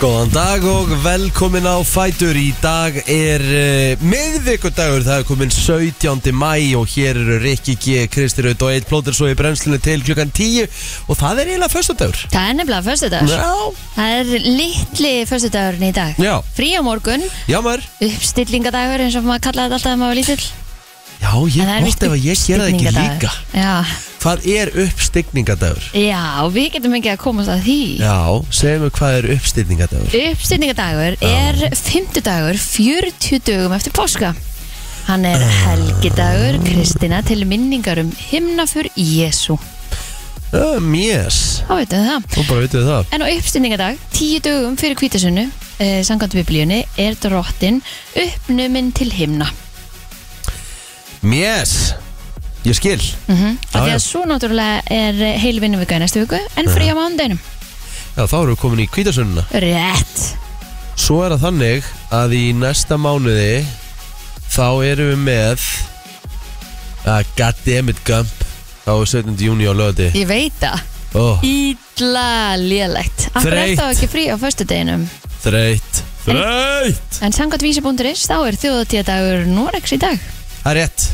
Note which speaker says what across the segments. Speaker 1: Góðan dag og velkomin á Fætur Í dag er uh, miðvikudagur, það er komin 17. mæ og hér eru Rikki G, Kristi Raut og Eitt Plóter svo í brennslunni til klukkan 10 og það er eiginlega föstudagur
Speaker 2: Það er nefnilega föstudagur Það er litli föstudagurinn í dag
Speaker 1: Já.
Speaker 2: Frí á morgun,
Speaker 1: Já maður,
Speaker 2: uppstillingadagur eins og maður kallaði þetta alltaf að maður var lítill
Speaker 1: já
Speaker 2: En
Speaker 1: ég
Speaker 2: það er víst
Speaker 1: gott ef að ég gera það ekki
Speaker 2: uppstigningadagur.
Speaker 1: líka
Speaker 2: Já,
Speaker 1: Hvað er uppstigningadagur?
Speaker 2: já og við getum ekki að komast að því
Speaker 1: Já, segjum við hvað er uppstigningadagur
Speaker 2: Uppstillingadagur er fymtudagur 40 dögum eftir páska Hann er
Speaker 1: Ah.
Speaker 2: helgidagur Kristina til minningar um himnafur Jésu
Speaker 1: Um, yes,
Speaker 2: Þá veitum við það
Speaker 1: þú bara veitum við það
Speaker 2: En á uppstinningadag, tíu dögum fyrir kvítasunnu, eh, samkvæmt biblíunni, er drottin uppnumin til himna.
Speaker 1: Yes, ég skil
Speaker 2: Mm -hmm.
Speaker 1: Já,
Speaker 2: Af því
Speaker 1: já.
Speaker 2: að svo náttúrulega er heilvinnuvika í næstu viku, en frí á mánudaginu.
Speaker 1: Já, þá erum við komin í kvítasunna
Speaker 2: Rétt.
Speaker 1: Svo er það þannig að í næsta mánuði þá erum við með að goddammit Gump á 17. júni á löði
Speaker 2: Ég veit það.
Speaker 1: oh,
Speaker 2: Ídla lélegt. Akkur er
Speaker 1: Þreytt.
Speaker 2: þá ekki frí á föstudeginum.
Speaker 1: Þreytt Þreytt
Speaker 2: En samkvæmt vísi.is, þá er þjóðatíðadagur Norex í dag.
Speaker 1: Það er rétt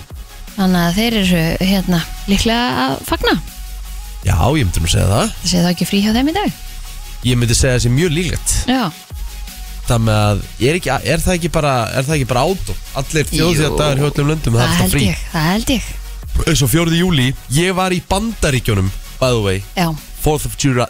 Speaker 2: Þannig að þeir eru hérna líklega að fagna.
Speaker 1: Já, ég myndi nú segja það
Speaker 2: Það sé þá ekki frí hjá þeim í dag.
Speaker 1: Ég myndi segja þessi mjög líklegt
Speaker 2: Já.
Speaker 1: Það með að, er, ekki, er það ekki bara, er það ekki bara átó? Allir þjóðsíðardagar hjá öllum löndum, það er
Speaker 2: Það
Speaker 1: alltaf
Speaker 2: held
Speaker 1: frí
Speaker 2: ég, það held ég.
Speaker 1: Eins og 4. júli, ég var í Bandaríkjunum, by the way
Speaker 2: Já.
Speaker 1: 4th of July,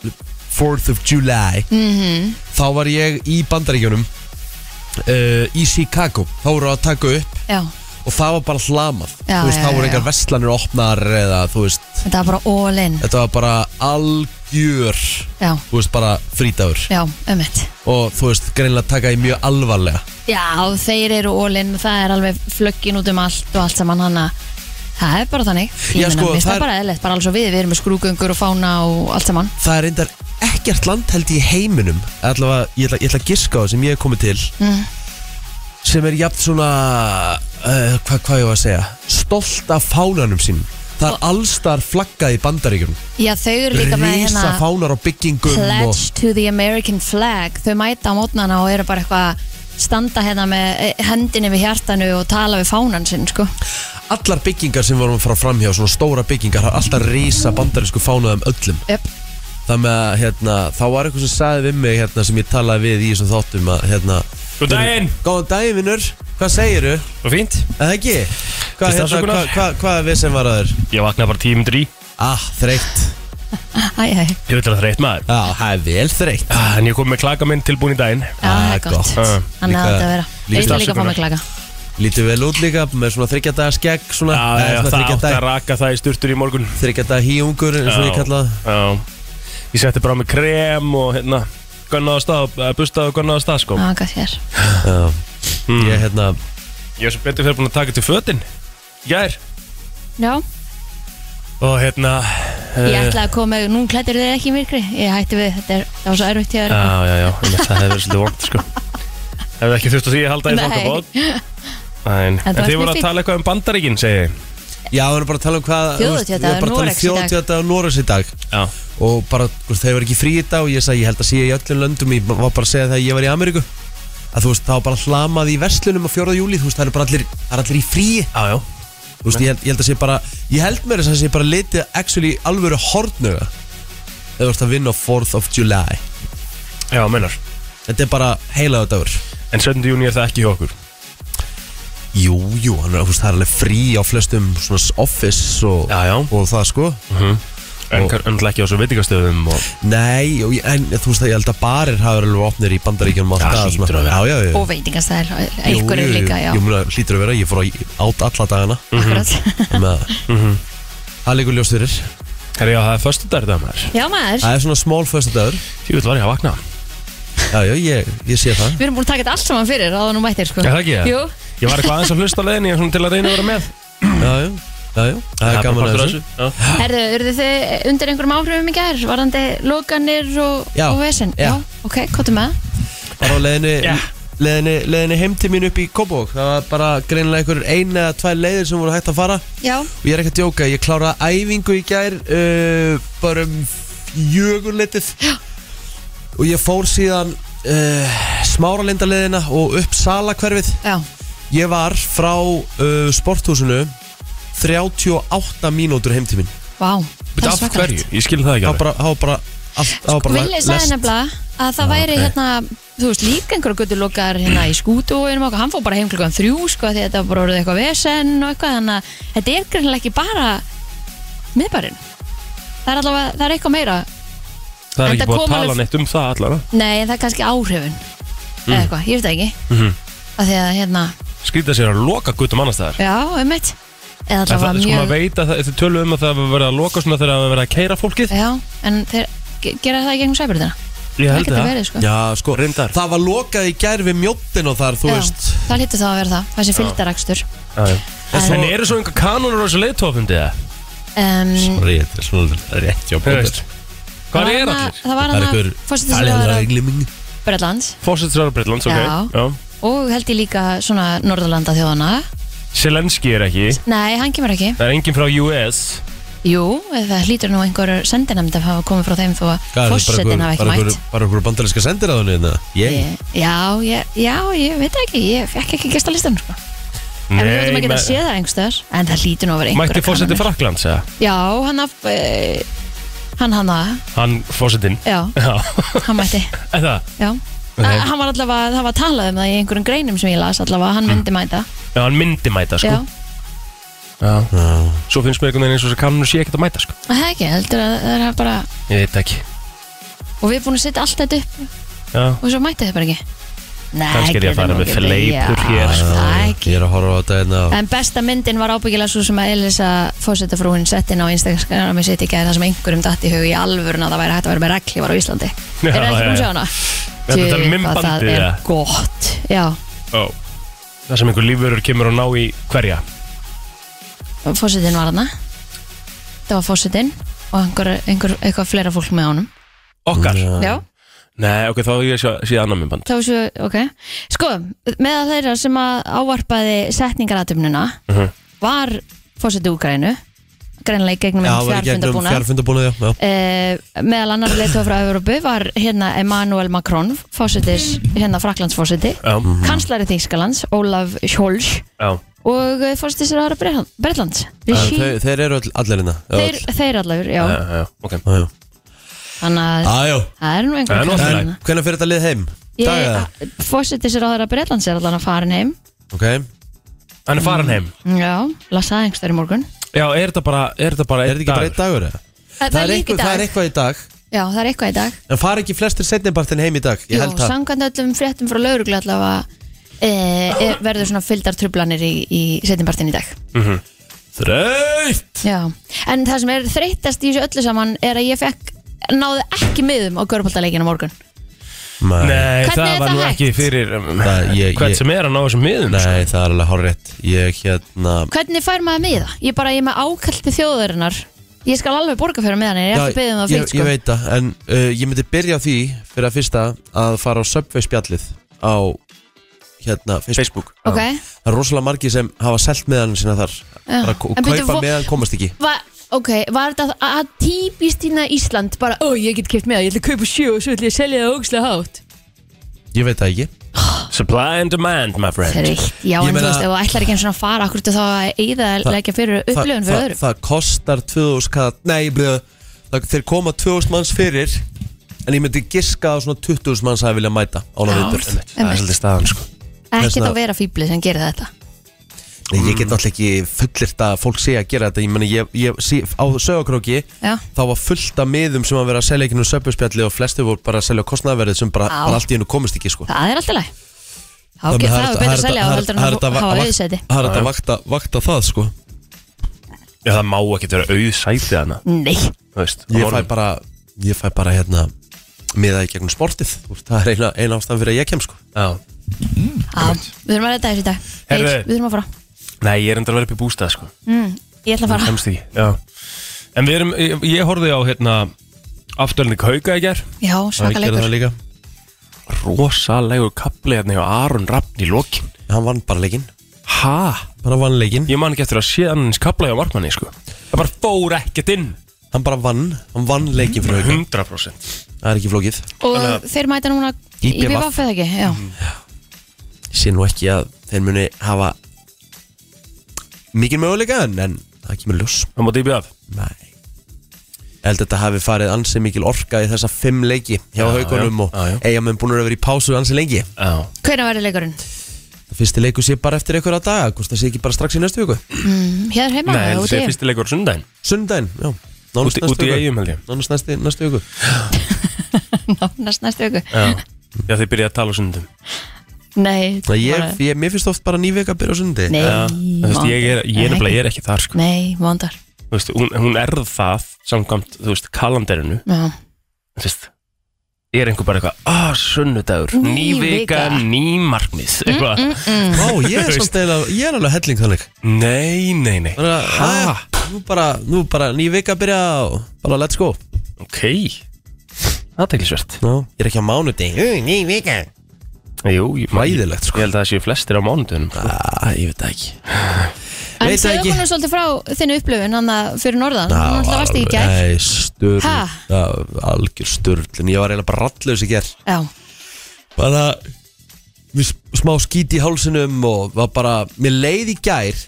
Speaker 1: 4th of July.
Speaker 2: Mhm.
Speaker 1: Þá var ég í Bandaríkjunum uh, Í Chicago Þá voru að taka upp
Speaker 2: Já.
Speaker 1: Og það var bara hlamað
Speaker 2: Já,
Speaker 1: Þú veist,
Speaker 2: já,
Speaker 1: Þá voru
Speaker 2: já,
Speaker 1: engar
Speaker 2: já.
Speaker 1: vestlanir opnar Eða þú veist
Speaker 2: Þetta var bara all in.
Speaker 1: Þetta var bara algjör
Speaker 2: Já.
Speaker 1: Þú veist bara frítagur
Speaker 2: Já, ömmet
Speaker 1: Og þú veist greinlega taka í mjög alvarlega
Speaker 2: Já, þeir eru ólinn, það er alveg flöggin út um allt og allt saman hann að það er bara þannig Ég
Speaker 1: Já,
Speaker 2: meina,
Speaker 1: sko,
Speaker 2: mér finnst
Speaker 1: það
Speaker 2: það
Speaker 1: er-
Speaker 2: bara eðlegt, bara alls og við, við erum með skrúgöngur og fána og allt saman
Speaker 1: Það er endar ekkert land held ég í heiminum Allavega ég ætla, ég ætla að giska á það sem ég hef komið til
Speaker 2: mm.
Speaker 1: sem er jafn svona uh, hvað hva ég var að segja stolt af fánanum sínum það er allstar flaggað í bandaríkjum
Speaker 2: Já, þau eru líka með
Speaker 1: risa
Speaker 2: hérna
Speaker 1: fánar á byggingum og,
Speaker 2: Pledge to the American flag Þau mæta á mótnana og eru bara eitthvað að standa hérna með eh, hendinni við hjartanu og tala við fánan sinn, sko
Speaker 1: allar byggingar sem vorum frá framhjá svona stóra byggingar, það er alltaf risa bandarísku fánaðum öllum
Speaker 2: Jöp,
Speaker 1: það með að hérna, þá var eitthvað sem sagði við mig hérna, sem ég talaði við í þessum þáttum að hérna,
Speaker 3: Góð daginn
Speaker 1: góðan daginn vinnur hvað segiru,
Speaker 3: Var fínt
Speaker 1: eða ekki hvað,
Speaker 3: Fyrst
Speaker 1: hérna,
Speaker 3: afsökunar.
Speaker 1: hvað, hvað, hvað er við sem var að þér
Speaker 3: Ég vaknaði bara tíu myndir í
Speaker 1: ah, þreytt,
Speaker 2: æ, æ,
Speaker 3: Ég vil vera þreytt maður
Speaker 1: ah, það er vel þreytt
Speaker 3: Ah, En ég kom með klaka minn tilbúin í daginn
Speaker 2: já, það er gott
Speaker 3: Ah,
Speaker 2: Þannig að
Speaker 1: Eh, líka- líka
Speaker 2: þetta vera Ég vil líka fá
Speaker 3: afsökunar.
Speaker 2: mig klaka
Speaker 1: Lítið vel út líka með svona þryggjadaga skegg svona,
Speaker 3: Já,
Speaker 1: eða svona
Speaker 3: já, það átti að
Speaker 1: þryggjadaga
Speaker 3: raka það í sturtur í morgun
Speaker 1: þryggjadaga híungur eins og ég
Speaker 3: Já,
Speaker 1: kalla það.
Speaker 3: Já Ég setti bara með krem og hérna Gunnaði á stað, eh, bustaði og gunnaði á stað sko
Speaker 2: Já,
Speaker 3: Mm.
Speaker 2: Ah, gott hér
Speaker 1: Já.
Speaker 2: Ah.
Speaker 1: Ég hérna
Speaker 3: Ég er svo betur fyrir búin að taka til fötin Gær
Speaker 2: Já,
Speaker 3: Og hérna
Speaker 2: Ég
Speaker 3: eh,
Speaker 2: ætlaði að koma, nú klættir þið ekki í myrkri Ég hætti við, þetta er, það var svo erfitt hjá þér
Speaker 1: Ah.
Speaker 3: Já, já, já, en það hefur verið svolítið vond sko Hefur ekki þurft að því að halda í
Speaker 2: Nei.
Speaker 3: þokkabót En,
Speaker 2: En
Speaker 3: en
Speaker 2: þú varst
Speaker 3: þið
Speaker 2: mjög
Speaker 3: voru að
Speaker 2: fínn.
Speaker 3: tala eitthvað um bandaríkin, segi ég
Speaker 1: Já, við erum bara að tala um hvað
Speaker 2: Þjóðhátíðardagur Noregs í dag.
Speaker 1: Þjóðtjóðdaga um Noregs í dag
Speaker 3: Já,
Speaker 1: Og bara, þú veist, þeir var ekki frí í dag Og ég sagði, ég held að sé í öllum löndum Ég var bara að segja það að ég var í Ameríku Að þú veist, það var bara hlamað í verslunum á 4. júli Þú veist, það er bara allir, það er allir í frí
Speaker 3: já, já
Speaker 1: Þú veist, ég held, ég held að sé bara Ég held mér þess að sé bara litið actually alvöru hortnuga Þegar þú veist að vinna á 4th of July
Speaker 3: Já, mennar
Speaker 1: Þetta er bara heilaðu dagur
Speaker 3: En 7. júni er það ekki hjá okkur
Speaker 1: Jú, jú, hann er, þú veist, það er alveg frí á flestum svona office og,
Speaker 3: Já, já.
Speaker 1: og það sko
Speaker 3: En
Speaker 1: Og-
Speaker 3: kannski ekki á svo veitingastöðum og...
Speaker 1: Nei, og, ég- en þú veist að ég held að barir hafa verið alveg opnir í bandaríkjum
Speaker 3: Já, hlýtur að
Speaker 1: sko.
Speaker 3: vera.
Speaker 1: Já, já, já
Speaker 2: Og veitingastæðir, ykkur er líka, já
Speaker 1: Jú, muna, hlýtur að vera, ég fór á- át alla dagana
Speaker 2: Akkurat
Speaker 1: Þannig að
Speaker 3: Mhm.
Speaker 1: Það líkur ljóst fyrir
Speaker 3: Herra, já, það er förstu dagur það maður.
Speaker 2: Já maður,
Speaker 1: Það er svona small first dagur
Speaker 3: Jú, var ég að vakna.
Speaker 1: Já, já, ég, ég sé það
Speaker 2: við erum búin að taka þetta allt saman fyrir áður nú mættir sko
Speaker 3: Er það ekki það?
Speaker 2: Jú,
Speaker 3: Ég var eitthvað aðeins að hlusta á leiðinni svona til að reyna að vera með.
Speaker 1: Já, já, já, já Það er gaman að þessu
Speaker 3: þessu.
Speaker 2: herðu, urðu þið undir einhverjum áhrifum í gær Varandi lokanir og,
Speaker 1: Já,
Speaker 2: og vesen
Speaker 1: já.
Speaker 2: ok, hvað er með?
Speaker 1: Bara á leiðinni
Speaker 3: Já.
Speaker 1: Leðinni, leðinni heim til mín upp í Kópavók Það var bara greinilega einhver eina eða tvær leiðir sem voru hægt að fara
Speaker 2: Já,
Speaker 1: og ég er ekki að djóka, ég kláraði æfingu í gær uh, bara um fjögurleitið og ég fór síðan uh, Smáralindaleðina og upp Salakverfið
Speaker 2: Já,
Speaker 1: Ég var frá uh, sporthúsinu 38 mínútur heimtímin
Speaker 2: vá
Speaker 3: Veit af hverju? Ég skil það ekki
Speaker 1: Það var
Speaker 3: alveg
Speaker 1: bara, það var bara, allt, það var bara
Speaker 2: Vili Sko, sagði nefnilega að það væri
Speaker 3: ok.
Speaker 2: hérna, þú veist, líka einhverja götu lokar hérna í skútu og einum okkar, hann fór bara heim klukkan þrjú, sko, því þetta var bara orðið eitthvað vesen og eitthvað, þannig að þetta er greinlega ekki bara miðbærin. Það er allavega, það er eitthvað meira.
Speaker 3: Það er
Speaker 2: En
Speaker 3: ekki
Speaker 2: það
Speaker 3: búið að
Speaker 2: kom
Speaker 3: tala
Speaker 2: alveg-
Speaker 3: neitt um það allar
Speaker 2: Nei, en það er kannski áhrifun, eða eitthvað, ég veit það ekki.
Speaker 3: Mhm.
Speaker 2: Af því að, hérna,
Speaker 3: Skrýta sér að loka guttum annars staðar.
Speaker 2: já, einmitt, eða
Speaker 3: En
Speaker 2: allavega
Speaker 3: Það sko maður
Speaker 2: mjög,
Speaker 3: veit að það- þið tölum um að það var verið að loka svona þegar það var verið að keira fólkið
Speaker 2: já, en þeir ge- gera það í gegnum sæbyrðina.
Speaker 3: Ég held
Speaker 2: það.
Speaker 3: það
Speaker 2: geti verið, sko.
Speaker 1: Já, sko,
Speaker 3: Reyndar.
Speaker 1: það var lokað í gær við mjóttin og þar, þú
Speaker 2: Já,
Speaker 1: veist
Speaker 2: það lítur þá að vera það, þessi fylgdarakstur.
Speaker 3: Já, já.
Speaker 2: En-
Speaker 3: En eru svo einhver kanunur á þessu leiðtófundi það?
Speaker 2: Um,
Speaker 4: Sorry, þetta er svona rétt hjá
Speaker 3: Þú
Speaker 4: Blóter
Speaker 3: veist. Hvað
Speaker 2: það
Speaker 3: er
Speaker 2: var hana-
Speaker 3: allir?
Speaker 2: Það var
Speaker 4: Það er
Speaker 2: hann að
Speaker 4: einhver
Speaker 2: fórsetisraðara
Speaker 4: gliming
Speaker 2: Bretlands
Speaker 3: Fósitsræðar Breitlands, ok
Speaker 2: Já. og held ég líka svona Norðurlanda þjóðana
Speaker 3: Selenski er ekki
Speaker 2: Nei, hann kemur ekki
Speaker 3: Það er enginn frá US
Speaker 2: Jú, það hlýtur nú einhver sendinemnd að hafa komið frá þeim þó
Speaker 1: Hvað
Speaker 2: að
Speaker 1: er þetta,
Speaker 2: fórsetin
Speaker 1: bara einhver-
Speaker 2: hafa ekki
Speaker 1: bara
Speaker 2: mætt
Speaker 1: einhver- Bara okkur bandarinska sendir að henni Ég
Speaker 2: Ég- Já, ég, já, ég veit ekki, ég fekk ekki gestalistan sko. En við höfum ekki að
Speaker 3: me-
Speaker 2: sé það einhverstöðar En það hlýtur nú að vera einhver
Speaker 3: mætti fósitti Fraklands, eða?
Speaker 2: Já, hann af e, Hann hann að,
Speaker 3: Hann fósitinn
Speaker 2: já,
Speaker 3: Já,
Speaker 2: hann mætti
Speaker 3: eða
Speaker 2: Já, okay. hann var allavega, það var talað um það í einhverjum greinum sem ég las allavega,
Speaker 3: Mm.
Speaker 2: hann myndi mæta
Speaker 3: Já, hann myndi mæta, sko
Speaker 2: Já,
Speaker 3: Já. Svo finnst mér einhvern veginn eins og þessi kanunur sé ekkert að mæta, sko
Speaker 2: það er ekki, heldur að það er bara
Speaker 3: Ég veit ekki
Speaker 2: og við erum búin að setja allt þetta upp
Speaker 3: Já,
Speaker 2: og svo mætti þið bara ekki Nei,
Speaker 3: Kannski er ég að fara
Speaker 2: gerðu nú
Speaker 3: með
Speaker 2: ekki
Speaker 3: fleipur
Speaker 2: þetta.
Speaker 3: hér,
Speaker 2: Já,
Speaker 3: sko.
Speaker 2: það er ekki.
Speaker 1: Ég er að horfa á þetta hérna á-
Speaker 2: En besta myndin var ábyggilega svo sem að Elisa fósettafrúin sett inn á Instagrami sitt í gæði það sem einhverjum datt í hug í alvörun að það væri hægt að vera með reglívar á Íslandi
Speaker 3: Já,
Speaker 2: Er það ekki
Speaker 3: já,
Speaker 2: búin að
Speaker 3: já.
Speaker 2: sjá hana?
Speaker 3: Þetta er
Speaker 2: Djöfull,
Speaker 3: talað um
Speaker 2: hvað
Speaker 3: myndbandið,
Speaker 2: Það er
Speaker 3: eða?
Speaker 2: gott, já
Speaker 3: Ó. Það sem einhver lífurur kemur og ná í hverja
Speaker 2: Fósettin var hana Það var fósettin og einhver, einhver, eitthvað fleira fólk með honum
Speaker 3: Okkar
Speaker 1: Mm.
Speaker 2: Já,
Speaker 3: Nei, ok, þá er ég að sé annan minnband
Speaker 2: þá svo, ok Sko, meðal þeirra sem að ávarpaði setningaratöfnuna
Speaker 3: Mhm.
Speaker 2: var fórseti Úgrænu greinlega í gegnum
Speaker 1: Já,
Speaker 2: einn
Speaker 1: var í gegnum
Speaker 2: fjarfundabúna
Speaker 1: fjárfundabúna, já, já
Speaker 2: Uh, meðal annar leitu frá Európu var hérna Emmanuel Macron fósitis, hérna Fraklandsfósiti
Speaker 3: Já,
Speaker 1: Mm.
Speaker 2: kanslari Þýskalands, Ólaf Scholz
Speaker 3: já
Speaker 2: og fósitisraðara Bretlands
Speaker 1: En
Speaker 2: Rishi,
Speaker 1: þau- Þeir eru öll- allir hérna
Speaker 2: þeir, þeir allavur, já
Speaker 3: Já, já, ok
Speaker 1: Þeir
Speaker 2: þannig að
Speaker 1: Æjó
Speaker 2: það er nú
Speaker 3: Það er nú allt í
Speaker 2: einhvern
Speaker 1: En hvernig fyrir þetta lið heim? Daga?
Speaker 2: veginn fósitisraðara Bretlands er allan að fara heim
Speaker 1: Ok
Speaker 3: Hann er farin heim
Speaker 2: já, las það einhverstaður í morgun
Speaker 3: Já, er þetta bara, er þetta bara
Speaker 1: Er þetta
Speaker 3: einn
Speaker 1: ekki bara
Speaker 3: dagur?
Speaker 1: einn dagur? eða?
Speaker 2: það, það er líka í
Speaker 1: eitthvað, það er
Speaker 2: dag,
Speaker 1: eitthvað í dag
Speaker 2: já, það er eitthvað í dag
Speaker 1: En fara ekki flestir setnibartin heim í dag Ég
Speaker 2: Jú,
Speaker 1: held það
Speaker 2: samkvæmt öllum fréttum frá lauruglu allavega e, e, verður svona fyldar trublanir í, í setjumpartin í dag
Speaker 3: Þreytt
Speaker 2: Já, en það sem er þreytast í þessu öllu saman er að ég fekk náði ekki miðum á görpoltaleikinu morgun
Speaker 1: Nei,
Speaker 3: Nei,
Speaker 2: Hvernig
Speaker 3: það
Speaker 2: er
Speaker 3: var
Speaker 2: það
Speaker 3: nú
Speaker 2: hægt?
Speaker 3: ekki fyrir um,
Speaker 1: Það- ég-
Speaker 3: Hvern
Speaker 1: ég-
Speaker 3: sem er að ná þessum miðum sko.
Speaker 1: Nei það er alveg horrið Ég hérna
Speaker 2: Hvernig fær maður miða? Ég bara, ég er með ákallti þjóðurinnar Ég skal alveg borga fyrir miðan en ég er
Speaker 1: Já,
Speaker 2: ekki beðið um það
Speaker 1: ég,
Speaker 2: fyrir sko
Speaker 1: ég veit það, en uh, ég myndi byrja á því fyrir að fyrsta að fara á Subway spjallið á hérna, Facebook.
Speaker 3: Facebook
Speaker 2: Ok,
Speaker 1: Það er rosalega margi sem hafa selt meðanum sína þar
Speaker 2: Já.
Speaker 1: bara kau-
Speaker 2: Ah, En byrju,
Speaker 1: kaupa
Speaker 2: vo-
Speaker 1: meðan komast ekki
Speaker 2: Va ok, var þetta að- að típist þína Ísland bara, ó, ég get keft miða, ég ætla að kaupa sjö og svo ætla ég að selja það ógstlega hátt
Speaker 1: Ég veit það ekki
Speaker 3: Supply and demand, my friend
Speaker 2: Þreytt, já,
Speaker 1: Ég
Speaker 2: en þú
Speaker 1: meina-
Speaker 2: veist, ef þú ætlar ekki einu svona að fara akkur til þá að eyða að
Speaker 1: Það-
Speaker 2: leggja fyrir upplifun fyrir
Speaker 1: það,
Speaker 2: öðrum
Speaker 1: það kostar 2000 kall Nei, blöð, það, þeir koma 2000 manns fyrir En ég myndi giska á svona 20.000 manns að vilja mæta ána
Speaker 2: Já.
Speaker 1: vindur
Speaker 3: Það er svolítið staðan sko
Speaker 2: Ekki
Speaker 1: vegna-
Speaker 2: þá vera fýbli sem gerir þetta
Speaker 1: Nei, ég get náttúrulega ekki fullirt að fólk sé að gera þetta Ég meni, ég, ég sé á sögakróki
Speaker 2: Já.
Speaker 1: Þá var fullt af miðum sem að vera að selja ekki nú söpjusspjalli Og flestir voru bara að selja á kostnaðverðið Sem bara,
Speaker 2: Á.
Speaker 1: bara allt í hennu komist ekki, sko
Speaker 2: Það er alltaf læg Það
Speaker 1: Þannig að
Speaker 2: er betur að selja á heldur en
Speaker 1: það er
Speaker 2: að
Speaker 1: þetta-
Speaker 2: hafa
Speaker 1: það er
Speaker 2: auðsæti
Speaker 1: þetta- það er þetta að vakta, vakta það, sko
Speaker 3: Já, það má ekki vera auð sætið hana
Speaker 2: Nei,
Speaker 3: Þú veist, á
Speaker 1: Ég fæ
Speaker 3: morgun.
Speaker 1: bara, ég fæ bara hérna Miða í gegnum sportið Þú veist, Það er eina, eina ástæðan fyrir að ég kem, sko
Speaker 3: Já.
Speaker 2: á, við þurfum að reyta þessu í dag Eir,
Speaker 3: Herðu.
Speaker 2: Við þurfum að fara
Speaker 3: Nei, ég er endur að vera upp í bústað sko
Speaker 2: mm, Ég ætla að fara
Speaker 3: Kemst ekki Já En við erum, ég, ég horfði á hérna Afturlinni Kauka í ger
Speaker 2: Já,
Speaker 1: Já, ég gerði
Speaker 2: svaka leikur
Speaker 1: það líka.
Speaker 3: Rosalegu kapli hérna hjá Aron Rappn í lokin
Speaker 1: Hann vann bara leikinn
Speaker 3: Ha?
Speaker 1: Bara vann leikinn
Speaker 3: Ég man ekki eftir að sé annars kapla hjá Markmanni sko Það bara fór ekkert inn
Speaker 1: Hann bara vann Hann vann leikinn fyrir auka
Speaker 3: 100%
Speaker 1: það er ekki flókið
Speaker 2: Og
Speaker 3: Þannig að-
Speaker 2: þeir mæta núna
Speaker 1: IBVF.
Speaker 2: IBVF eða ekki, já
Speaker 1: Mhm. Ég sé nú ekki að þeir muni hafa mikið möguleika en, en það kemur ljós
Speaker 3: á móti í bjöf
Speaker 1: Nei Ég held að þetta hafi farið ansi mikil orka í þessa fimm leiki hjá
Speaker 3: Já,
Speaker 1: haugunum
Speaker 3: já,
Speaker 1: og
Speaker 3: já, já.
Speaker 1: eigamenn búin að vera í pásu ansi lengi
Speaker 3: Já
Speaker 2: Hvernig verður leikurinn?
Speaker 1: Fyrsti leiku sé bara eftir einhverja daga, hvort það sé ekki bara strax í næstu viku
Speaker 2: Mm, Hér heima
Speaker 3: Nei,
Speaker 2: eða
Speaker 3: þetta
Speaker 2: úti?
Speaker 3: sé fyrsti leikur á sundaginn
Speaker 1: Sundaginn, já, nánast
Speaker 3: Úti
Speaker 1: næstu
Speaker 3: úti í
Speaker 1: viku
Speaker 3: eigum held ég
Speaker 1: Nánast næstu, næstu viku
Speaker 2: Nánast næstu viku
Speaker 3: Já Já, þið byrjaði að tala á sundum
Speaker 2: Nei,
Speaker 1: Það ég,
Speaker 2: bara-
Speaker 1: ég, mér finnst oft bara ný vika að byrja á sundi
Speaker 2: Nei,
Speaker 3: Já Þú veist, ég er, ég er nefnilega, ég er ekki þar sko
Speaker 2: Nei, vondar
Speaker 3: Þú veist, hún, hún er það samkvæmt, þú veist, kalanderinu
Speaker 2: Já,
Speaker 3: Þú veist Ég er einhver bara eitthvað, ah, sunnudagur, ný
Speaker 2: Ný
Speaker 3: vika, Mm,
Speaker 2: vika.
Speaker 3: ný markmið, eitthvað.
Speaker 1: Vá, ég er samt eða, ég er alveg helling þannig
Speaker 3: Nei, nei, nei.
Speaker 1: Bara,
Speaker 3: Ha?
Speaker 1: að, nú bara, nú bara ný vika að byrja og bara let's go
Speaker 3: Ok. Aðteglisvert.
Speaker 1: Ná, ég er ekki á mánudegi Ú, Ný vika
Speaker 3: Jú, ég,
Speaker 1: Hræðilegt, sko.
Speaker 3: Ég held að það séu flestir á mánutunum. Sko.
Speaker 1: Æ, ég veit það ekki
Speaker 2: En
Speaker 1: Veit það
Speaker 2: segðu
Speaker 1: ekki.
Speaker 2: okkur nú svolítið frá þinni upplöfun hann að fyrir norðan, hann alltaf varst í gær
Speaker 1: Nei, sturl
Speaker 2: Ha?
Speaker 1: Já, Algjör sturl En ég var eiginlega bara rallus í ger
Speaker 2: Já,
Speaker 1: Bara við s- Smá skít í hálsinum Og var bara Mér leið í gær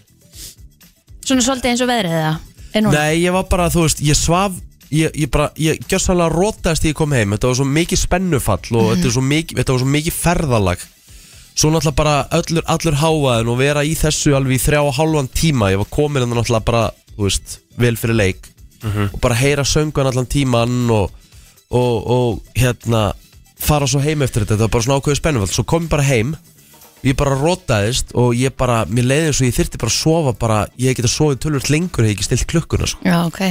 Speaker 2: svona svolítið eins og veðrið eða er núna
Speaker 1: Nei, ég var bara, þú veist, ég svaf Ég, ég bara, ég gjössalega rótaðist því ég kom heim Þetta var svo mikið spennufall Og þetta, er svo mikið, þetta var svo mikið ferðalag Svo náttúrulega bara öllur, allur háaðin Og vera í þessu alveg í þrjá og hálfan tíma Ég var komin en náttúrulega bara, þú veist Vel fyrir leik Og bara heyra söngun allan tíman Og, og, og hérna Fara svo heim eftir þetta, þetta var bara svona ákveðu spennufall Svo kom ég bara heim Ég bara rótaðist og ég bara, mér leiði eins og ég þyrfti bara að sofa bara, ég hef getað sofið tölvöld lengur hef ég ekki stilt klukkuna sko.
Speaker 2: Já, ok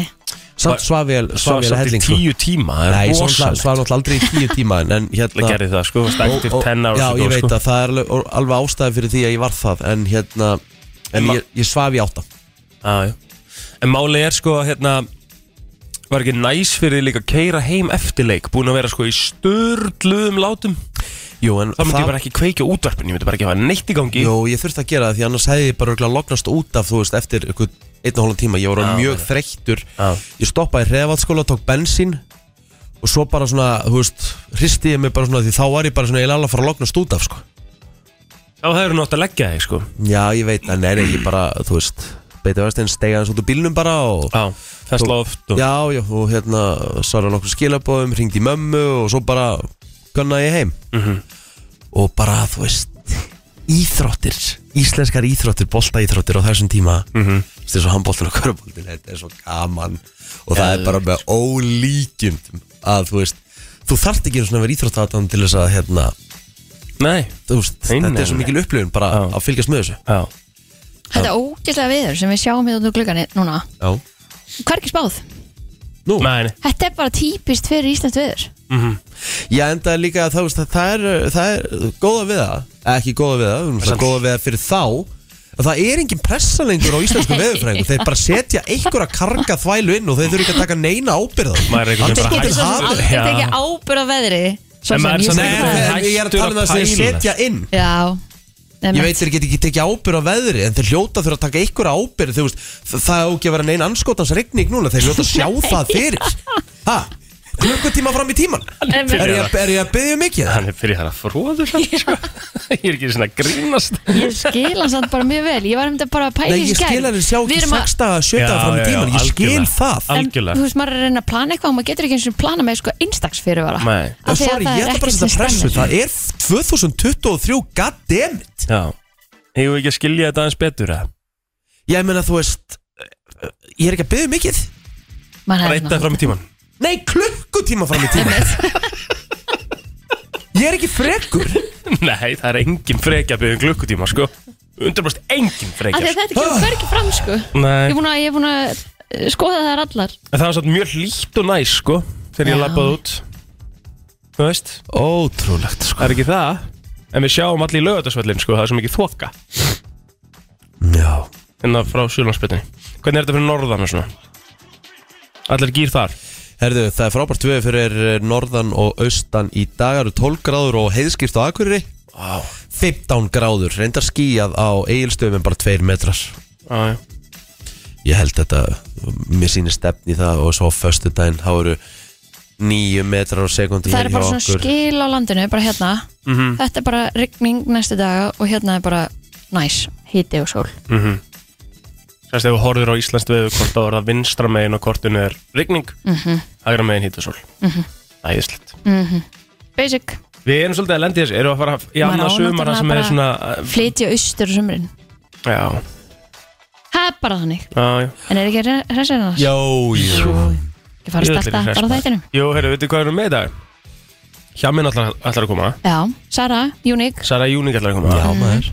Speaker 1: Samt svaf ég, svaf ég
Speaker 3: Svaf samt í
Speaker 1: helling sko.
Speaker 3: tíu tíma, það
Speaker 1: Nei,
Speaker 3: er
Speaker 1: ég svaf svaf
Speaker 3: rosalegt.
Speaker 1: náttúrulega aldrei í tíu tíma en- en
Speaker 3: Það
Speaker 1: hérna
Speaker 3: gerði það, sko, stæktir
Speaker 1: og-
Speaker 3: tenn ára.
Speaker 1: Já, ég veit að það er alveg, og- alveg ástæði fyrir því að ég var það en hérna, en
Speaker 3: Ma-
Speaker 1: ég, ég svaf í átta
Speaker 3: Já, já. En máli er, sko, hérna, var ekki næs fyrir þig líka að keira heim eftir leik, búin að vera, sko, í störluðum látum.
Speaker 1: Jú, en
Speaker 3: Það myndi ég bara ekki kveikja útvarpinu, ég myndi bara ekki hafa neitt í gangi.
Speaker 1: Jú, ég þurfti að gera það því annars hefði ég bara örugglega lognast út af, þú veist, eftir einhvern einn og hólan tíma, ég var
Speaker 3: Já,
Speaker 1: orðinn mjög
Speaker 3: já.
Speaker 1: þreyttur
Speaker 3: Já.
Speaker 1: Ég stoppaði í hrefaðskóla, tók bensín og svo bara svona, þú veist, hristi ég mig bara svona því þá var ég bara svona, ég alveg að fara að lognast út af, sko
Speaker 3: Já, það eru nátt að leggja þig, sko.
Speaker 1: Já, ég veit, en nei, nei, ég bara, þú veist Beiti Vestin stegaði hans út úr bílnum bara og
Speaker 3: Já, fest loft og...
Speaker 1: Já, já, og hérna svarði nokkur skilabóðum, hringdi í mömmu og svo bara gunnaði ég heim
Speaker 3: Mhm.
Speaker 1: Og bara, þú veist, íþróttir, íslenskar íþróttir, boltaíþróttir á þessum tíma mm
Speaker 3: Mhm.
Speaker 1: -hmm. Þessi svo handbóltin og köruboltin, þetta er svo gaman Og það er bara með ólíkjum að, þú veist, þú þarft ekki einu svona að vera íþróttaðan til þess að, hérna,
Speaker 3: Nei.
Speaker 1: þú veist,
Speaker 3: Nei,
Speaker 1: þetta
Speaker 3: nei,
Speaker 1: er svo
Speaker 3: nei.
Speaker 1: mikil upplifun bara
Speaker 3: Já.
Speaker 1: að fylgjast með þessu
Speaker 3: Já.
Speaker 2: Þetta ógeðslega viður sem við sjáum hérna út úr gluggan núna
Speaker 1: Já
Speaker 2: Hvað er ekki spáð?
Speaker 1: Nú,
Speaker 3: Nei, nei.
Speaker 2: Þetta er bara típist fyrir Íslands viður
Speaker 1: Já, enda líka að það, veist, að það, er, það er góða við það, Eh, ekki góða við það, um, það
Speaker 3: Samt.
Speaker 1: góða við það fyrir þá að það er engin pressa lengur á íslensku veðurfræðingu þeir bara setja einhverja karga þvælu inn og þeir þurfi ekki að taka neina ábyrða
Speaker 3: Maður er einhvern
Speaker 1: Allir
Speaker 3: veginn bara
Speaker 1: getur
Speaker 2: Getur svo
Speaker 1: hafið-
Speaker 2: sem aldrei
Speaker 3: Já.
Speaker 2: tekið ábyrð á veðri Svo
Speaker 3: En
Speaker 2: sem
Speaker 3: maður er
Speaker 2: ég sé
Speaker 3: samt
Speaker 1: Nei,
Speaker 3: einhvern
Speaker 2: það.
Speaker 3: veginn-
Speaker 1: en ég er að tala um það sem þeir
Speaker 3: Hættur að
Speaker 1: setja inn
Speaker 2: Já
Speaker 1: Ég veit þeir get ekki tekið ábyrð á veðri en þeir hljóta þurfa að taka einhverja ábyrð þeir, veist, þ- það á ekki að vera neina anskotans regning núna þeir hljóta að sjá það fyrir ha, klukkutíma fram í tíman
Speaker 2: Einmitt.
Speaker 1: er ég, að- er ég að byggja mikið?
Speaker 3: Hann er fyrir það að fróðu samt, sko. Ég er ekki svona að grínast.
Speaker 2: Ég skil hann samt bara mjög vel Ég var um þetta bara að pæla
Speaker 1: Nei,
Speaker 2: í
Speaker 1: ég
Speaker 2: þessu í
Speaker 1: skil
Speaker 2: gær.
Speaker 1: að þið sjá
Speaker 2: Við
Speaker 1: ekki
Speaker 2: erum að-
Speaker 1: sexta,
Speaker 3: Já,
Speaker 1: sjötta fram í
Speaker 3: já, já,
Speaker 1: tíman Ég skil
Speaker 3: algjörlega.
Speaker 1: það
Speaker 2: En
Speaker 3: Algjörlega.
Speaker 2: þú veist, maður er að reyna að plana eitthvað og maður getur ekki eins og plana með sko einstaks fyrirvara
Speaker 3: Nei.
Speaker 1: Og
Speaker 2: Af því að
Speaker 1: sorry,
Speaker 2: það
Speaker 1: ég
Speaker 2: er
Speaker 1: ætla bara að
Speaker 2: ekkert
Speaker 1: setja
Speaker 2: sem
Speaker 1: pressu
Speaker 2: stemmir.
Speaker 1: Það er 2023, goddammit
Speaker 3: Já. Hefur við ekki að skilja þetta aðeins betur, eða?
Speaker 1: Ég meina, þú veist eh, Ég er ekki að byggja mikið
Speaker 2: Maður
Speaker 3: Bara
Speaker 2: hefði
Speaker 3: eitt að fram í tíman.
Speaker 1: Nei, klukkutíma fram í tíman Ég er ekki frekur
Speaker 3: Nei, það er engin frekja að byggja um klukkutíma, sko. Undarbrust engin
Speaker 2: Af því
Speaker 3: frekja.
Speaker 2: að þetta
Speaker 1: Ah.
Speaker 2: kemur hvergi fram sko Ég
Speaker 3: Nei.
Speaker 2: er búin að, ég er búin að eh, skoða það allar
Speaker 3: En Það var svona mjög hlýtt og næs, sko, þegar ég
Speaker 2: Já.
Speaker 3: lappaði út. Þú veist,
Speaker 1: Ótrúlegt, sko.
Speaker 3: það er ekki það. En við sjáum allir í lögatarsvöllin, sko, það er svo mikið þoka.
Speaker 1: Já
Speaker 3: Hérna frá Sjúlandsbyttinni. Hvernig er þetta fyrir norðan og svona? Allir gýr þar.
Speaker 1: Herðu, það er frábært við fyrir eh, norðan og austan í dag eru 12 gráður og heiðskipt á Akureyri
Speaker 3: Vá.
Speaker 1: 15 gráður, reyndar skíjað á eigilstöðum en bara 2 metrar
Speaker 3: Já, já.
Speaker 1: ég held þetta mér sýnir stefni í það og svo á föstudaginn þá eru 9 metrar á sekundi
Speaker 2: það er bara svona skil á landinu, bara hérna
Speaker 3: Mhm.
Speaker 2: þetta er bara rigning næstu daga og hérna er bara næs, hiti og sól
Speaker 3: mm -hmm. Sérst, ef þú horfir á Íslands veðu hvort þá er það vinstra megin og kortinu er rigning
Speaker 2: Mhm.
Speaker 3: hægra megin hýtasól
Speaker 2: Mhm.
Speaker 3: Æðislegt
Speaker 2: basic,
Speaker 3: Við erum svolítið að lendi þessu, erum við að fara í
Speaker 2: Maður
Speaker 3: annað
Speaker 2: á
Speaker 3: sumar þar sem
Speaker 2: náttúrulega
Speaker 3: er svona
Speaker 2: flytja austur á sumrin,
Speaker 3: Já,
Speaker 2: það er bara þannig
Speaker 3: já, já
Speaker 2: en er ekki hressir annars?
Speaker 1: Jó, jú
Speaker 2: Ég fara að starta bara þættinu
Speaker 3: Jú, heyrðu, veitu hvað erum við með í dag? Hjamin allar, allar að koma
Speaker 2: Já, Sara, Unique
Speaker 3: Sara Júning allar að koma
Speaker 1: Já, maður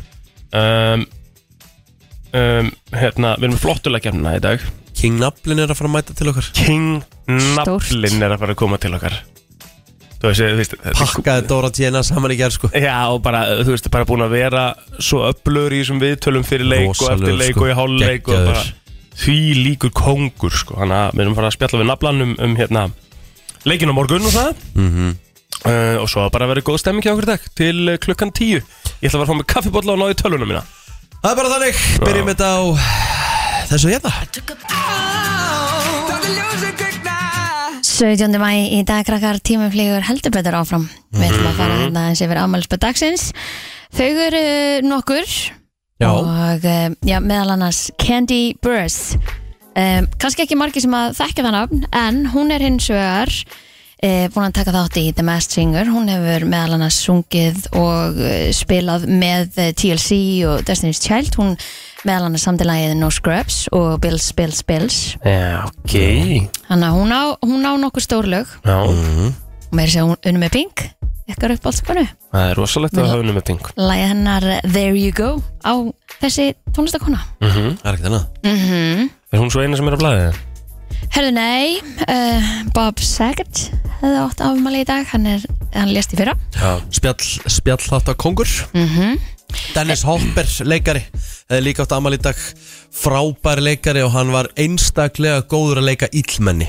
Speaker 3: um, um, Hérna, við erum með flottulega kemna í dag
Speaker 1: King Nablin er að fara að mæta til okkar
Speaker 3: King
Speaker 2: Stórt.
Speaker 3: Nablin er að fara að koma til okkar Þú veist, eh, þú veist þetta er-
Speaker 1: Pakkaði Dóra Tjena saman í gerð sko
Speaker 3: Já, og bara, eh, þú veist, bara búin að vera svo öflur í þessum viðtölum fyrir leik og eftir
Speaker 1: Rosalegur,
Speaker 3: leik
Speaker 1: sko.
Speaker 3: og í hálfleik og bara
Speaker 1: Geggjaður.
Speaker 3: því líkur kongur, sko þannig að við erum farað að spjalla við naflan um, um hérna, leikin á morgun og það
Speaker 1: Mhm.
Speaker 3: uh, og svo að bara verið góð stemming hjá okkur í dag til uh, klukkan tíu Ég ætla að fara að fá mig kaffibólla og náðu í tölvuna mína
Speaker 1: Það er bara þannig Byrjum þetta á þessu hérna
Speaker 2: 17. mæ í dag krakkar tímum flýgur heldur betur áfram Við ætlum að fara hérna eins yfir afmælisbað dagsins Þau eru uh, nokkur
Speaker 1: Já.
Speaker 2: Og uh, já, meðal annars Candy Burrs um, Kannski ekki margir sem að þekkja það nafn En hún er hins vegar uh, búin að taka þátt í The Masked Singer Hún hefur meðal annars sungið og uh, spilað með eh, TLC og Destiny's Child Hún meðal annars samtilegið No Scrubs og Bills, Bills, Bills
Speaker 3: Já, ok Mm.
Speaker 2: Þannig að hún á, hún á nokkur stórlög
Speaker 3: Já,
Speaker 2: og mér sé hún unni með Pink ykkar uppáhaldskonu,
Speaker 3: það er rosalegt að hafa unum með ting
Speaker 2: lægi hennar There You Go á þessi tónlistakona
Speaker 3: Mhm.
Speaker 1: Það er ekkert annað
Speaker 3: Er hún svo eina sem er að blæði það?
Speaker 2: Herðu nei, uh, Bob Saget hefði átt afmæli í dag hann, er, hann lést í fyrra
Speaker 3: Já,
Speaker 1: Spjall, spjall kongur Dennis Hopper leikari hefði líka átt amal í dag frábær leikari og hann var einstaklega góður að leika illmenni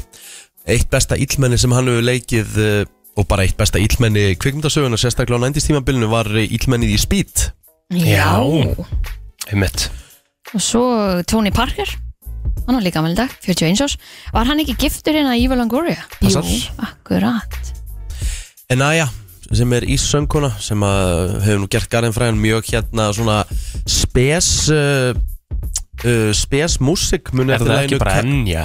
Speaker 1: eitt besta illmenni sem hann hefur leikið eh, og bara eitt besta illmenni kvikmyndasöguna sérstaklega á nændistímabilinu var eh, illmennið í Speed
Speaker 3: Já.
Speaker 2: og
Speaker 3: einmitt
Speaker 2: svo Tony Parker hann var líka afmæli í dag, 41 árs var hann ekki giftur hérna Eva Longoria?
Speaker 1: Passar.
Speaker 2: Jú, akkurat
Speaker 1: en aðja sem er íssönguna sem að hefur nú gert Garðin Fræðan mjög hérna svona spes uh, uh, spes músik
Speaker 3: Er það ekki bara ennja?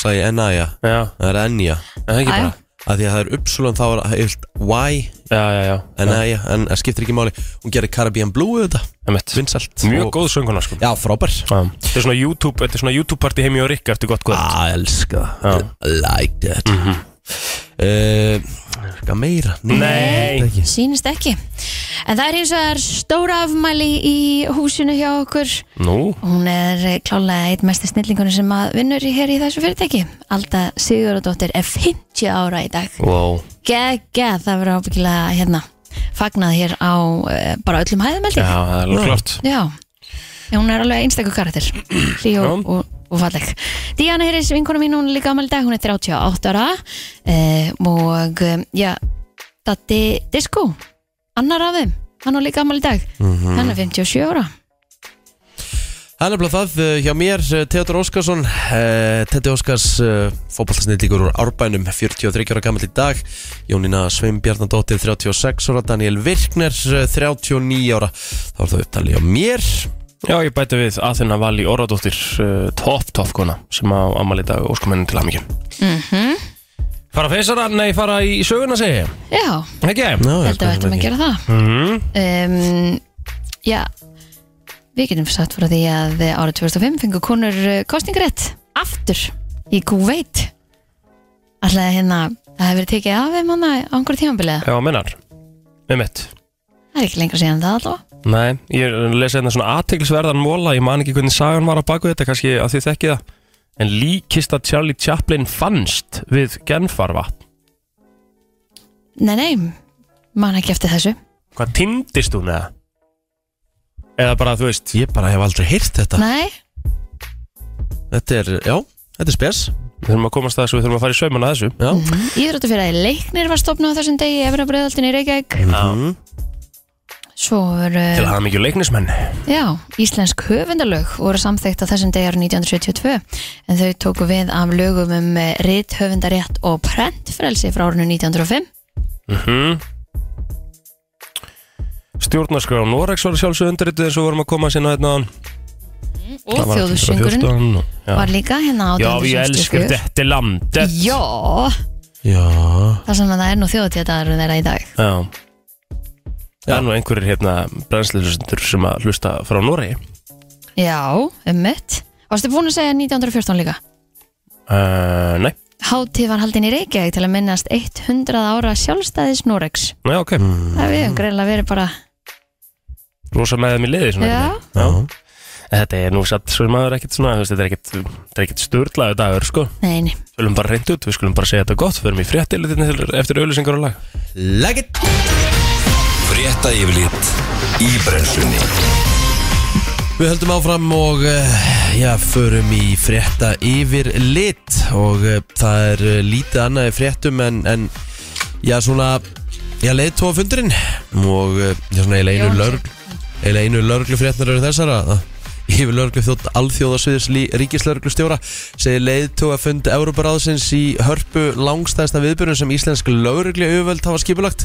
Speaker 1: sagði en aðja
Speaker 3: Já,
Speaker 1: það er enja
Speaker 3: er það
Speaker 2: Æ.
Speaker 3: ekki bara
Speaker 1: að því að það er uppsulun þá er heilt Y
Speaker 3: Já, já, já,
Speaker 1: en það en, en skiptir ekki máli hún gerir Caribbean Blue þetta
Speaker 3: einmitt
Speaker 1: vinsalt
Speaker 3: Mjög góð sönguna, sko
Speaker 1: já frábær
Speaker 3: Þetta er svona YouTube, þetta er svona YouTube party heimi og Rikka eftir gott kvöld
Speaker 1: ah, elska
Speaker 3: Já. Mhm.
Speaker 1: I like that mm -hmm. uh, eitthvað meira
Speaker 3: Nei.
Speaker 1: ekki.
Speaker 2: sýnist ekki en það er eins og það er stóra afmæli í húsinu hjá okkur
Speaker 3: Nú,
Speaker 2: Hún er eh, klálega eitt mestir snillingunum sem að vinnur í hér í þessu fyrirtæki. Alda Sigurðardóttir er 50 ára í dag.
Speaker 3: wow
Speaker 2: Gægja, það verður ábyggilega hérna fagnað hér á eh, bara öllum hæðum held
Speaker 3: Já,
Speaker 2: ég.
Speaker 3: það er alveg klart
Speaker 2: Já. Já, hún er alveg einstakur karakter. Hlý og,
Speaker 3: Já.
Speaker 2: og, og falleg. Díana Heris, vinkona mín, hún er líka amal í dag, hún er 38 ára eh, og eh, já, Datti Disco, annar af þeim, hann er líka amal í dag.
Speaker 3: Mhm.
Speaker 2: Hann er 57 ára.
Speaker 1: það er nefnilega það uh, hjá mér uh, Theodor Óskarsson uh, Teddi Óskars uh, fótballtasnýtlíkur úr Árbænum 43 ára gammal í dag Jónína Sveinbjarnadóttir 36 ára Daniel Virkner uh, 39 ára þá er það upptalið hjá mér
Speaker 3: Já, ég bæti við Athena Vali Orradóttir uh, Top, top kona sem á ammali dag óskumennin til hamingju Fara að feysara, nei, fara í söguna segi ég
Speaker 2: Já.
Speaker 3: Ekki?
Speaker 1: Ná,
Speaker 2: Ég held að við ættum að gera það
Speaker 3: Mm.
Speaker 2: um, Já Við getum sagt frá því að árið 2005 fengur konur eh, kosningarétt aftur í Kuveit Alltaf hérna það hefur verið tekið af þeim hana á einhverju tímabiliða
Speaker 3: Já, minnar Með mitt
Speaker 2: Það er ekki lengra síðan en það alltaf
Speaker 3: Nei, ég lesi hérna svona aðteglisverðan móla Ég man ekki hvernig sagan var á baku þetta kannski að þið þekki það En líkist að Charlie Chaplin fannst við genfarvatn
Speaker 2: Nei, nei, man ekki eftir þessu
Speaker 3: Hvað tindist hún eða? Eða bara, þú veist
Speaker 1: ég bara hef aldrei heyrt þetta
Speaker 2: Nei,
Speaker 1: þetta er já þetta er spes
Speaker 3: Við þurfum að komast að þessu, við þurfum að fara í saumana að þessu
Speaker 1: já
Speaker 2: íþróttu fyrir að leiknir var stopnað á þessum degi Efra breyðaltinn í Reykjavík
Speaker 1: mm -hmm.
Speaker 2: svo voru
Speaker 3: Til að hafa mikið leiknismenn
Speaker 2: Já, íslensk höfundalög voru samþykkt á þessum degar 1972 en þau tóku við af lögum um ritt höfundarétt og prentfrelsi frá árinu 1905
Speaker 3: Mhm. Stjórnarskrá Norex var sjálfsög undirrituð eins og vorum að koma sína hérna áðan.
Speaker 2: og
Speaker 3: Það var
Speaker 2: þjóðsöngurinn
Speaker 3: 1814 og- Já.
Speaker 2: var líka hérna
Speaker 3: Já, ég elskar
Speaker 2: 1864
Speaker 3: þetta land þetta-
Speaker 2: Já,
Speaker 1: Já
Speaker 2: það sem að það er nú þjóðtíðadagur þeirra í dag
Speaker 3: Já Það er nú einhverjir hérna brennsluhlustundur sem að hlusta frá Noregi
Speaker 2: Já, ummitt Varstu búin að segja 1914 líka?
Speaker 3: uh, Nei,
Speaker 2: Hátíð var haldin í Reykjavík til að minnast 100 ára sjálfstæðis Noregs
Speaker 3: Nú, já, ok mm.
Speaker 2: Það er við um greinlega verið bara
Speaker 3: Rosa með þeim í liði svona
Speaker 2: Já.
Speaker 3: einhvern veginn. Já. En Þetta er nú satt svo maður ekkert svona þú veist, Þetta er ekkert, þetta er ekkert störlaðu dagur sko
Speaker 2: Neini,
Speaker 3: Við skulum bara reynd út, við skulum bara segja þetta gott Við erum í fréttilið eftir auðlýsingar og lag
Speaker 1: Legg it
Speaker 4: Frétta yfirlit í brennslunni
Speaker 1: Við höldum áfram og eh, já, förum í frétta yfir lit og eh, það er eh, lítið annað í fréttum en, en já, svona já, leiðtóafundurinn og eh, já, svona eiginlega einu
Speaker 2: Jóhann
Speaker 1: lörg eiginlega einu lörglu fréttnar eru þessar að að yfir lörglu þjótt alþjóðasviðis ríkislörglu stjóra segir leiðtóafund Európaráðsins í hörpu langstæðsta viðbjörnum sem íslensk lörglu auðvöld hafa skipulagt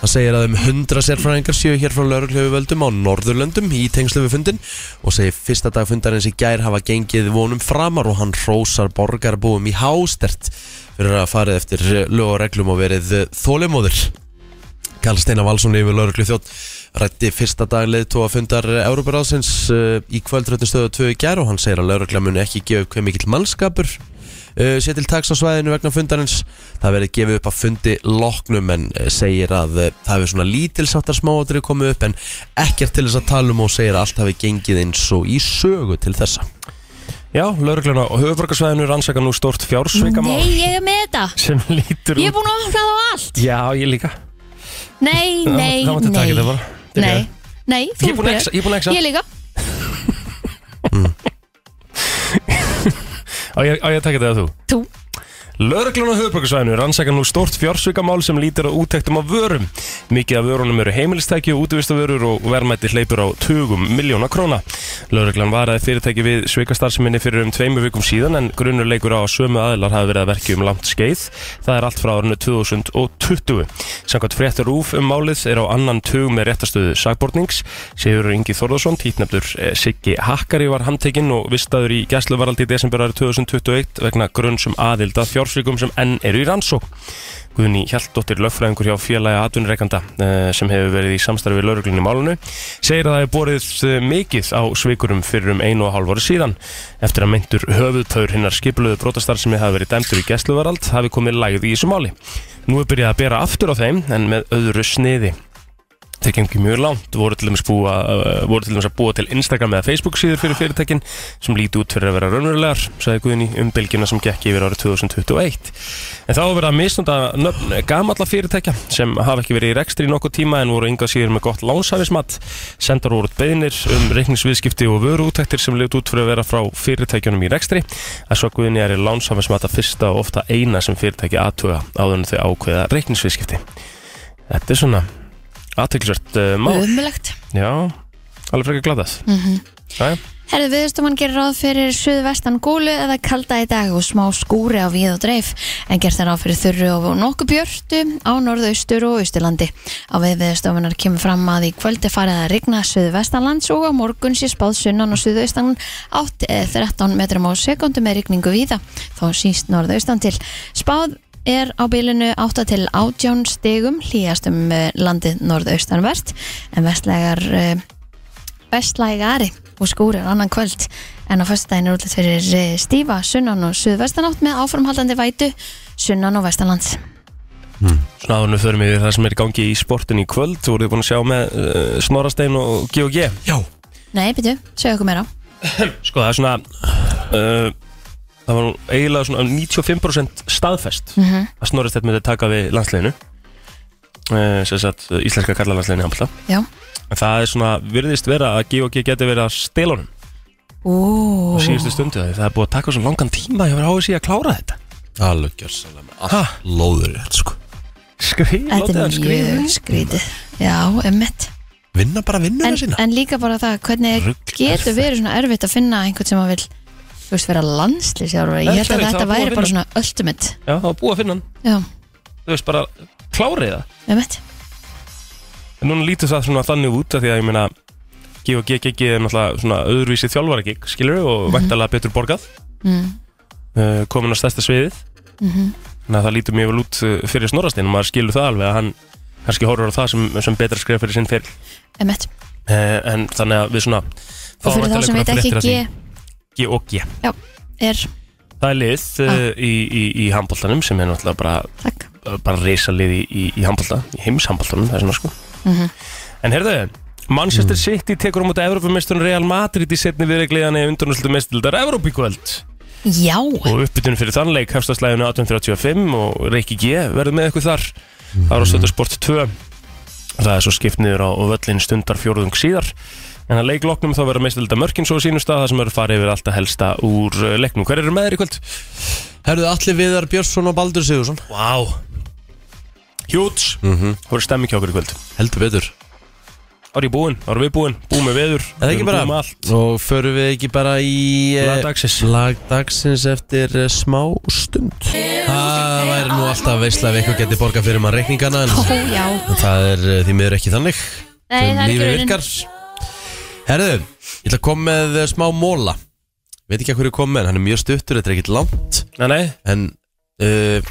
Speaker 1: Það segir að um 100 sérfræðingar séu hér frá laurugljöfuvöldum á Norðurlöndum í tengslu við fundin og segir fyrsta dag fundarins í gær hafa gengið vonum framar og hann rósar borgarbúum í hástert fyrir að farið eftir lög og reglum og verið þólimóður. Karl Steinar Valsson yfir lauruglu þjótt rætti fyrsta dag leiðtóa fundar Európaráðsins uh, í kvöldröndin stöðu 2 í gær og hann segir að laurugla muni ekki gefa upp hver mikill mannskapur uh, sé til taks á svæðinu vegna fundarins það verið gefið upp að fundi loknum en uh, segir að uh, það hefur svona lítilsáttar smáatri komið upp en ekkert til þess að tala um og segir að allt hafi gengið eins og í sögu til þessa
Speaker 3: Já, laurugluna og höfuborgarsvæðinu rannsaka nú stórt fjársveikamál
Speaker 2: nei, ég er með þetta
Speaker 3: sem lítur
Speaker 2: Ég er
Speaker 3: út
Speaker 2: búin að opna það á allt
Speaker 3: Já, ég líka
Speaker 2: Nei,
Speaker 3: Það-
Speaker 2: nei,
Speaker 3: það mátti taka
Speaker 2: nei
Speaker 3: þetta bara.
Speaker 2: Nei, nei, þú
Speaker 3: Ég er búin að
Speaker 2: byrjar.
Speaker 3: exa- ég er búin að exa
Speaker 2: Ég líka
Speaker 3: Á ég á ég að taka þetta að þú?
Speaker 2: Þú
Speaker 3: Lörglun á höfbrukarsvæðinu rannsaka nú stort fjársvikamál sem lítir að úttektum af vörum. Mikið af vörunum eru heimilistæki og útvistavörur og verðmætti hleypur á 20 miljóna króna. Lörglun varaði fyrirtæki við svikastarfseminni fyrir um tveimu vikum síðan en grunur leikur á að sömu aðilar hafi verið að verki um langt skeið. Það er allt frá árinu 2020. Samkvæmt fréttar úf um málið er á annan tug með réttastöðu sagbortnings. Sigur Ingi Þorðarsson, títnefndur eh, Siggi Hakkari var handtekinn og vistaður í gæsluvaraldi í desember árið 2021 vegna grunn sem aðild að fjársvíkum sem enn eru í rannsók. Guðni Hjaltdóttir lögfræðingur hjá félagi atvinnureikanda eh, sem hefur verið í samstarfi við lauruglunni málunu segir að það hefur borið eh, mikið á svikurum fyrir um einu og hálf ári síðan eftir að myndur höfuðpaur hinnar skipluðu brotastar sem hefur verið dæmdur í gæsluvarald hafi komið lægð í þessu máli. Nú er byrjað að bera aftur á þeim en með öðru sniði þeir gengur mjög langt, voru til dæmis búa, uh, voru til dæmis að búa til Instagram eða Facebook síður fyrir fyrirtækin sem líti út fyrir að vera raunverulegar, sagði Guðni um bylgjuna sem gekk yfir árið 2021 en þá var verið að misnunda nöfn gamalla fyrirtækja sem hafa ekki verið í rekstri í nokkuð tíma en voru ynga síður með gott lánshæfismat, sendar voru út beinir um reikningsviðskipti og vöruútæktir sem liti út fyrir að vera frá fyrirtækjunum í rekstri, að svo Guðni er í lánshæfismat að fyrsta og ofta eina sem fyrirtæki aðtuga áður en þau ákveða reikningsviðskipti Þetta er svona aðteglisvert uh, mál
Speaker 2: Ömulegt
Speaker 3: Já, alveg frekar glatað Jæja.
Speaker 2: Herðu viðustumann gerir ráð fyrir suðvestan gólu eða kalda í dag og smá skúri á við og dreif en gert er ráð fyrir þurru og nokkuð björtu á norðaustur og austurlandi. Á við viðustumannar kemur fram að í kvöldi farið að rigna suðvestanlands og á morgun sé spáð sunnan og suðaustan 8-13 metrum á sekundu með rigningu víða þó síst norðaustan til. Spáð er á bylunu 8 til 18 stigum hlýjast um eh, landið norðaustanvert en vestlegar eh, vestlægari og skúrir annan kvöld en á föstudaginn er útlýtt fyrir eh, stífa sunnan og suðvestanátt með áframhaldandi vætu sunnan og vestanlands
Speaker 3: Svona áður við förum yfir það sem er í gangi í sportin í kvöld Þú voruð búin að sjá með uh, Snorastein og G&G
Speaker 1: Já,
Speaker 2: Nei, byrju, segja okkur meira
Speaker 3: Sko það er svona uh, Það var nú eiginlega svona 95% staðfest
Speaker 2: mm -hmm.
Speaker 3: að Snorastein myndi taka við landsliðinu uh, sem sagt uh, íslenska karlalandsliðinu í handbolta.
Speaker 2: Já
Speaker 3: En það er svona virðist vera að G&G geti verið að stela honum
Speaker 2: Ó,
Speaker 3: á síðustu stundu þegar það er búið að taka svo langan tíma ég var á að klára þetta
Speaker 1: alveg gjörsanlega með allt lóður í þetta sko
Speaker 3: Skrif,
Speaker 2: þetta er mjög skrítið Já, emmitt
Speaker 1: Við vinna bara vinnuna
Speaker 2: en,
Speaker 1: sína
Speaker 2: en líka bara það hvernig
Speaker 3: Rugl
Speaker 2: getur
Speaker 3: er
Speaker 2: verið svona erfitt að finna einhvern sem að vil þú veist vera landslýsjálfari
Speaker 3: Það
Speaker 2: ég
Speaker 3: er
Speaker 2: held að
Speaker 3: erfitt, það
Speaker 2: þetta
Speaker 3: er búið
Speaker 2: væri
Speaker 3: að
Speaker 2: bara
Speaker 3: vinna.
Speaker 2: svona ultimate
Speaker 3: Já, það var búið að finna hann
Speaker 2: já,
Speaker 3: Þú veist bara, klárið það
Speaker 2: með mitt
Speaker 3: En núna lítur það svona þannig út af Því að ég meina GOGGG er náttúrulega svona öðruvísi þjálfara gig skilur og mm betur borgað
Speaker 2: mm.
Speaker 3: uh, komin á stærsta sviðið
Speaker 2: Mhm.
Speaker 3: þannig að það lítur mjög vel út uh, fyrir snorrastinn og maður skilur það alveg að hann kannski horfur á það sem, sem betra skrifa fyrir sinn fyrir
Speaker 2: Emmett.
Speaker 3: uh, en þannig að við svona
Speaker 2: Og fyrir þá sem veit ekki G
Speaker 3: G og G
Speaker 2: er
Speaker 3: það er lið
Speaker 2: Ah.
Speaker 3: uh, í, í, í handbóltanum sem er náttúrulega bara eh,
Speaker 2: takk
Speaker 3: bara reysa liði í, í handbólta í heimshandbóltanum það er svona sko
Speaker 2: Mhm.
Speaker 3: en herðu
Speaker 2: Mm.
Speaker 3: Manchester City tekur á móti Evrópumestun Real Madrid í setni viðregliðan eða undurnuslutu mestildar Evrópíkvöld
Speaker 2: já,
Speaker 3: og uppbytun fyrir þannleik hefst að slæðinu 1835 og Reykji G verður með ykkur þar það var á Stöðarsport 2 það er svo skipt niður á völlin stundar fjórðung síðar en að leikloknum þá verður meistilda mörkin svo sínust að það sem eru farið yfir alltaf helsta úr eh, leiknum hver eru með þér í kvöld?
Speaker 1: Herðu allir Viðar Björnsson og Baldur Sigursson
Speaker 3: Vá wow. Hjúts, mm
Speaker 1: Mhm.
Speaker 3: -hmm. voru stemming hjá okkur í kvöld
Speaker 1: Heldur betur
Speaker 3: Var ég búinn, var við búinn, búinn með veður
Speaker 1: Er það
Speaker 3: við
Speaker 1: ekki
Speaker 3: erum
Speaker 1: bara?
Speaker 3: búin með allt.
Speaker 1: Og förum við ekki bara í eh,
Speaker 3: Lag dagsins.
Speaker 1: Lag dagsins eftir eh, smá stund Það væri nú alltaf veistla ef eitthvað geti borgað fyrir maður reikningana en
Speaker 2: ó já
Speaker 1: En Það er eh, því miður ekki þannig
Speaker 2: Nei, það er ekki
Speaker 1: Lífið
Speaker 2: raunin.
Speaker 1: virkar Herðu, ég ætla að koma með eh, smá móla Veit ekki að hverju kom með, en hann er mjög stuttur, þetta er ekkit langt
Speaker 3: Nei, nei,
Speaker 1: En uh,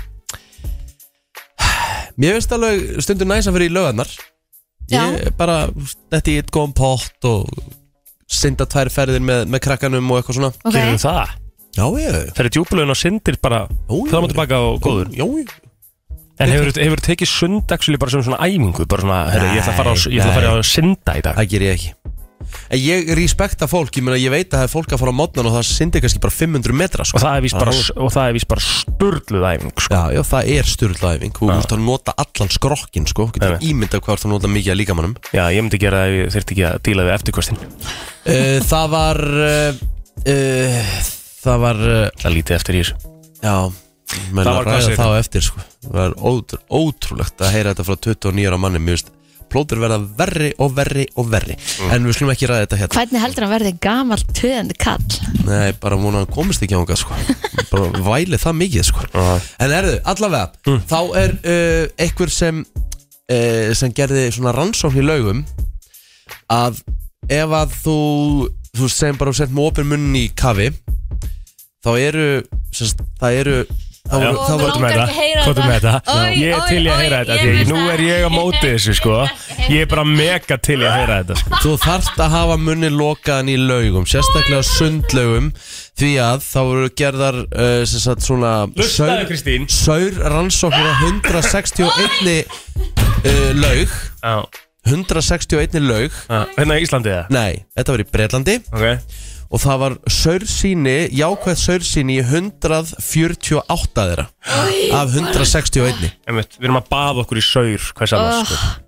Speaker 1: Mér finnst alveg stundum næs að fyrir í lögarnar Ég bara Þetta í eitt góðan pott og synda tvær ferðir með, með krakkanum og eitthvað svona
Speaker 2: ok,
Speaker 3: gerum við það
Speaker 1: Já, ég
Speaker 3: Þegar djúpulegin og syndir bara
Speaker 1: Jú, jú.
Speaker 3: fram og tilbaka og góður
Speaker 1: Já, ég
Speaker 3: En hefur, hefur tekið sund actually bara sem svona æfingu bara svona, herru, ég ætla að fara á,
Speaker 1: Nei,
Speaker 3: ég ætla að fara
Speaker 1: nei.
Speaker 3: á synda í dag
Speaker 1: Það ger ég ekki En ég respekta fólk, ég meina ég veit að það er fólk að fara á mótnan og það syndir kannski bara 500 metra sko.
Speaker 3: og það er víst bara,
Speaker 1: Já.
Speaker 3: og það er víst bara sturluð æfingu sko.
Speaker 1: Já, já, það er styrlaæfing og þú ert að nota allan skrokkin sko, getur
Speaker 3: Nei, nei.
Speaker 1: ímyndað hvað þú ert að nota mikið að líkamannum
Speaker 3: Já, ég myndi gera það ef ég þurfti ekki að díla við eftirkostin
Speaker 1: uh, Það var uh, uh, Það var uh,
Speaker 3: Það lítið eftir í þessu
Speaker 1: Já, menn
Speaker 3: Það
Speaker 1: að
Speaker 3: var
Speaker 1: ræða
Speaker 3: klassík.
Speaker 1: þá eftir sko. Það var ótrú, ótrúlegt að heyra þetta frá 29 ára manni Mér veist, plótur verða verri og verri og verri
Speaker 3: Mm.
Speaker 1: En við slum ekki ræða þetta hérna
Speaker 2: hvernig heldur hann verði gamall töðandi kall
Speaker 1: Nei, bara múna hann komist ekki ánga sko. Bara væli það mikið sko.
Speaker 3: Já.
Speaker 1: En erðu, allavega Þá er uh, einhver sem uh, sem gerði svona rannsókn í laugum að ef að þú þú veist, segjum bara og sett með opin munn í kafi þá eru sérst, það eru þá, þá
Speaker 3: Já,
Speaker 2: mig
Speaker 1: var,
Speaker 3: komdu með
Speaker 2: langar ekki að heyra
Speaker 3: þetta, komdu með
Speaker 2: þetta.
Speaker 3: þetta
Speaker 2: Oj,
Speaker 3: Ég er
Speaker 2: oj,
Speaker 3: til í að
Speaker 2: oj,
Speaker 3: heyra þetta
Speaker 2: ég
Speaker 3: því
Speaker 2: vil
Speaker 3: nú
Speaker 2: það.
Speaker 3: er ég á móti þessu sko Ég er bara mega til í að heyra þetta sko.
Speaker 1: Þú þarft að hafa munni lokaðan í laugum Sérstaklega sundlaugum Því að þá voru gerðar uh, sem sagt, svona
Speaker 3: Hlustaðu, Kristín.
Speaker 1: saur rannsóknir á 161 uh, laug
Speaker 3: Já,
Speaker 1: 161 laug
Speaker 3: já. Hérna í Íslandi það
Speaker 1: Nei, þetta var í Breitlandi
Speaker 3: okay.
Speaker 1: Og það var saursýni, jákvæð saursýni í 148 þeirra Af 161
Speaker 3: Einmitt, Við erum að baða okkur í saur Hvers annars
Speaker 2: Oh.
Speaker 3: sko.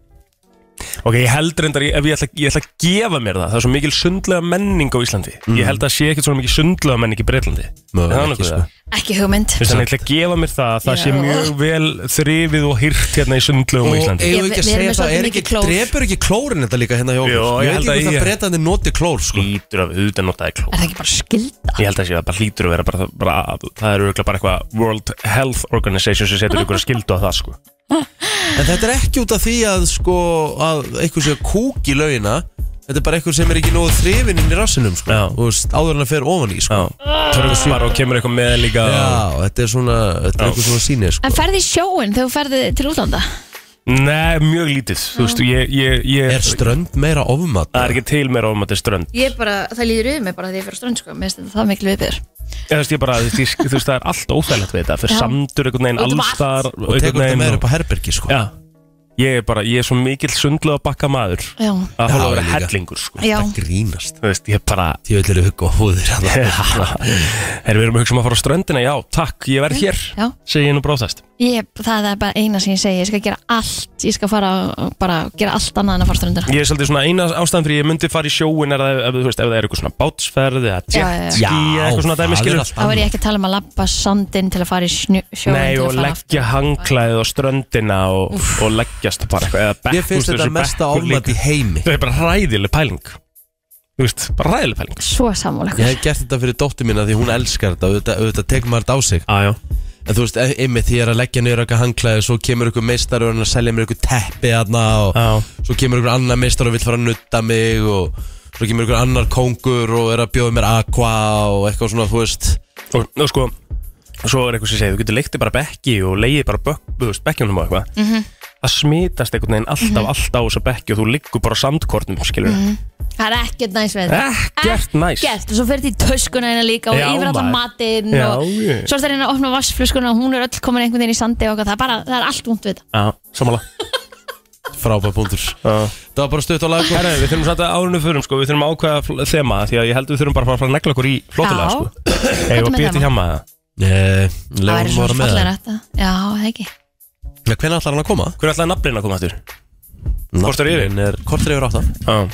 Speaker 3: Ok, ég held reyndar, ef ég ætla, ég ætla að gefa mér það Það er svo mikil sundlega menning á Íslandi Ég held að sé ekkert svona mikil sundlega menning í Breitlandi
Speaker 1: Mögulega
Speaker 3: Það er
Speaker 1: Mm. ekki,
Speaker 3: nokkuð
Speaker 1: sko.
Speaker 3: það.
Speaker 2: ekki hugmynd
Speaker 3: Þess vegna ég ætla að gefa mér það að Það sé
Speaker 2: Já.
Speaker 3: mjög vel þrifið og hýrt hérna í sundlegum á
Speaker 1: Og
Speaker 3: Íslandi
Speaker 2: Ég-
Speaker 1: eigum við ekki að
Speaker 2: við erum
Speaker 1: segja
Speaker 2: með
Speaker 1: það,
Speaker 2: svolítið
Speaker 1: er
Speaker 2: mikið
Speaker 1: ekki,
Speaker 2: klór.
Speaker 1: drepur ekki klórin þetta líka hérna hjá okkur
Speaker 3: Jó,
Speaker 1: Ég
Speaker 3: ég
Speaker 1: veit
Speaker 3: held
Speaker 1: ekki
Speaker 3: að
Speaker 1: hvort
Speaker 3: ég-
Speaker 1: að breytandi noti klór sko
Speaker 3: Lítur af auðvitað notaði kló
Speaker 2: er það ekki bara skilda
Speaker 3: Ég held að sé að bara lítur að vera bara, bara Það er auðvitað bara eitthvað World Health Organization sem setur ykkur að skildu á það sko
Speaker 1: En þetta er ekki út af því að sko að einhver sé að kúk í laugina Þetta er bara einhver sem er ekki nógu þrifinn inn í rassinum sko
Speaker 3: Já.
Speaker 1: Og veist, áður en að fer ofan í sko
Speaker 3: Já, törnspar og kemur eitthvað með líka
Speaker 1: Já, þetta er svona, þetta er
Speaker 3: Já.
Speaker 1: einhver svona síni sko
Speaker 2: en ferði í sjóin þegar þú ferði til útlanda
Speaker 3: Nei, mjög lítið Þú veist, ég, ég, ég
Speaker 1: Er strönd meira ofmat?
Speaker 3: Það er ekki til mér ofum að þetta er strönd
Speaker 2: ég bara, það líður yfir mig bara því ég fyrir strönd sko, mér finnst það miklu viðbyr
Speaker 3: Ég, þú veist, ég bara, þú veist, ég- þú veist, það er allt óþægilegt við þetta Fyrir
Speaker 2: Já.
Speaker 3: samdur einhvern veginn
Speaker 2: Út um
Speaker 3: allstar
Speaker 1: Og tekur þetta meira upp á herbergi sko
Speaker 3: Já, ég er bara, ég er svo mikill sundlega bakka maður
Speaker 2: já,
Speaker 3: Að
Speaker 1: Já,
Speaker 3: hóla að vera
Speaker 1: ég líka.
Speaker 3: hellingur, sko
Speaker 2: já,
Speaker 1: Það grínast
Speaker 3: Þú veist, ég er bara
Speaker 1: Því vil eru hugga á húðir
Speaker 3: Erum við erum að hugsa um að fara á ströndina, já, takk, ég verð hér
Speaker 2: já.
Speaker 3: Segir ég nú bróðast
Speaker 2: Ég, það er bara eina sem ég segi, ég skal gera allt Ég skal fara og bara gera allt annað en að fara ströndur
Speaker 3: Ég er svolítið svona eina ástæðan fyrir ég myndi fara í sjóin er að, ef, þú veist, ef það er eitthvað svona bátsferð eða
Speaker 2: Já, já, já.
Speaker 3: jetski eða eitthvað svona dæmi skilur
Speaker 2: Þá er ég ekki að tala um að labba sandinn til að fara í snjó sjóinn
Speaker 3: Nei,
Speaker 2: til
Speaker 3: og
Speaker 2: að fara
Speaker 3: leggja
Speaker 2: aftur.
Speaker 3: hangklæðið á ströndina og, og leggjast bara eitthvað eða bekk,
Speaker 1: Ég finnst
Speaker 3: þú veist,
Speaker 1: þetta
Speaker 3: þessu
Speaker 1: mesta
Speaker 3: bekkur
Speaker 1: oflætt
Speaker 3: líka.
Speaker 1: í heimi
Speaker 3: Þetta er bara ræðileg pæling Þú veist, bara ræðileg pæling
Speaker 2: Svo sammála
Speaker 1: Ég
Speaker 2: ykkur
Speaker 1: hef gert þetta fyrir dóttir mína því hún elskar þetta auðvitað, auðvitað tekur maður þetta á sig
Speaker 3: Aðjó
Speaker 1: En þú veist, ymmið því ég er að leggja niður eitthvað hangklæði Svo kemur ykkur meistar og hann að selja mér ykkur teppi þarna og
Speaker 3: Já.
Speaker 1: Svo kemur ykkur annar meistar og vill fara að nutta mig og Svo kemur ykkur annar kóngur og er að bjóða mér aqua og eitthvað svona, þú veist
Speaker 3: og, og sko, svo er eitthvað sem segir þú getur leiktið bara bekki og leiðið bara bök, þú veist, bekkjunum og eitthvað
Speaker 2: Mhm.
Speaker 3: það smitast einhvern veginn alltaf, alltaf á þessu bekki og þú liggur bara á sandkornum, skilur mm
Speaker 2: Mhm.
Speaker 3: -hmm.
Speaker 2: Það er ekkert næs við þetta.
Speaker 3: ekkert næs
Speaker 2: Ekkert, og svo fyrir þetta í töskuna hérna líka og
Speaker 3: Já,
Speaker 2: yfir allan
Speaker 3: maður.
Speaker 2: matinn
Speaker 3: Já,
Speaker 2: og
Speaker 3: ég.
Speaker 2: svo er þetta hérna að opna vassflöskuna og hún er öll komin einhvern veginn í sandi og eitthvað. það er bara, það er allt vond við þetta
Speaker 3: Já, samanlega
Speaker 1: Frábær búndur
Speaker 3: Já.
Speaker 1: Það var bara stutt á sko. lagu
Speaker 3: Herra, við þurfum samt að árunum förum, sko, við þurfum að ákveða fl- þema því að ég held við þurfum bara að fara að negla okkur í flottulega,
Speaker 2: Já.
Speaker 3: sko Eða
Speaker 2: með
Speaker 3: að býta
Speaker 2: þema?
Speaker 3: hjá maður
Speaker 1: Nei,
Speaker 2: Það
Speaker 1: Leon Eh,
Speaker 2: væri
Speaker 1: var
Speaker 2: svona
Speaker 1: með
Speaker 2: fallega
Speaker 1: það
Speaker 2: rætt Já, það ekki
Speaker 1: Hvernig ætlar hann að koma?
Speaker 3: Hver ætlaði nafnin að koma aftur? Korter yfir?
Speaker 1: Nafnin er- Korter yfir áttan
Speaker 3: Já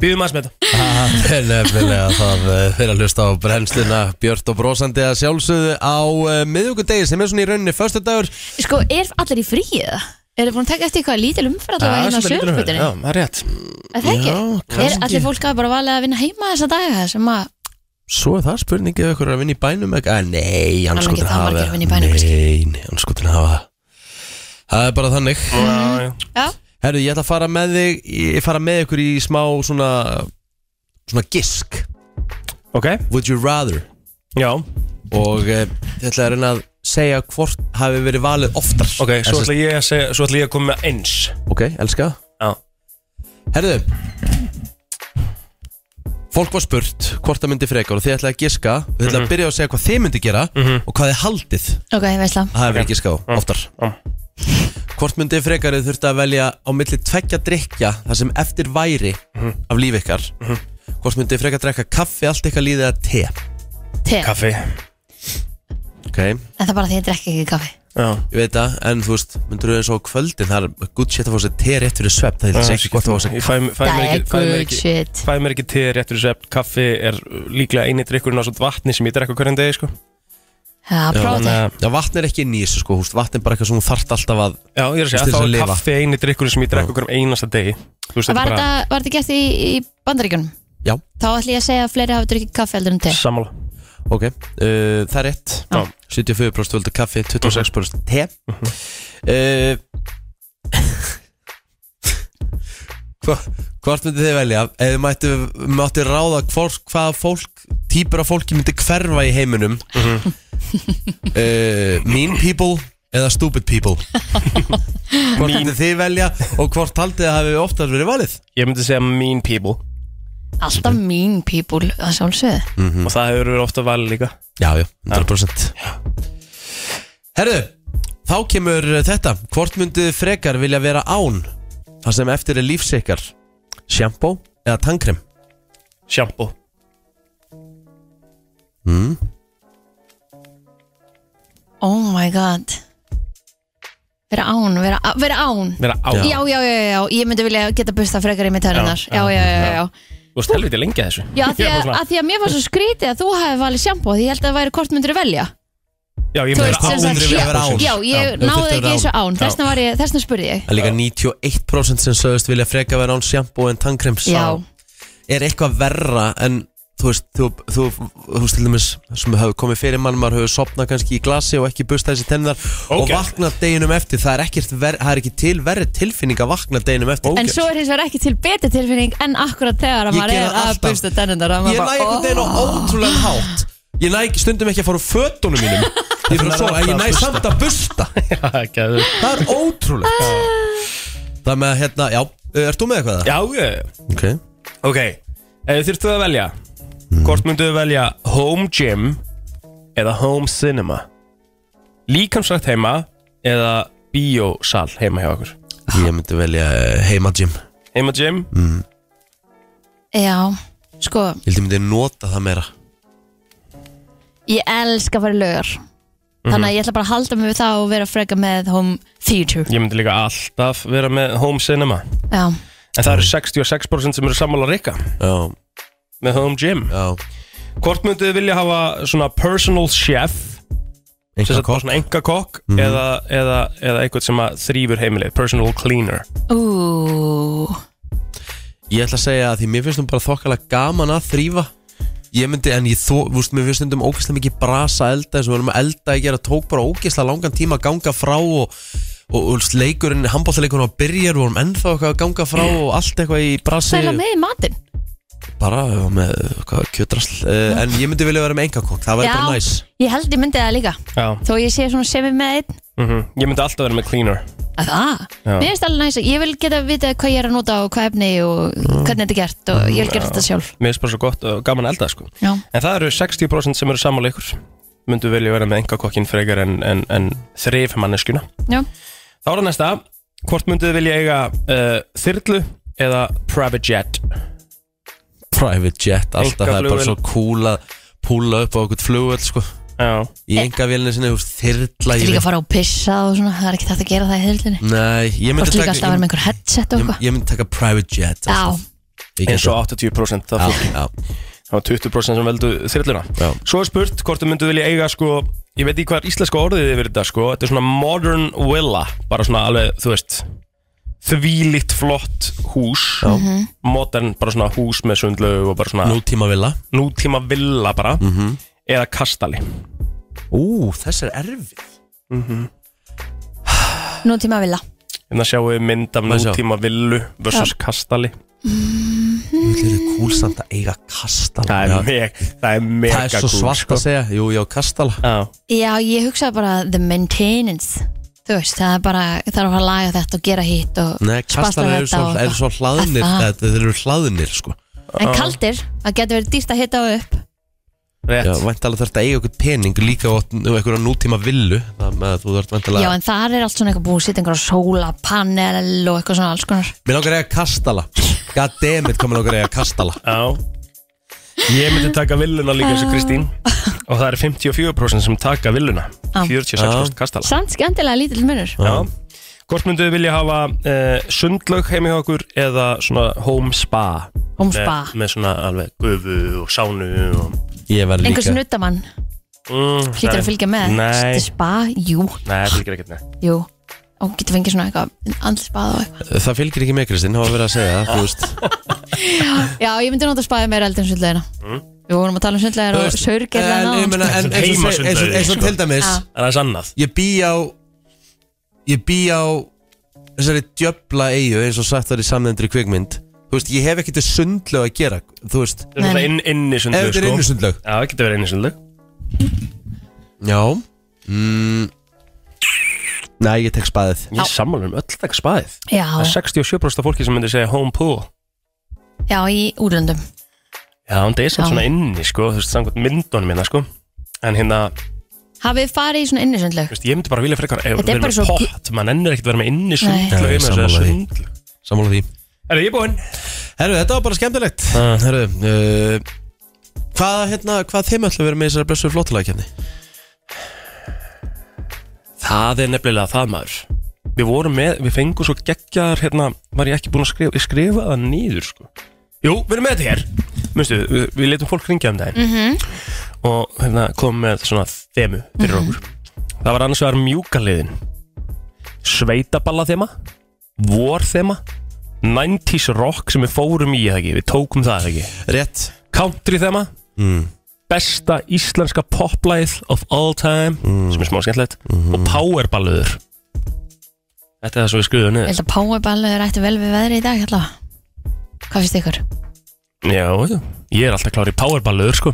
Speaker 3: Býðum aðeins með þetta
Speaker 1: Það er nefnilega það eh, fyrir að hlusta á brennsluna Björt og brosandi að sjálfsögðu á uh, miðvíkudegi sem er svona í rauninni föstudagur
Speaker 2: Sko, er allir í fríi það? Er það búin að taka eftir eitthvað lítil umferð allavega
Speaker 3: Já,
Speaker 2: hérna á
Speaker 3: sem er lítur umhverfið.
Speaker 2: sögurkvötunni?
Speaker 3: Já, það er rétt
Speaker 2: Er það ekki? er
Speaker 1: kannski.
Speaker 2: allir fólk að bara valið að vinna heima þessa daga sem að
Speaker 1: Svo er það spurningi ef ykkur er að vinna í bænum ekki að nei, hann
Speaker 2: Alveg
Speaker 1: skotin
Speaker 2: ekki það
Speaker 1: hafa
Speaker 2: margir að vinna í bænum, kannski.
Speaker 1: Nei, nei, hann skotin hafa það. Það er bara þannig
Speaker 3: Já, já.
Speaker 2: Já,
Speaker 1: Herru, ég ætla að fara með þig ég fara með ykkur í smá svona svona gisk
Speaker 3: Ok,
Speaker 1: Would you rather
Speaker 3: já,
Speaker 1: og uh, ég ætla að reyna að segja hvort hafi verið valið oftar
Speaker 3: ok, svo
Speaker 1: Þessi-
Speaker 3: ætla ég að segja, svo ætla ég að koma með eins
Speaker 1: Ok, elska
Speaker 3: Já,
Speaker 1: Herðu Fólk var spurt hvort það myndi frekar og þið ætlaði að giska og þið ætlaði
Speaker 3: Mhm.
Speaker 1: að byrja að segja hvað þið myndi gera og hvað þið haldið
Speaker 2: ok, veist það
Speaker 1: að hafa verið giska á oftar
Speaker 3: já.
Speaker 1: Hvort myndi frekar þið þurfti að velja á milli tvekja drikja þar sem eftir væri af líf ykkar Hvort myndi frekar drekka kaffi allt ykkar líðið að te
Speaker 2: Te,
Speaker 3: kaffi
Speaker 1: Ok,
Speaker 2: en það er bara því að ég drekk ekki kaffi
Speaker 3: Já,
Speaker 1: ég veit það, en þú veist myndur þau eins og á kvöldin, það er good shit að fá sér te rétt fyrir svepp, það
Speaker 3: Ah,
Speaker 1: er ekki gott að fá sér
Speaker 3: Ég fæ, fæ,
Speaker 2: Það
Speaker 3: mér
Speaker 2: er
Speaker 3: ekki, fæ, mér
Speaker 2: good
Speaker 3: ekki,
Speaker 2: shit
Speaker 3: fæ mér ekki te rétt fyrir svepp Kaffi er uh, líklega eini drikkurinn á svona vatni sem ég drekka hverjum degi sko.
Speaker 2: Já, prófa
Speaker 3: Þannig
Speaker 2: þetta
Speaker 3: að-
Speaker 1: Já, vatn er ekki inn í þessu sko, húst, vatn er bara eitthvað sem þú þarft alltaf að
Speaker 3: Já, ég er að
Speaker 1: Til þess
Speaker 3: segja, þá
Speaker 1: að
Speaker 3: er
Speaker 1: lifa.
Speaker 3: kaffi eini drikkurinn sem ég drekka hverjum einasta degi Þú veist, þetta
Speaker 2: Var
Speaker 3: er bara
Speaker 2: þetta- var þetta gert í, í bandaríkjunum?
Speaker 1: Já,
Speaker 2: Þá ætlum ég að segja að fleiri hafa drukkið kaffi heldur en te
Speaker 3: sammála
Speaker 1: Ok, uh, það er rétt
Speaker 3: Já.
Speaker 1: 74% völdu kaffi, 26% te uh, hva- Hvort myndi þið velja ef þið mættu, mættu ráða hvort, hvaða fólk, típur af fólki myndi hverfa í heiminum uh, Mean people eða stupid people Hvort myndi þið velja og hvort haldið þið hafi oftar verið valið
Speaker 3: Ég myndi segja mean people
Speaker 2: Alltaf mín people að sjálfsögðu
Speaker 3: Og það hefur verið ofta valið líka
Speaker 1: Já, já, 100% Herðu, þá kemur uh, þetta Hvort myndið frekar vilja vera án Það sem eftir er lífsikar Sjampó eða tannkrem
Speaker 3: Shampoo
Speaker 2: Oh my god Vera án, vera, á- vera án
Speaker 3: Verða á
Speaker 2: já. já, já, já, já, ég myndi vilja geta bursta frekar í mitt hörðunar
Speaker 3: Já,
Speaker 2: Já, já, já, já, já
Speaker 3: Þú veist helviti lengi að þessu
Speaker 2: Já, af því
Speaker 3: Ég er bara
Speaker 2: að,
Speaker 3: svona-
Speaker 2: að því að mér var svo skrítið að þú hefði valið sjampó Því ég held að það væri hvort myndir velja
Speaker 3: Já, ég
Speaker 2: Þú
Speaker 3: myndi
Speaker 2: veist, sem
Speaker 3: vera
Speaker 2: sagt,
Speaker 1: myndirðu vilja vera án?
Speaker 2: Já,
Speaker 1: Já,
Speaker 2: ég
Speaker 1: ef þú
Speaker 2: náði
Speaker 1: þyrftir að
Speaker 2: ekki
Speaker 1: vera
Speaker 2: þessu án
Speaker 3: Já.
Speaker 2: Þessna, var ég, þessna spurði ég
Speaker 1: Það er líka 91% sem sögust vilja frekar vera án sjampó en tannkrems
Speaker 2: Já,
Speaker 1: Er eitthvað verra en þú veist, þú, þú, þú veist til dæmis sem hafa komið fyrir mann, maður hefur sopnað kannski í glasi og ekki bustað þessi tennar og
Speaker 3: Ógeðslegt.
Speaker 1: vaknað deginum eftir, það er, ekkert ver, það er ekki til verri tilfinning að vakna deginum eftir
Speaker 2: en svo er hins vegar ekki til betri tilfinning En akkurat
Speaker 1: Ég
Speaker 2: þegar að maður
Speaker 1: geri
Speaker 2: er
Speaker 1: það
Speaker 2: að
Speaker 1: alltaf.
Speaker 2: bursta tennundar
Speaker 1: Ég "Ah." næ einhvern veginn á ótrúlega hátt Ég næ stundum ekki að fara úr fötunum mínum Ég fyrir að sofa, en ég næ samt að busta
Speaker 3: án
Speaker 1: Það er ótrúlegt Það með að hérna, já, ert þú með eitthvað það?
Speaker 3: Já, já
Speaker 1: Ok
Speaker 3: Ok, ef þurftu að velja
Speaker 2: Mhm.
Speaker 3: Hvort myndu þau velja home gym Eða home cinema Líkamsrætt heima Eða bíósal heima hjá okkur
Speaker 1: Ég myndi velja eh, heima gym Ég
Speaker 3: Heima gym
Speaker 2: Mhm. Já, sko,
Speaker 1: held ég myndi nota það meira
Speaker 2: ég elska að fara í laugar
Speaker 1: Mhm.
Speaker 2: þannig að ég ætla bara að halda mig við það og vera freka með home theater
Speaker 3: Ég myndi líka alltaf vera með home cinema
Speaker 2: já,
Speaker 3: En það eru
Speaker 2: Mhm.
Speaker 3: 66% sem eru sammála reyka
Speaker 1: Já,
Speaker 3: Með home gym
Speaker 1: já
Speaker 3: Hvort myndið þið vilja hafa svona personal chef sem
Speaker 1: Einhver
Speaker 3: sagt bara
Speaker 1: kokk
Speaker 3: svona enga kokk Mhm. eða, eða, eða eitthvað sem að þrýfur heimilið Personal cleaner
Speaker 2: ú
Speaker 1: Ég ætla að segja að því mér finnst hún bara þokkalega gaman að þrýfa Ég myndi, en ég þó, vúst, mér finnst stundum ógeðslega mikið brasa elda eins og við erum að elda að gera tók bara ógeðslega langan tíma að ganga frá og, og, og leikurinn, handbóltaleikurinn var byrjar og vorum ennþá eitthvað að ganga frá og allt eitthvað í brasi
Speaker 2: sæla með í matinn
Speaker 1: bara uh, með eitthvað kjötrasl uh, en ég myndi vilja vera með engakokk, það væri bara
Speaker 2: Já.
Speaker 1: næs
Speaker 2: ég held ég myndi það líka
Speaker 3: Já,
Speaker 2: þó ég sé svona semi með einn
Speaker 3: mm ég myndi alltaf vera með cleaner
Speaker 2: að það,
Speaker 3: Já.
Speaker 2: mér finnst alveg næst ég vil geta að vita hvað ég er að nota og hvað efni og
Speaker 1: Mm.
Speaker 2: hvernig þetta er gert og ég vil gera þetta sjálf
Speaker 3: Mér finnst bara svo gott og gaman að elda sko
Speaker 2: já,
Speaker 3: En það eru 60% sem eru sammála ykkur Myndu vilja vera með enga kokkin frekar en, en, en þrýf manneskuna
Speaker 2: já,
Speaker 3: Þá er það næsta Hvort myndið þið vilja eiga uh, þyrlu eða private jet
Speaker 1: private jet, alltaf það er bara svo cool að púla upp á okkur flugvöld sko.
Speaker 3: Já
Speaker 1: í engavélinu sinni, þú veist, þyrla ég
Speaker 2: þetta er Eh. líka að
Speaker 1: veit-
Speaker 2: fara og pissa og svona það er ekki þetta að gera það í heldinni
Speaker 1: Nei, ég
Speaker 2: þú
Speaker 1: myndi
Speaker 2: ert líka alltaf að vera
Speaker 1: ég,
Speaker 2: með einhver headset og
Speaker 1: ég,
Speaker 2: eitthvað
Speaker 1: ég myndi taka private jet
Speaker 2: já,
Speaker 1: ég
Speaker 3: eins
Speaker 1: gæti-
Speaker 3: og 80% það
Speaker 1: já,
Speaker 3: fólk,
Speaker 1: já,
Speaker 3: það var 20% sem veldu þyrluna
Speaker 1: já.
Speaker 3: Svo er spurt hvort þau myndu vilja eiga sko, ég veit ekki hvað er íslenska orðið yfir þetta sko, þetta er svona modern villa bara svona alveg, þú veist þvílitt flott hús Já. modern, bara svona hús með sundlögu og bara svona
Speaker 1: nútíma villa
Speaker 3: nútíma villa bara
Speaker 1: Mhm.
Speaker 3: eða kastali
Speaker 1: ú, þess er erfið
Speaker 2: nú tíma að vilja
Speaker 3: en það Hérna sjáum við mynd af
Speaker 1: Maður sjá.
Speaker 3: nútíma villu versus kastali
Speaker 1: Þetta er cool samt að eiga kastala
Speaker 3: það er,
Speaker 1: Já,
Speaker 3: meg, það er mega
Speaker 1: það er svo
Speaker 3: cool,
Speaker 1: svart
Speaker 3: sko.
Speaker 1: að segja Jú, já, kastala
Speaker 3: Já.
Speaker 2: já, ég hugsaði bara the maintenance þú veist, það er bara, það er að fara að laga þetta og gera hitt og
Speaker 1: Nei, kastala
Speaker 2: spasla
Speaker 1: eru svo,
Speaker 2: þetta og
Speaker 1: er svo hlaðnir
Speaker 2: Aha.
Speaker 1: Þetta eru hlaðnir, sko
Speaker 2: eitthvað. en kaldir, það getur verið dýrt að hitta á upp
Speaker 3: rétt
Speaker 1: Já, væntalega þarf þetta að eiga okkur pening líka og einhverja nútíma villu þannig að þú þarf
Speaker 2: já,
Speaker 1: væntalega
Speaker 2: en þar er allt svona eitthvað búið að setja einhverja sólapanel og eitthvað svona alls konar
Speaker 1: Mér langar að eiga kastala God damn it, hvað mér langar að eiga kastala
Speaker 3: Já Ég myndi taka villuna líka
Speaker 2: Ah.
Speaker 3: eins og Kristín Og það er 54% sem taka villuna
Speaker 2: Já.
Speaker 3: 46% kastala
Speaker 2: samt skemmtilega lítill munur
Speaker 3: Já Hvort myndu þið vilja hafa uh, sundlaug heimi hjá okkur eða svona home spa
Speaker 2: Home spa.
Speaker 3: Með, með svona alveg gufu og sánu og
Speaker 1: Ég verð líka
Speaker 2: einhvers nuttamann
Speaker 3: mm,
Speaker 2: hlýtur
Speaker 3: nei.
Speaker 2: að fylgja með
Speaker 3: Nei,
Speaker 2: Til spa, jú,
Speaker 3: nei, fylgir ekkert með
Speaker 2: jú og getur fengið svona eitthvað andlisbað og eitthvað
Speaker 1: Það fylgir ekki með Kristinn, það var verið að segja það, þú veist
Speaker 2: já, ég myndi nota spaði meira eldur en sundlegina við vorum að tala um sundlegina og
Speaker 1: Mm. En ég meina,
Speaker 2: sörgerðina
Speaker 1: en eins og seg- eins og- eins og til dæmis
Speaker 2: sko. Já.
Speaker 3: Það er sannað
Speaker 1: Ég bý á Ég bý á Þessari djöbla eigu eins og sagt þar í samnefndri kvikmynd Þú veist, ég hef ekkert sundlög að gera Þú veist,
Speaker 3: Það er
Speaker 2: Nei.
Speaker 3: náttúrulega inn, inni
Speaker 1: ef
Speaker 3: sundlaug
Speaker 1: þetta er
Speaker 3: sko.
Speaker 1: einu sundlög
Speaker 3: Já, það getur verið inni sundlaug
Speaker 1: Já mm. Nei, ég tek spaðið
Speaker 3: Ég er sammála um öll takk spaðið
Speaker 2: já,
Speaker 3: Það er 67% af fólki sem myndi segja home pool
Speaker 2: já, í úrlöndum
Speaker 3: Já, en það er samt
Speaker 2: Já.
Speaker 3: svona inni, sko, þú veist, samkvæmt myndunum minna, sko En hérna,
Speaker 2: hafið þið farið í svona
Speaker 3: þú
Speaker 2: innisundleg
Speaker 3: veist, ég myndi bara vilja frekar Ef
Speaker 2: Þetta er
Speaker 3: við erum
Speaker 2: bara
Speaker 3: með
Speaker 2: svo gu-
Speaker 3: pott, maður ennir ekkert vera með inni
Speaker 1: Nei.
Speaker 3: sundlu
Speaker 1: Nei,
Speaker 3: heima,
Speaker 1: sammála
Speaker 3: þessu
Speaker 1: því.
Speaker 3: sundlu
Speaker 1: Sammála því
Speaker 3: Er ég búinn?
Speaker 1: Herru, þetta var bara skemmtilegt
Speaker 3: Ah.
Speaker 1: Herru, uh, hvað, hérna, hvað þeim ætla að vera með í þessari blessu flottulækjarni?
Speaker 3: Það er nefnilega það, maður Við vorum með, við fengum svo geggjar, hérna Var ég ekki búinn að skrifa, ég skrifa það nýður, sko Jú, við erum með þetta hér Munstu, við, við letum fólk ringja um daginn -hmm. Og hérna, komum með svona þemu fyrir okkur Það var annars vegar mjúkaliðin Sveitaballa þema Vor 90s rock sem við fórum í eða ekki Við tókum það eða ekki
Speaker 1: Rétt
Speaker 3: country þema Mm. besta íslenska poplæð of all time sem er smá skemmtilegt og powerballuður Þetta er það sem við
Speaker 2: ég
Speaker 3: skriðum niður
Speaker 2: held að Powerball er ætti vel við veðri í dag allavega hvað finnst ykkur?
Speaker 3: Já, já, ég er alltaf klár í powerballuður sko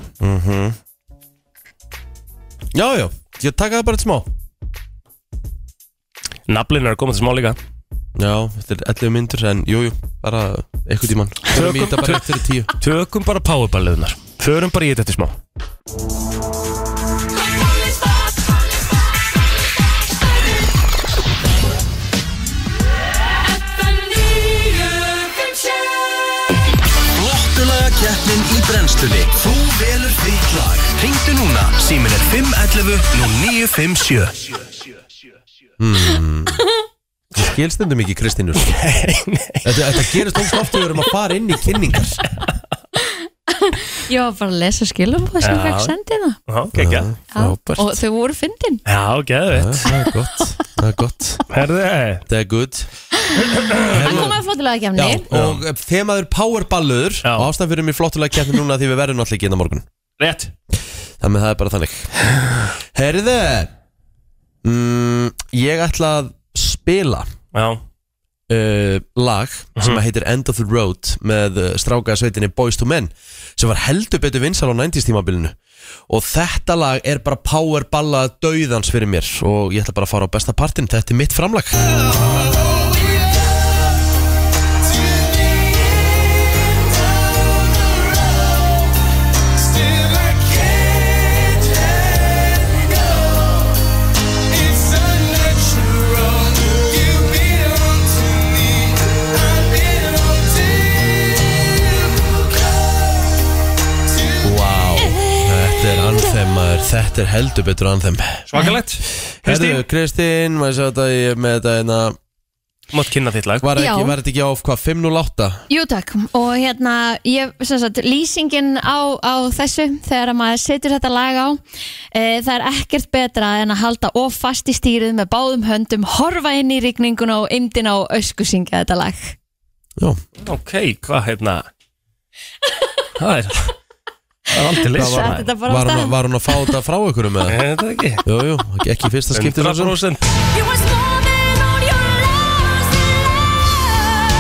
Speaker 1: Já, já, ég taka það bara eitt smá
Speaker 3: Naflin er að koma til smá líka
Speaker 1: Já, þetta er 11 myndur en jú, jú, bara eitthvað tíman Tökum í þetta bara eftir 10
Speaker 3: Tökum bara powerballuðunar Förum bara í þetta eftir smá
Speaker 4: Flottulaga keppnin í brennslunni Þú velur þitt lag Hringdu núna, símin er 511 0957
Speaker 1: Skilstundum ekki Kristínur þetta, þetta gerist ógst oft þegar við erum að fara inn í kynningar
Speaker 2: Ég var bara að lesa skilabóð sem
Speaker 3: Já.
Speaker 2: ég fekk sendið það
Speaker 3: Já, geggja
Speaker 1: Frábært.
Speaker 2: Og þau voru fyndin
Speaker 3: Já,
Speaker 1: Já,
Speaker 3: geðvitt
Speaker 1: Það er gott, það er gott
Speaker 3: Herðu, eh,
Speaker 1: Það er good
Speaker 2: Það kom að flottulega
Speaker 1: Já,
Speaker 2: kemni
Speaker 1: og þemaður powerballur
Speaker 3: Já.
Speaker 1: og ástæðan fyrir mig flottulega kemni núna því við verðum náttúrulega ekki inn á morgun
Speaker 3: rétt
Speaker 1: Þannig að það er bara þannig Herðu mm, Ég ætla að spila
Speaker 3: Já,
Speaker 1: uh, lag sem heitir End of the Road með uh, strákaðsveitinni Boys to Men sem var heldur betur vinsal á 90s tímabilinu og þetta lag er bara powerballa dauðans fyrir mér og ég ætla bara að fara á besta partin þetta er mitt framlag wow. Þetta er anþem maður, þetta er heldur betur anþem
Speaker 3: svakalegt
Speaker 1: Herðu,
Speaker 3: Kristi,
Speaker 1: Kristín, maður sér þetta ég er með þetta hérna
Speaker 3: mátt kynna þitt lag
Speaker 1: Var, ekki,
Speaker 2: Já.
Speaker 1: var þetta ekki á hvað, 508?
Speaker 2: Jú takk og hérna ég, sem sagt, lýsingin á, á þessu þegar að maður setur þetta lag á e, það er ekkert betra en að halda of fast í stýrið með báðum höndum horfa inn í rigninguna og indina og ösku syngja þetta lag
Speaker 1: Já,
Speaker 3: Ok, hvað hérna Það er Það er aldrei leysa
Speaker 2: Sett þetta
Speaker 1: var
Speaker 2: bara á
Speaker 1: hún, að-
Speaker 2: stað
Speaker 1: var hún að fá þetta frá ykkur um eða?
Speaker 3: Ég veit það ekki
Speaker 1: Jú, jú, ekki- ekki í fyrsta skipti svo sem.
Speaker 3: 100%
Speaker 2: You was more than on your last love.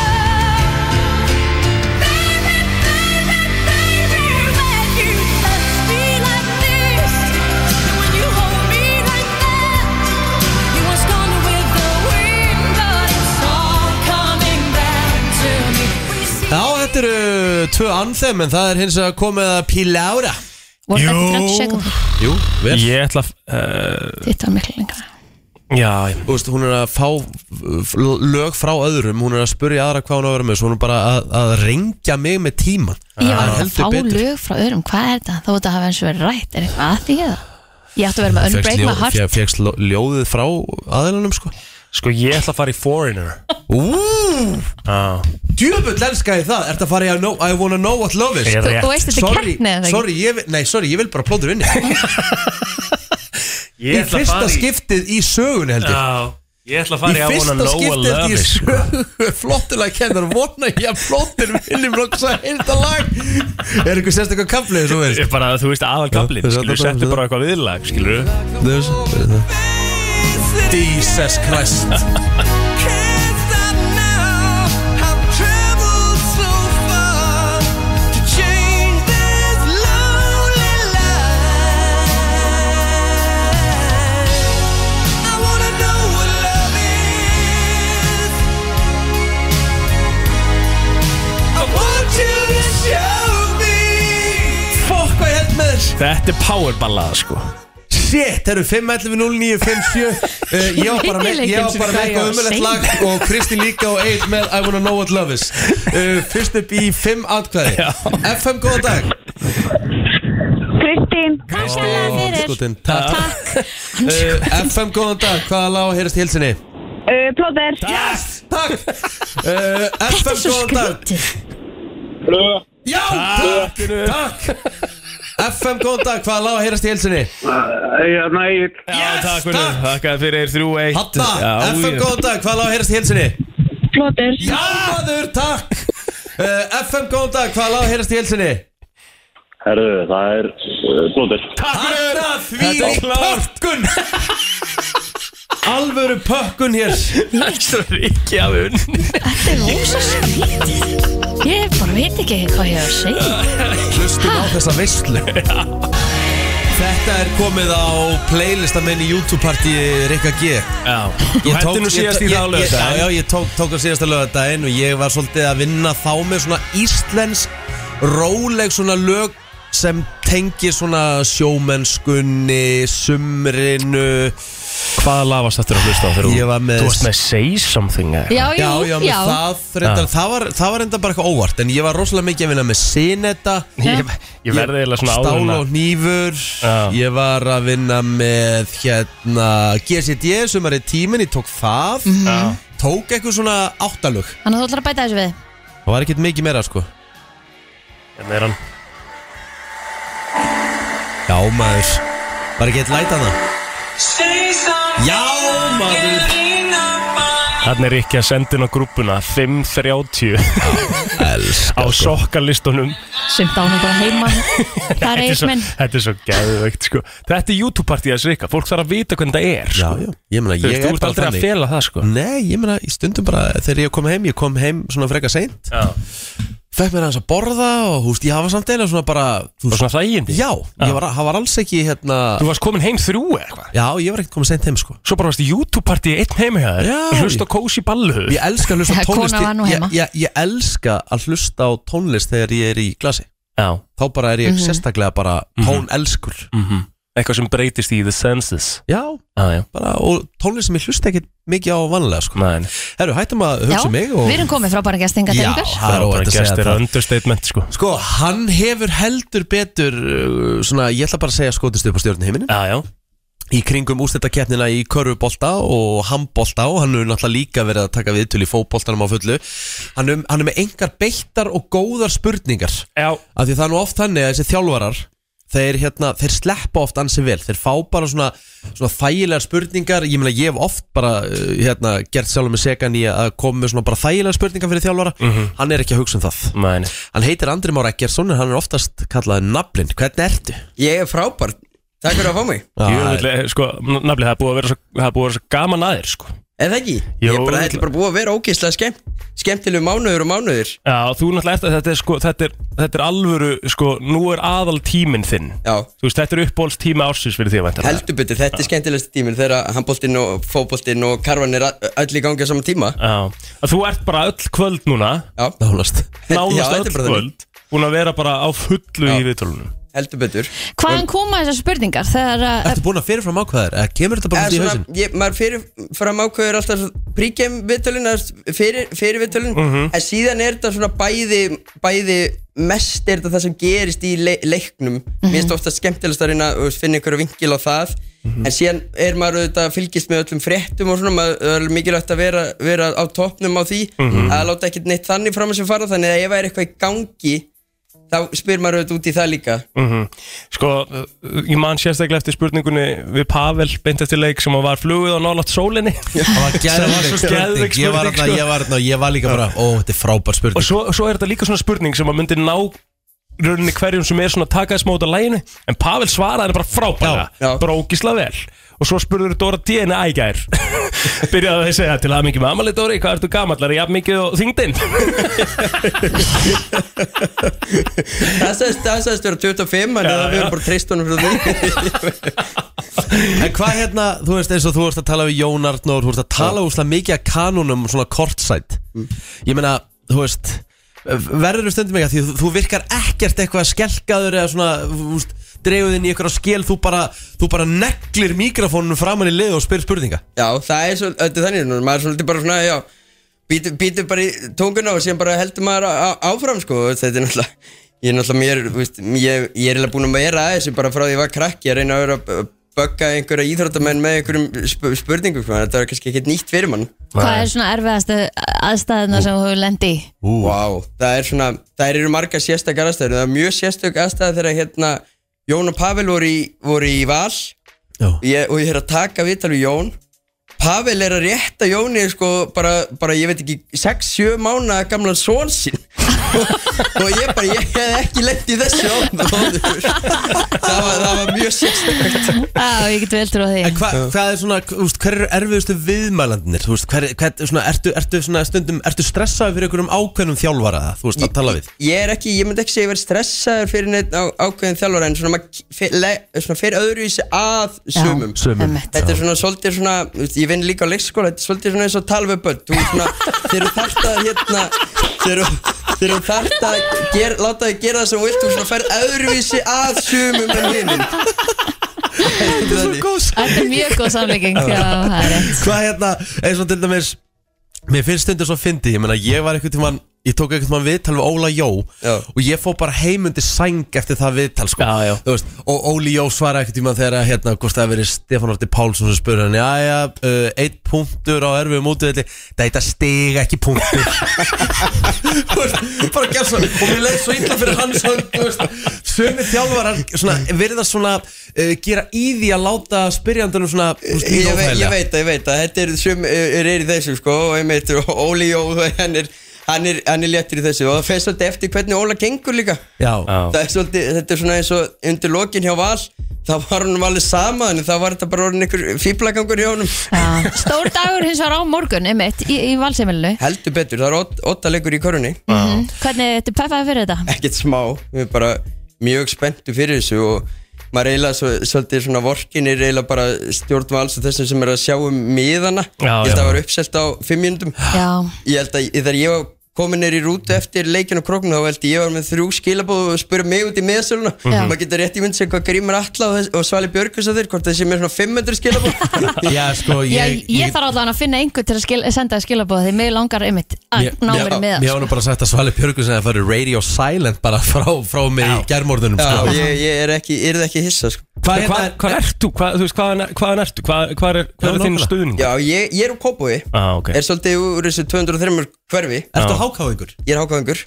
Speaker 2: Baby, baby, baby, when you touch me like this, when you hold me like that, you was gone with the wind, but it's all coming back to me. When you see-
Speaker 1: Já, þetta eru tvö anþem en það er hins að komið að píla ára
Speaker 2: Voru þetta
Speaker 3: Jú.
Speaker 2: 30 sekúndur?
Speaker 1: Jú, vel
Speaker 3: Ég ætla að uh,
Speaker 2: Þetta var miklu lengra.
Speaker 3: Já,
Speaker 1: Þú veist, hún er að fá f- lög frá öðrum, hún er að spurja aðra hvað hún á að vera með, svo hún er bara að, að rengja mig með tíman
Speaker 2: Ég var
Speaker 1: Það er
Speaker 2: að
Speaker 1: Ah. heldur
Speaker 2: fá
Speaker 1: betur.
Speaker 2: lög frá öðrum, hvað er þetta? Þó þetta hafa eins og verið rætt, er eitthvað að því eða? Ég ætti að vera með
Speaker 1: Fékkst
Speaker 2: Unbreak My
Speaker 1: ljó-
Speaker 2: Heart
Speaker 1: fé- fékkst ljó- ljóðið frá aðilunum sko
Speaker 3: sko ég ætla að fara í Foreigner
Speaker 1: Úúúú
Speaker 3: Já,
Speaker 1: Djöfull elska ég það, ertu að fara í að know, I wanna know what love is
Speaker 3: ég er
Speaker 2: Þú, þú
Speaker 3: rétt
Speaker 2: veist þetta er keppni eða
Speaker 1: sorry, ég, vil- nei, sorry, ég vil bara plóður vinni Í
Speaker 3: Ég ætla að
Speaker 1: fyrsta
Speaker 3: fara í
Speaker 1: skiptið í sögunni held ég
Speaker 3: Já, ég ætla
Speaker 1: Í
Speaker 3: að fara í I
Speaker 1: fyrsta
Speaker 3: wanna know what
Speaker 1: skiptið
Speaker 3: love
Speaker 1: í
Speaker 3: is
Speaker 1: sögu Flottulega kennar, vona ég að plóður vinni Blokks að heyrta lag Er einhver sérstakar kaflið svo verið
Speaker 3: Ég bara, þú veist, aðal kaplinn,
Speaker 1: Já,
Speaker 3: skilur,
Speaker 1: þetta-
Speaker 3: settu bara eitthvað viðlag, skilur
Speaker 1: Jesus Christ Fokk hvað ég held með þess
Speaker 3: Þetta er powerballað, sko
Speaker 1: Shit, það eru 5.11.09.57 uh, Ég var bara með, ég var bara með eitthvað umöðlegt lag og Kristi líka og Eid með I wanna know what love is uh, Fyrst upp í 5 atkvæði FM, góðan dag
Speaker 5: Kristín,
Speaker 2: Kannslega fyrir
Speaker 1: Skotin, takk uh, FM, góðan dag, hvaða lág að heyrast í hilsinni?
Speaker 5: uh, plóðir,
Speaker 1: Yes, takk uh,
Speaker 2: Þetta
Speaker 1: FM,
Speaker 2: er svo
Speaker 1: góðan dag
Speaker 2: skrítið
Speaker 1: Já, takk, takk FM, góðan dag, hvaða lág að heyrast í hilsinni?
Speaker 6: Já, nei,
Speaker 3: Já,
Speaker 1: Yes,
Speaker 3: takk fyrir,
Speaker 1: takk.
Speaker 3: þakka þér fyrir þrjú eitt
Speaker 1: Hanna, FM, góðan dag, hvaða lág að heyrast í hilsinni?
Speaker 5: plóðir,
Speaker 1: Já, maður, takk uh, FM, góðan dag, hvaða lág að heyrast í hilsinni?
Speaker 6: herðu, það er uh, blóðir.
Speaker 1: Hanna því pökkun Alvöru pökkun hér
Speaker 3: Þetta er ekki af unni
Speaker 2: Þetta er rosa skrítið Ég bara veit ekki hvað ég er að segja
Speaker 1: Hlustum á þessa veistlu Þetta er komið á playlista minn í YouTube-partíi Rikka G
Speaker 3: Já, þú
Speaker 1: Ég
Speaker 3: hætti nú
Speaker 1: ég-
Speaker 3: síðast í
Speaker 1: ég- ég- Já,
Speaker 3: þá
Speaker 1: já,
Speaker 3: lögdæðin
Speaker 1: ég tók, tók á síðasta lögadaginn og ég var svolítið að vinna þá með svona íslensk róleg svona lög sem tengi svona sjómennskunni, sumrinu
Speaker 3: Hvaða lafast eftir að hlusta á þegar þú-
Speaker 1: Ég var með-
Speaker 3: Þú varst með Say Something eða?
Speaker 2: Já, jú,
Speaker 1: Já, já, með það, reyndar, það, var, það var reyndar bara eitthvað óvart En ég var rosalega mikið að vinna með Sinetta
Speaker 3: Ég, ég verði eiginlega svona áður
Speaker 1: Stál
Speaker 3: en
Speaker 1: og
Speaker 3: að-
Speaker 1: nýfur
Speaker 3: Já.
Speaker 1: Ég var að vinna með hérna, GCD Sumari tíminn, ég tók það
Speaker 3: Já.
Speaker 1: Tók eitthvað svona áttalug
Speaker 2: Þannig að þú ætlar að bæta þessu við
Speaker 1: Það var ekkert mikið meira sko
Speaker 3: Hérna er hann
Speaker 1: Já maður Var ekki eitt læt hana Já maður
Speaker 3: Þannig Hérna er ekki að senda inn á grúpuna 5.30 á
Speaker 1: Elskar sko
Speaker 3: sokkalistunum
Speaker 2: Sumt án og bara heima Það er
Speaker 3: Þetta svo-
Speaker 2: eismenn
Speaker 3: Þetta er svo gæðveikt sko Þetta er YouTube-partíð þessi rikka Fólk þarf að vita hvernig það er
Speaker 1: Já,
Speaker 3: sko.
Speaker 1: já, ég meina ég
Speaker 3: Þú veist,
Speaker 1: er
Speaker 3: þú ert
Speaker 1: bara
Speaker 3: aldrei að
Speaker 1: þannig
Speaker 3: fela það sko
Speaker 1: Nei, ég meina í stundum bara Þegar ég kom heim, ég kom heim svona freka seint
Speaker 3: Já.
Speaker 1: Fekk mér aðeins að borða og húst, ég hafa samt eða svona bara þú
Speaker 3: Og svona þægindi
Speaker 1: Já, ég var, það var alls ekki hérna
Speaker 3: Þú varst komin heim þrjú eða eitthvað
Speaker 1: Já, ég var ekkert komið sent heim sko
Speaker 3: Svo bara varst í YouTube-partíð einn heim hjá þér
Speaker 1: Já.
Speaker 3: Hlust á kósi ballu
Speaker 1: Ég elska að hlusta á
Speaker 2: Kona
Speaker 1: tónlist
Speaker 2: var nú
Speaker 1: ég,
Speaker 2: heima.
Speaker 1: ég, ég elska að hlusta á tónlist þegar ég er í glasi
Speaker 3: Já
Speaker 1: Þá bara er ég
Speaker 2: Mhm.
Speaker 1: sérstaklega bara tónelskur
Speaker 3: mhm. Eitthvað sem breytist í the senses
Speaker 1: Já,
Speaker 3: Já, já
Speaker 1: bara, og tónlist sem ég hlusta ekkert mikið á vanlega sko
Speaker 3: Næn
Speaker 1: Herru, hættum að
Speaker 2: Já,
Speaker 1: hugsa um mig og...
Speaker 2: við erum komið frá bara gestinga til
Speaker 1: Já,
Speaker 2: ykkur
Speaker 1: það er óætt að segja
Speaker 3: Gestir
Speaker 1: það
Speaker 3: understatement sko
Speaker 1: Sko, hann hefur heldur betur uh, svona, ég ætla bara að segja skotist upp á stjórnum heiminin
Speaker 3: Já, já
Speaker 1: í kringum úrstættakeppnina í körfubolta og handbolta og hann hefur náttúrulega líka verið að taka viðtöl í fótboltanum á fullu hann er, hann er með engar beittar og góðar spurningar
Speaker 3: Já
Speaker 1: af því það er nú oft þannig að þessi þjálfarar þeir, hérna, þeir sleppa oft ansi vel þeir fá bara svona, svona þægilegar spurningar ég meina ég hef oft bara uh, hérna, gert sjálfur með segan í að koma með svona bara þægilegar spurningar fyrir þjálfara hann er ekki að hugsa um það
Speaker 3: Næn
Speaker 1: hann heitir Andri Már Eggersson en hann er oftast kallaði naflinn hvernig ertu?
Speaker 7: Ég er frábær Takk fyrir að fá mig
Speaker 3: Jöfnveld, sko, nafnilega, það er búið að vera svo, það er búið að vera svo gaman aðeir, sko.
Speaker 7: Eða ekki?
Speaker 3: Jú,
Speaker 7: ég er bara,
Speaker 3: örugglega.
Speaker 7: þetta er bara búið að vera ógeðslega skemmt Skemmtilegu mánuður og mánuður
Speaker 3: Já, þú náttúrulega ert að þetta er, sko, þetta er, þetta er alvöru, sko, nú er aðal tíminn þinn.
Speaker 7: Já,
Speaker 3: Þú veist, þetta er uppbólst tíma ársins fyrir því að vænta.
Speaker 7: heldur betur, þetta er skemmtilegsta tíminn Þegar handbóltinn og fótbóltinn og karvan er ö- öll í gangi á sama tíma
Speaker 3: Já, að þú ert bara öll kvöld núna,
Speaker 7: Já,
Speaker 1: nánast
Speaker 7: já,
Speaker 3: nánast öll
Speaker 7: þetta er bara þannig.
Speaker 3: kvöld, búin að vera bara á fullu í viðtölunum.
Speaker 7: heldur betur
Speaker 2: Hvaðan koma þessar spurningar? Þegar að
Speaker 1: Ertu búin að fyrirfram ákvæðar? Eða kemur þetta bara
Speaker 7: Eða
Speaker 1: út í
Speaker 7: svona,
Speaker 1: hausinn?
Speaker 7: ég, maður fyrirfram ákveður alltaf príkjum viðtölin eða fyrir, fyrir viðtölin
Speaker 1: Mhm.
Speaker 7: en síðan er þetta svona bæði, bæði mest er þetta það sem gerist í le leiknum mér finnst ofta skemmtilegst að reyna að finna einhverja vingil á það
Speaker 1: Mhm.
Speaker 7: en síðan er maður auðvitað að fylgjast með öllum fréttum og svona maður það er alveg mikilvægt að vera, vera á toppnum á því
Speaker 1: Mhm.
Speaker 7: að láta ekkert neitt þannig fram að sem fara þannig að ef það er eitthvað í gangi þá spyr maður auðvitað út í það líka
Speaker 3: Sko, uh, ég man sérstaklega eftir spurningunni við Pavel beint eftir leik sem að var flugið á nálaft sólinni.
Speaker 1: Það var geðveik
Speaker 3: svo
Speaker 1: spurning
Speaker 3: geðveik
Speaker 1: Ég var, alltaf,
Speaker 3: spurning, sko.
Speaker 1: ég, var alltaf, ég var líka bara, ó, þetta er frábær
Speaker 3: Og
Speaker 1: spurning
Speaker 3: svo, svo er þetta líka svona spurning sem að myndi ná rauninni hverjum sem er svona takaði smá út af læginu en Pavel svaraði henni bara
Speaker 7: Já,
Speaker 3: frábæra
Speaker 7: já.
Speaker 3: brókisla vel og svo spurður Dóra Díðinni ægær byrjaði að segja til að mikið með Amalí Dóri hvað ertu gamallar, jafn mikið og þingdinn
Speaker 7: það sagðist það sagðist vera 25 þannig
Speaker 3: Já,
Speaker 7: að við
Speaker 3: já.
Speaker 7: erum bara treyst honum fyrir því
Speaker 1: En hvað hérna, þú veist eins og þú vorst að tala við Jón Arnór Þú vorst að tala úrslega mikið að kanunum svona kortsætt
Speaker 3: Mm.
Speaker 1: Ég meina, þú veist Verður þú stundum ekki að því þú- þú virkar ekkert eitthvað skelkaður eða svona, þú veist, dreguð inn í eitthvað skil Þú bara, þú bara neglir mikrofónunum framan í lið og spyr spurninga
Speaker 7: Já, það er svolítið, þetta er þannig núna, maður er svolítið bara svona, já býtur býtu bara í tunguna og síðan bara heldur maður á, á- áfram, sko, þú veist, þetta er náttúrulega ég er náttúrulega mér, þú veist, ég, ég er eiginlega búin að vera að þessu bara frá því ég var krakki að reyna að vera að bögga einhverja íþróttamenn með einhverjum sp spurningum, sko, þetta er kannski ekkert nýtt fyrir mann
Speaker 2: eh, hvað er svona erfiðastu aðstæðina sem þú hefur lendi í?
Speaker 7: Vá, það er svona, það eru margar sérstak aðstæður, það er mjög sérstak aðstæður þegar hérna Jón og Pavel voru í, voru í val
Speaker 1: Já.
Speaker 7: ég, og ég er að taka viðtal við um Jón Pavel er að rétta Jóni sko bara, bara ég veit ekki 6-7 mánu gamlan són sín og ég bara, ég hef ekki lent í þessu án áður það var, það var mjög sérstakt
Speaker 2: Já, ég get vel trú á því
Speaker 1: En hva, hvað er svona, þú veist, hver eru erfiðustu viðmælandinir? Þú veist, hver, hver, svona, ertu, ertu svona stundum, ertu stressaði fyrir einhverjum ákveðnum þjálfara það, þú veist, að tala við?
Speaker 7: Ég er ekki, ég myndi ekki segja ég verið stressaður fyrir neitt á, ákveðin þjálfara en svona maður fer- le- svona fyrir öðruvísi að sumum
Speaker 1: sumum.
Speaker 2: einmitt.
Speaker 7: Þetta er svona svolítið svona, þú veist, ég vinn líka á leikskóla, þetta er svolítið svona eins og tala við börn Þú svona, þegar þú þarft að hérna, þegar þú- þegar þú þarft að ger, láta þig gera það sem þú vilt Þú svona ferð öðruvísi að sumum en hinum
Speaker 1: Þetta er svo góð
Speaker 2: Þetta er mjög góð samlíking Já, það er rétt
Speaker 1: Hvað hérna, eins og til dæmis Mér finnst stundur svo fyndi Ég meina, ég var einhvern tímann Ég tók einhvern tímann viðtal við Óla Jó
Speaker 7: Já.
Speaker 1: Og ég fór bara heimundi sæng eftir það viðtal sko.
Speaker 3: Já, já.
Speaker 1: Þú Veist, Og Óli Jó svaraði einhvern tímann þegar hérna, hvort það hafi verið Stefán Orti Pálsson sem spurði hann Jæja, uh, eitt punktur á erfiðum útvelli Þetta stig ekki punktur Þú veist, bara gerð svo og mér leið svo illa fyrir hans hönd þú veist. sömu þjálfarar svona, virðast svona uh, gera í því að láta spyrjandunum svona þú veist,
Speaker 7: ég, veit, ég
Speaker 1: óþægilega.
Speaker 7: veit, það, ég veit að þetta er, sum, er, er í þessu sko og ég meitur Óli Jó hann er, hann, er, hann er léttur í þessu og það fer svolítið eftir hvernig Óla gengur líka
Speaker 1: Já,
Speaker 3: Já.
Speaker 7: það er svolítið, þetta er svona eins og undir lokin hjá Val það var hann alveg sama en það var þetta bara orðin einhver fýblagangur hjá honum
Speaker 2: Já. Stór dagur hins var á morgun, einmitt, í, í valseimilinu
Speaker 7: heldur betur, það er åtta leikur í korunni
Speaker 2: mm. Hvernig ertu peffaði fyrir þetta?
Speaker 7: ekkert smá, við erum bara mjög spenntu fyrir þessu og maður eiginlega svo, svolítið svona vorkin er eiginlega bara stjórn vals og þessum sem er að sjá um miðana,
Speaker 3: Já,
Speaker 7: ég held að
Speaker 3: já.
Speaker 7: það var uppselt á fimm mínútum,
Speaker 2: Já,
Speaker 7: ég held að þegar ég var komin er í rútu eftir leikin og króknu þá held ég ég var með þrjú skilabóð og spurði mig út í miðasöluna
Speaker 2: Já.
Speaker 7: maður getur rétt í mynd sem hvað grímur alla og, þess- og Svali Björgus að þeir, hvort þessi með svona 500 skilabóð
Speaker 1: já sko
Speaker 2: ég, ég, þarf allavega að finna einhvern til að skil, senda skilabóð því mig langar einmitt að
Speaker 1: Mér-
Speaker 2: ná
Speaker 7: já,
Speaker 2: mér með
Speaker 1: Mér
Speaker 2: það,
Speaker 1: hafði bara sagt að Svali Björgus að það fyrir radio silent bara frá, frá mér í germordunum
Speaker 7: Já,
Speaker 1: sko.
Speaker 7: ég, ég er ekki, yrði ekki hissa sko.
Speaker 1: Hvað
Speaker 3: Hvað,
Speaker 1: hérna-
Speaker 3: hvað ert þú? Hvað, þú veist, hvaðan hvað ertu? Hvað, hvað
Speaker 1: Já,
Speaker 3: er, hvað er þinn
Speaker 1: nákvæmlega.
Speaker 3: stuðning?
Speaker 7: Já, ég, ég er úr Kópói
Speaker 3: ah, ok
Speaker 7: er svolítið úr þessu 203 hverfi
Speaker 1: Ertu hákáðingur?
Speaker 7: ég er hákvæðingur,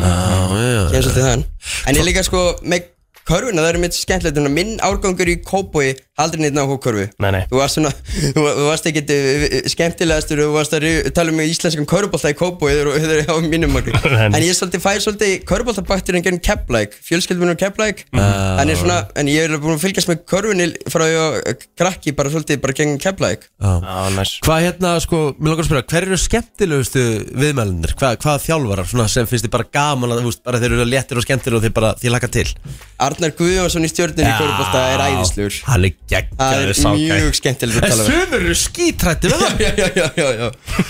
Speaker 1: Já,
Speaker 7: ég er svolítið þann en ég líka sko með körfuna, það er mitt skemmtilegt þannig að minn árgangur í Kópói aldrei neitt náhú körfu
Speaker 3: Nei, nei.
Speaker 7: þú varst svona, þú var- þú varst ekkit uh, skemmtilegastur, þú varst að ri- tala um íslenskan körfubólta í Kópói þegar þegar ég á mínum okkur,
Speaker 3: Nei.
Speaker 7: en ég svolítið fæ svolítið körfubóltabaktur en gerðum keplæk fjölskyldunum keplæk,
Speaker 3: Mm.
Speaker 7: en ég er svona en ég er búin að fylgjast með körfunni frá ég var krakki bara svolítið bara gengum keplæk
Speaker 1: já.
Speaker 3: ah, nice.
Speaker 1: Hvað hérna, sko, mér langar að spyrja, hver eru skemmtilegustu viðmælinir? Hvað, hvaða þjálfarar svona sem finnst þið bara gaman að, þú veist, bara þeir eru léttir og skemmtilegur og þeir bara, þið laka til?
Speaker 7: Arnar Guðjónsson í stjórninni í körfubólta er æðislegur
Speaker 1: Hann er
Speaker 7: það er
Speaker 1: geggjaður
Speaker 7: mjög skemmtilegt að tala við
Speaker 1: Sumur eru skítrætti við það
Speaker 7: já, já, já, já, já.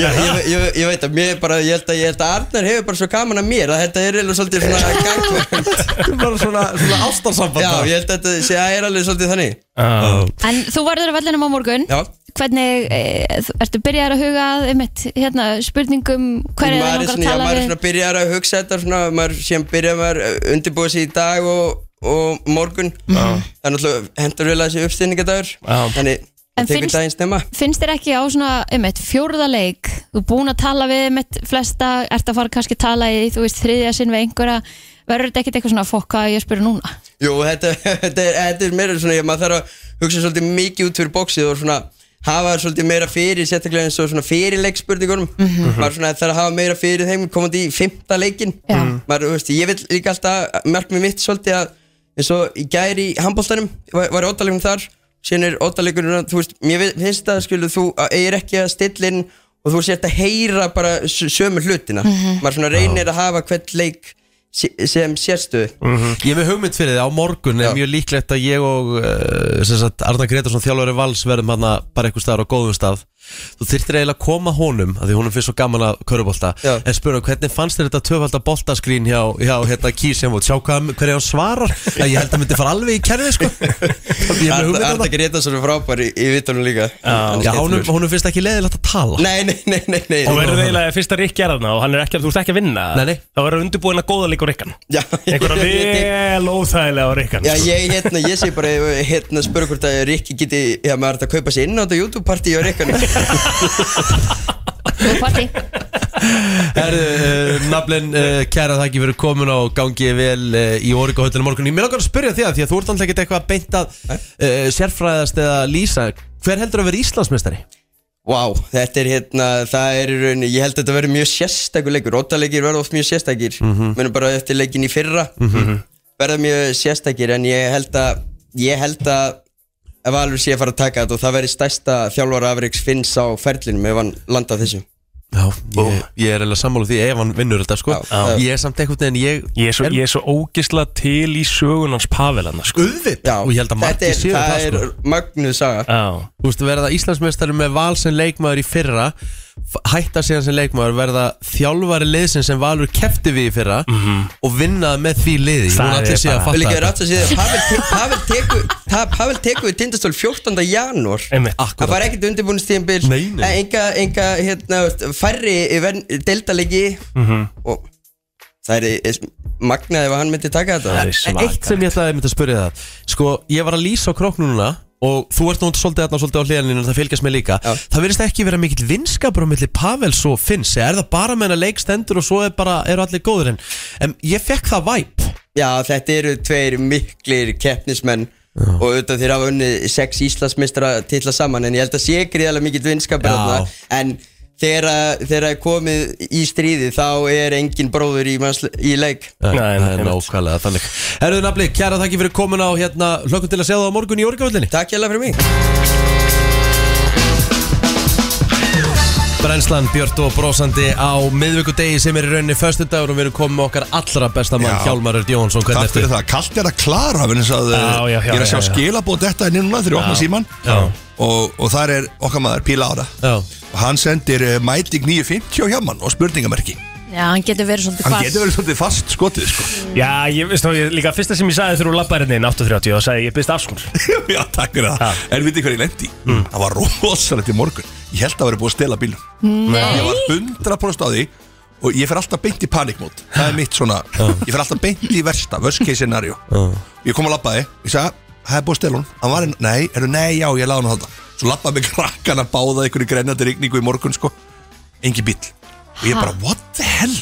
Speaker 7: Ég, ég, ég, ég veit að mér bara, ég held að, ég held að Arnar hefur bara svo gaman að mér að þetta er alveg svolítið svona gangvænt
Speaker 1: Þetta er bara svona, svona ástarsamband
Speaker 7: Já, ég held að þetta sé að er alveg svolítið þannig
Speaker 3: ah.
Speaker 2: En þú verður á vellinum á morgun
Speaker 7: Já,
Speaker 2: Hvernig, e, þú- ertu byrjar að huga að einmitt, hérna, spurningum hver er
Speaker 7: maður
Speaker 2: það
Speaker 7: er
Speaker 2: langar
Speaker 7: svona, já,
Speaker 2: að
Speaker 7: maður er
Speaker 2: tala
Speaker 7: svona byrjar að hugsa þetta svona, maður síðan byrjar maður undirbúið sér í dag og, og morgun Það er náttúrulega hendur vel að þessi uppstýrningadagur
Speaker 3: Já.
Speaker 7: Þannig,
Speaker 2: En
Speaker 7: það tekur
Speaker 2: finnst-
Speaker 7: daginn snemma
Speaker 2: við Finnst þér ekki á svona, einmitt, fjórða leik þú er búin að tala við einmitt flesta ert að fara kannski að tala í, þú veist, þriðja sinn við einhverja, verður þetta ekkit eitthvað svona fokk hvað á ég að spyrja núna?
Speaker 7: Jú, þetta, þetta, er, þetta er meira svona, ég, maður þarf að hugsa svolítið mikið út fyrir bóksið og svona hafa svolítið meira fyrir, sérstaklega eins og svona fyrir leikspurningunum, maður svona þarf að hafa meira fyrir þeim komandi í fymta leikin
Speaker 2: Já.
Speaker 7: maður, þú veist, ég vil líka alltaf markmið mitt svolítið að eins og í gæri í handbóltanum, var, var óttalegum þar síðan er óttalegurinn, þú veist, mér vi- finnst það, skilu, þú eigir ekki að stilla inn og þú sért að heyra bara s- sömu hlutina, maður svona reynir að hafa hvert leik se- sem sérstöðu
Speaker 1: Ég er með hugmynd fyrir þið, á morgun er
Speaker 7: Mhm. Já.
Speaker 1: mjög líklegt að ég og uh, sem sagt, Arna Gretarsson þjálfari vals verðum hann bara einhver staðar á góðum stað Þú þyrftir eiginlega að koma honum að því honum finnst svo gaman að körubolta
Speaker 7: Já.
Speaker 1: en spura hvernig fannst þér þetta töfvalda boltaskrín hjá, hjá hérna Kís sem sjá hvað, hverja hann svarar að ég held að myndi fara alveg í kerfi sko. Ég er með hugmynd
Speaker 7: Arda
Speaker 1: að það
Speaker 7: Gretarsson er frábær í, í vittunum líka Hann
Speaker 1: Já,
Speaker 7: er
Speaker 1: honum,
Speaker 7: skemmtilegur.
Speaker 1: honum finnst ekki leðilegt að tala
Speaker 7: Nei, nei, nei, nei, nei.
Speaker 3: Þú verður eiginlega fyrst að Rikki er þarna og hann er ekki að, þú ert ekki að vinna
Speaker 1: Nei, nei.
Speaker 3: Þá verður undirbúin að góða líka Rikkan
Speaker 7: Já,
Speaker 3: Einhverja
Speaker 7: ég- ég- ég-
Speaker 3: vel óþægilega á Rikkan
Speaker 7: Já, ég, hérna, ég segi bara, hérna, spurði hvort að Rikki geti, já, maður er hægt að kaupa sér inn á þetta YouTube-partí og Rikkan
Speaker 2: Góð partí.
Speaker 1: Herðu, uh, naflin, uh, kæra þakki fyrir komin og gangið vel uh, í Origo höllinu morgun Ég með langar að spyrja þig að því að þú ert alltaf ekkert eitthvað beint að uh, sérfræðast eða lýsa Hver heldur að vera Íslandsmeistari?
Speaker 7: Vá, þetta er hérna, það er í rauninni, ég held að þetta verður mjög sérstakur leikur Rótaleikir verða oft mjög sérstakir mm
Speaker 1: Mhm.
Speaker 7: Menum bara eftir leikin í fyrra Verða mjög sérstakir en ég held að Ég held að Ef alveg sé að fara að taka þetta og það verði stærsta þjálfara Afriks finns á ferlinum ef hann landa þessu
Speaker 1: Já, ég, ég er eiginlega sammála því ef hann vinnur þetta sko
Speaker 7: Já, já.
Speaker 1: Ég er samt einhvern veginn, ég
Speaker 3: Ég er svo, ég er svo ógisla til í sögun hans Pavelana sko.
Speaker 1: Guðvitt, og ég held að
Speaker 7: þetta
Speaker 1: margir séu það,
Speaker 7: er
Speaker 1: sko
Speaker 7: mögnuð saga
Speaker 3: Já,
Speaker 1: Þú veist, verða Íslandsmeistari með val sem leikmaður í fyrra f- hætta síðan sem leikmaður verða þjálfari liðsin sem Valur kefti við í fyrra og vinna með því liði Ég
Speaker 3: Það
Speaker 1: vona allir
Speaker 3: er
Speaker 1: sé að
Speaker 3: bara-
Speaker 1: fatta
Speaker 7: Vil ekki
Speaker 1: þetta.
Speaker 7: rátt að segja Pavel, te Pavel, teku, ta Pavel teku við tindastól 14. janúar
Speaker 3: Einmitt.
Speaker 1: Akkurat.
Speaker 7: Það var ekkert undirbúinistíðanbíl
Speaker 1: Nei, nei.
Speaker 7: Enga, enga hérna, veist, færri deildalegi mm
Speaker 1: Mhm.
Speaker 7: -hmm. Og það er magnaði ef hann myndi taka þetta
Speaker 3: er
Speaker 1: Eitt sem ég ætlaði að mynda að spyrja það Sko, ég var að lýsa á króknu núna Og þú ert nú svolítið þarna og svolítið á hliðanlínu Það fylgjast mig líka
Speaker 7: Já.
Speaker 1: Það verðist ekki vera mikill vinskapur á milli Pavels og Finns eða Er það bara með hennar leikstendur og svo er bara, eru allir góður En, en ég fekk það væp
Speaker 7: Já, þetta eru tveir miklir keppnismenn og auðvitað þeir hafa unnið sex Íslandsmeistra titla saman en ég held að sé gríðarlega mikill vinskapur
Speaker 1: Já.
Speaker 7: þarna. en þegar að- þegar að er komið í stríði þá er engin bróður í, mannsl- í leik
Speaker 1: Nei,
Speaker 3: Nei,
Speaker 1: það er
Speaker 3: einmitt.
Speaker 1: nákvæmlega þannig Herðu nafli, kæra þakki fyrir komin á hérna Hlökkum til að sjá það á morgun í orgavöllinni
Speaker 7: Takk hjá fyrir mig
Speaker 1: Brennslan Björn og brósandi á miðvíkudegi sem er í rauninni föstudagur og við erum komin með okkar allra besta mann
Speaker 8: Já.
Speaker 1: Hjálmar Örd Jónsson hvernig
Speaker 8: Takk
Speaker 1: ertu?
Speaker 8: fyrir það, kallt er að klara vegna þess að, eh,
Speaker 3: Já, já, já,
Speaker 8: Ég er að sjá
Speaker 3: já, já.
Speaker 8: skilabóð þetta er núna þegar ég opna síman og, og þar er okkar maður Píla Ára
Speaker 1: Já,
Speaker 8: og hann sendir eh, mæting 950 hjá mann og spurningamerki
Speaker 2: Já, hann getur verið svolítið
Speaker 8: Hann
Speaker 2: fast
Speaker 8: getur verið svolítið fast skotið sko.
Speaker 3: Já, ég veist þá, ég, líka fyrsta sem ég sagði þurru labbarinnin 8.30 og sagði ég byrst afskur
Speaker 8: Já, takk fyrir það
Speaker 3: Ha.
Speaker 8: En vitið hvað ég lendi? Mm. Það var rosalegt í morgun Ég held að það verið búið að stela bílum Nei. Ég var 100% á því Og ég fer alltaf beint í panikmót Það er mitt svona Ég fer alltaf beint í versta Worst case scenario Ég kom að labbaði Ég sagði Það er búið að stela hún Hann var einn Nei, er nei, já, ég laði hún þetta Svo labbaði með krakkana Báða ykkur í grenjandi rigningu í morgun sko Engi bíl Og ég bara, what the hell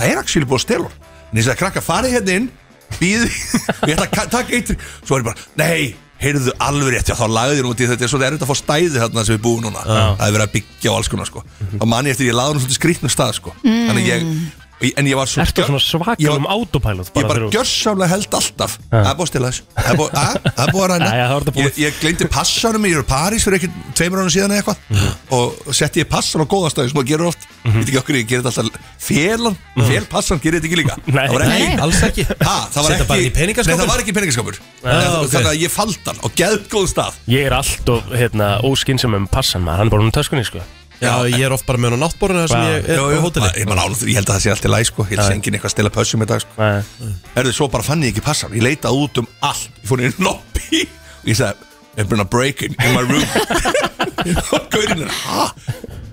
Speaker 8: Það er actually búið að stela hún En ég sagði, krakka, farið hérna inn Býðu Ég ætla að ka- taka eitt Svo er ég bara, nei Heyrðu alveg rétt, já þá lagði hún út í þetta er Svo erfitt að fá stæði þarna sem við búum núna Það er verið að byggja og alls konar sko
Speaker 3: Mhm.
Speaker 8: Þá man ég eftir, ég lagði hún svolítið skrýtnum stað sko Þannig ég og ég- En ég var svo
Speaker 3: Mm. Ertu
Speaker 8: gjör-
Speaker 3: svona
Speaker 8: ég
Speaker 3: svakalum
Speaker 8: var-
Speaker 3: autopilot
Speaker 8: Ég bara
Speaker 3: þegar þú-
Speaker 8: gjörsamlega held alltaf Það er búið að stela þessu Það er búið- að- það er búið að
Speaker 3: Já, já, það var
Speaker 8: ræna
Speaker 3: þetta búið.
Speaker 8: Ég- Ég gleymdi passanum Ég er í París fyrir ekkert tveimur ánum síðan eða eitthvað Og setti ég passan á góðastæði sem það gerur oft Ég veit ekki okkur ég gerir þetta alltaf Félan, fél passan gerir þetta ekki líka
Speaker 3: Nei.
Speaker 8: Það var ekki
Speaker 2: Nei.
Speaker 1: alls ekki
Speaker 8: Ha, það var
Speaker 1: Setja
Speaker 8: ekki,
Speaker 1: bara í peningaskáp?
Speaker 8: Nei, það var ekki peningaskapur
Speaker 1: ok.
Speaker 8: Þannig að ég fald hann á geðgóð stað
Speaker 3: Ég er alltof, hérna, óskynsam um passan maður, hann er bara um töskunni, sko
Speaker 1: Já, ég er oft bara með hann á náttborðinu þar sem
Speaker 3: Já.
Speaker 1: ég er á hóteli
Speaker 8: Að- Ég, man, álútur, ég held að það sé allt í læg sko. Ég held að enginn eitthvað að stela pössum í dag sko.
Speaker 3: Nei.
Speaker 8: Erðu, svo bara fann ég ekki passan Ég leitaði út um allt Ég fór inn í lobby Og ég sagði I've been a break in, in my room Og gaurinn er Hæ?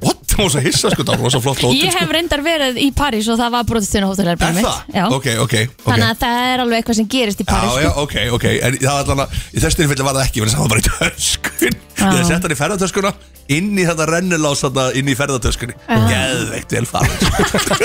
Speaker 8: What? Það var svo hissa sko Það var svo flott hótel
Speaker 2: Ég hef reyndar verið í París og það var brotistun á hótelherbergum
Speaker 8: Er
Speaker 2: mitt
Speaker 8: það?
Speaker 2: Já.
Speaker 8: Ok, ok, ok
Speaker 2: Þannig að sko- það er alveg eitthvað sem gerist í París
Speaker 8: Já, já, ok, ok En það var allan að Í þessu tilfelli var það ekki Þannig að það var bara í töskun
Speaker 2: Já.
Speaker 8: Ég sett hann í ferðartöskuna Inn í þetta rennilás Þetta inn í ferðartöskunni Geðveikt vel farið sko.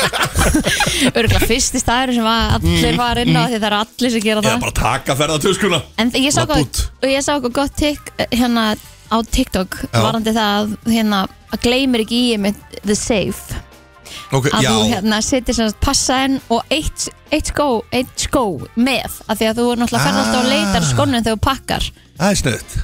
Speaker 2: Örgulega fyrsti staður sem var- allir var inn á því það er allir sem gera
Speaker 8: Eða
Speaker 2: það
Speaker 8: Mm, bara taka ferðartöskuna
Speaker 2: En þ- ég sá
Speaker 8: Labba
Speaker 2: hvað, og ég sá hvað gott tikk eh, hérna á TikTok
Speaker 8: Já.
Speaker 2: varandi það að, hérna, að gleymir ekki í með the safe
Speaker 8: Ok,
Speaker 2: að
Speaker 8: já
Speaker 2: þú hérna setir sem sagt passaðinn og eitt, eitt skó, eitt skó með af því að þú er náttúrulega ferð alltaf og
Speaker 3: Ah.
Speaker 2: leitar skónum þegar þú pakkar,
Speaker 8: Það er snöðt